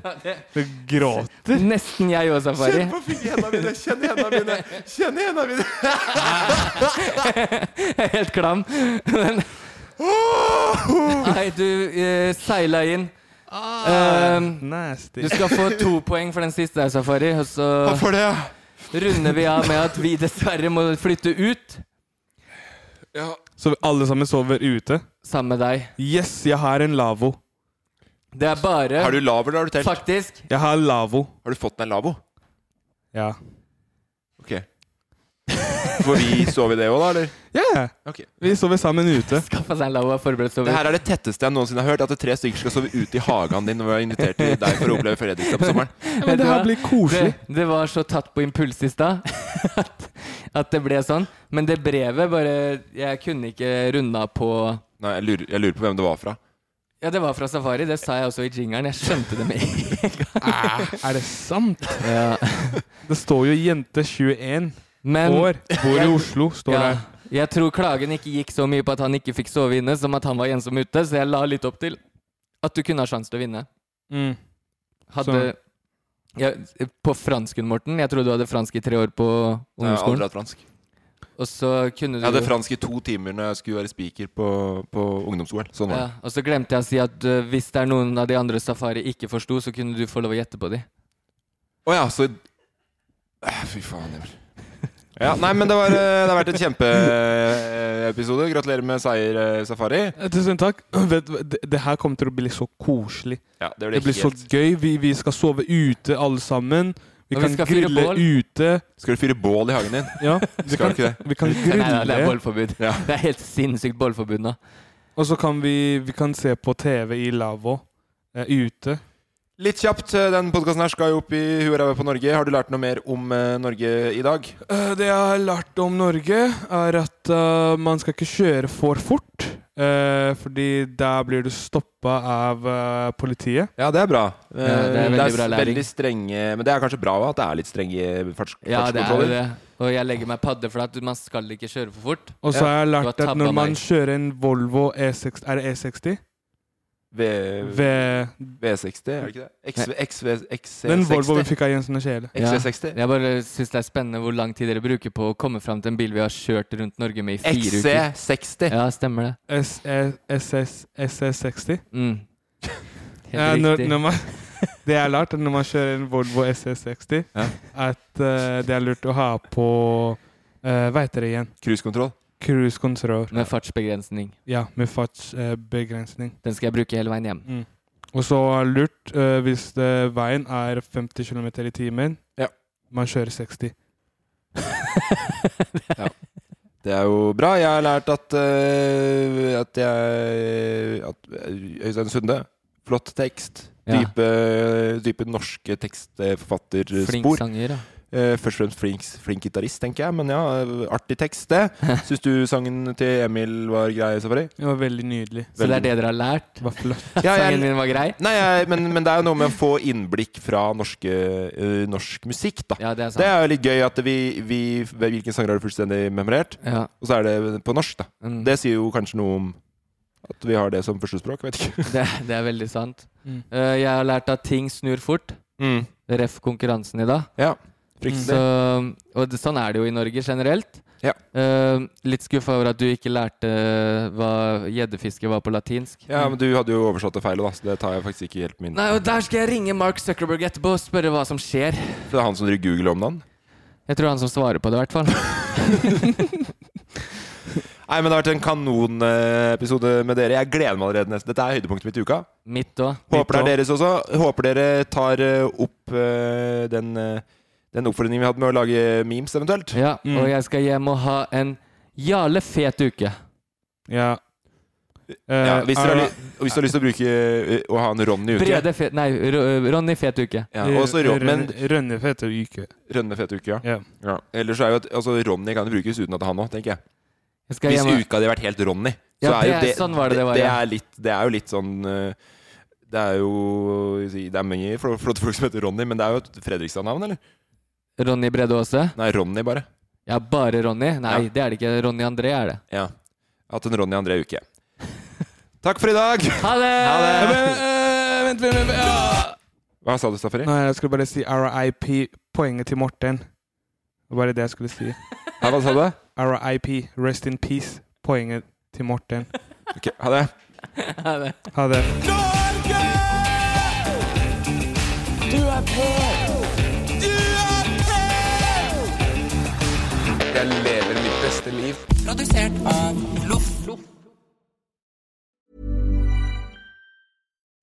S3: Du gråter.
S4: Nesten jeg òg, Safari.
S5: Kjenn på fing- hendene mine! Kjenn hendene mine! Kjenn hendene mine!
S4: (laughs) Jeg er helt klam. Men Nei, du eh, seila inn. Ehm,
S3: Ah, Nasty.
S4: du skal få to poeng for den siste der, Safari. Og så
S5: For det,
S4: runder vi av med at vi dessverre må flytte ut
S5: ja.
S3: Så alle sammen sover ute?
S4: sammen med deg.
S3: Yes, jeg har en lavvo.
S4: Det er bare
S5: Har du laver, eller har du telt?
S4: Faktisk.
S3: Jeg har lavvo.
S5: Har du fått deg en lavvo?
S3: Ja.
S5: Ok. Får vi sove i det òg, da, eller?
S3: Yeah.
S5: Ok.
S3: Vi sover sammen
S4: (laughs)
S3: ute.
S4: Skaffa seg en lavvo og forberedt seg
S5: Det her er det tetteste jeg noensinne har hørt. At det tre stykker skal sove ute i hagen din når vi har invitert til deg for å oppleve Fredrikstad på
S4: (laughs)
S5: sommeren.
S3: Men det her blir koselig.
S4: Det, det var så tatt på impuls i stad (laughs) at, at det ble sånn. Men det brevet bare Jeg kunne ikke runda på
S5: Nei, jeg lurer, jeg lurer på hvem det var fra.
S4: Ja, det var fra Safari. Det sa jeg også i jingeren. Jeg skjønte det med en
S3: Er det sant?
S4: (laughs) ja.
S3: (laughs) Det står jo 'jente 21
S4: Men
S3: år, bor i Oslo',
S4: (laughs)
S3: står
S4: ja,
S3: det.
S4: jeg tror klagen ikke gikk så mye på at han ikke fikk sove inne, som at han var ensom ute, så jeg la litt opp til at du kunne ha sjanse til å vinne.
S3: Mm.
S4: Hadde
S3: Så-
S4: ja, På fransken, Morten. Jeg trodde du hadde fransk i tre år på
S5: Jeg har aldri
S4: ungdomsskolen.
S5: hatt fransk.
S4: Og så kunne du
S5: Jeg hadde fransk i to timer når jeg skulle være speaker på, på ungdomsskolen. Sånn var
S4: Ja,
S5: det.
S4: og så glemte jeg å si at eh, hvis det er noen av de andre safari ikke forsto, så kunne du få lov å gjette på de.
S5: Å ja, så Ah, Fy faen. Emil. Ja, nei, men det, var, eh, det har vært en kjempeepisode. Gratulerer med seier, eh, Safari.
S3: Tusen takk. (clears throat) Vet, du hva, det, det her kommer til å bli så koselig.
S5: Ja, det
S3: Det
S5: ble
S3: blir så
S5: helt...
S3: gøy. Vi, vi skal sove ute, alle sammen. Vi
S4: Og vi
S3: kan
S4: skal fyre
S3: grille
S4: bål.
S3: ute.
S5: Skal du fyre bål i hagen din?
S3: Ja, vi
S5: Skal
S3: kan,
S5: du ikke det?
S3: vi kan
S4: Nei, nei, det er
S3: grille,
S4: bollforbud.
S5: Ja.
S4: (laughs) Det er helt sinnssykt bollforbud nå.
S3: og så kan vi, vi kan se på TV i lavvo eh, ute.
S5: Litt kjapt, eh, den podkasten her skal jo opp i huet og ræva på Norge. Har du lært noe mer om eh, Norge i dag?
S3: Eh, Det jeg har lært om Norge, er at eh, man skal ikke kjøre for fort. eh, fordi der blir du stoppa av eh, politiet.
S5: Ja, det er bra. Eh,
S4: Ja, det er veldig
S5: s-
S4: bra læring.
S5: veldig strenge Men det er kanskje bra at det er litt strenge farts
S4: Ja, det er jo
S5: fartskontroller.
S4: det. Og jeg legger meg paddeflat. Man skal ikke kjøre for fort.
S3: Og så
S5: Ja,
S3: har jeg
S4: du har
S3: lært at
S4: tabba
S3: når man
S4: meg.
S3: kjører en Volvo E6 Er det E E60?
S5: V-
S3: Ved
S5: V60, er det ikke det? XV, XV,
S3: den Volvo vi
S5: XC60.
S3: fikk av Jensen og Kjele.
S5: XC60.
S4: Jeg bare syns det er spennende hvor lang tid dere bruker på å komme fram til en bil vi har kjørt rundt Norge med i fire uker.
S5: XC60.
S4: Ja, stemmer det.
S3: E, SS60.
S4: Mm.
S3: (laughs)
S4: Helt
S3: Ja, når,
S4: riktig.
S3: når man, (laughs) det jeg har lært, er når man kjører en Volvo SS60,
S5: Ja.
S3: at eh, det er lurt å ha på uh, Veit dere igjen?
S5: Cruisekontroll.
S3: Cruise control.
S4: Med fartsbegrensning.
S3: Ja, med fartsbegrensning.
S4: Den skal jeg bruke hele veien hjem.
S3: Mm. Og så er det lurt eh, hvis eh, veien er 50 km i timen.
S5: Ja.
S3: Man kjører 60.
S5: Det er jo bra. Jeg har lært at eh, At jeg at eh, Øystein Sunde Flott tekst.
S4: Ja.
S5: Dype, dype norske
S4: Flink
S5: tekstforfatterspor.
S4: sanger, da.
S5: Eh, først og fremst flink, flink gitarist, tenker jeg, men ja, eh, artig tekst,
S4: (laughs)
S5: det. Syns du sangen til Emil var grei, Safari?
S3: Det var veldig nydelig.
S4: Så det er det dere har lært?
S3: Det var flott.
S5: (laughs)
S3: (laughs)
S5: Ja,
S4: Sangen min var grei?
S5: Nei, jeg, men, men det er jo noe med å få innblikk fra norske, eh, norsk musikk, da.
S4: Ja, det er
S5: Det
S4: sant.
S5: er jo litt gøy at vi, vi Hvilken sanger har du fullstendig memorert?
S4: Ja.
S5: Og så er det på norsk, da.
S4: Mm.
S5: Det sier jo kanskje noe om at vi har det som førstespråk, vet ikke.
S4: Det, det er veldig sant.
S3: Mm.
S4: Eh, jeg har lært at ting snur fort.
S5: Mm.
S4: Ref konkurransen i dag. Mm.
S5: Ja. Fryktelig.
S4: Så, og det, sånn er det jo i Norge generelt.
S5: Ja.
S4: Eh, litt skuffa over at du ikke lærte hva gjeddefiske var på latinsk. Mm.
S5: Ja, men du hadde jo oversatt det feil, da, så det tar jeg faktisk ikke helt min
S4: Nei, og der skal jeg ringe Mark Zuckerberg etterpå og spørre hva som skjer.
S5: For det er han som driver Google om navn?
S4: Jeg tror han som svarer på det, i hvert fall.
S5: (laughs) Nei, men Det har vært en kanonepisode med dere. Jeg gleder meg allerede nesten. Dette er høydepunktet mitt i uka.
S4: Mitt òg.
S5: Håper det er deres også. Håper dere tar eh, opp eh, den, eh, den oppfordringen vi hadde med å lage memes, eventuelt.
S4: Ja,
S3: Mm.
S4: og jeg skal hjem og ha en jævlig fet uke.
S3: Ja.
S5: Ja,
S3: Eh,
S5: hvis, dere har
S3: er-
S5: ly- og hvis du har lyst til å bruke eh, Å ha en Ronny uke.
S4: Brede fet Nei, Ro- Ronny fet uke.
S5: Ja, og så Ron, men
S3: Rønne- Rønnefete uke.
S5: Rønne fete uke, ja.
S3: Ja.
S5: ja. Ellers er jo at altså, Ronny kan jo brukes uten at han òg, tenker jeg.
S4: Jeg skal
S5: Hvis
S4: hjem og
S5: uka hadde vært helt Ronny, så
S4: Ja,
S5: er jo
S4: det er- sånn var det det var, ja.
S5: er litt, det er jo litt sånn eh, Det er jo Det er mange fl- flotte folk som heter Ronny, men det er jo et Fredrikstad-navn, eller?
S4: Ronny Brede Aase.
S5: Nei, Ronny, bare.
S4: Ja, bare Ronny? Nei,
S5: Ja.
S4: det er det ikke. Ronny André er det.
S5: Ja. Jeg har Hatt en Ronny André uke. Takk for i dag!
S4: Ha det!
S5: Ha det!
S3: eh, Vent, vent, vent.
S5: Hva sa du, Safari?
S3: Nei, jeg skulle bare si RIP, poenget til Morten. Det var bare det jeg skulle si.
S5: Ja, hva sa du?
S3: RIP, rest in peace, poenget til Morten.
S5: Ok, ha det.
S3: Ha det.
S6: Norge! Du er på! Du er på! Jeg lever mitt beste liv.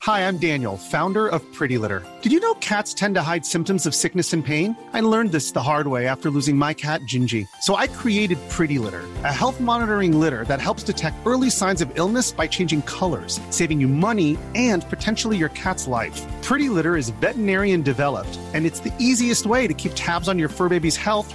S10: Hi, I'm Daniel, founder of Pretty Litter. Did you know cats tend to hide symptoms of sickness and pain? I learned this the hard way after losing my cat, Gingy. So I created Pretty Litter, a health monitoring litter that helps detect early signs of illness by changing colors, saving you money and potentially your cat's life. Pretty Litter is veterinarian developed, and it's the easiest way to keep tabs on your fur baby's health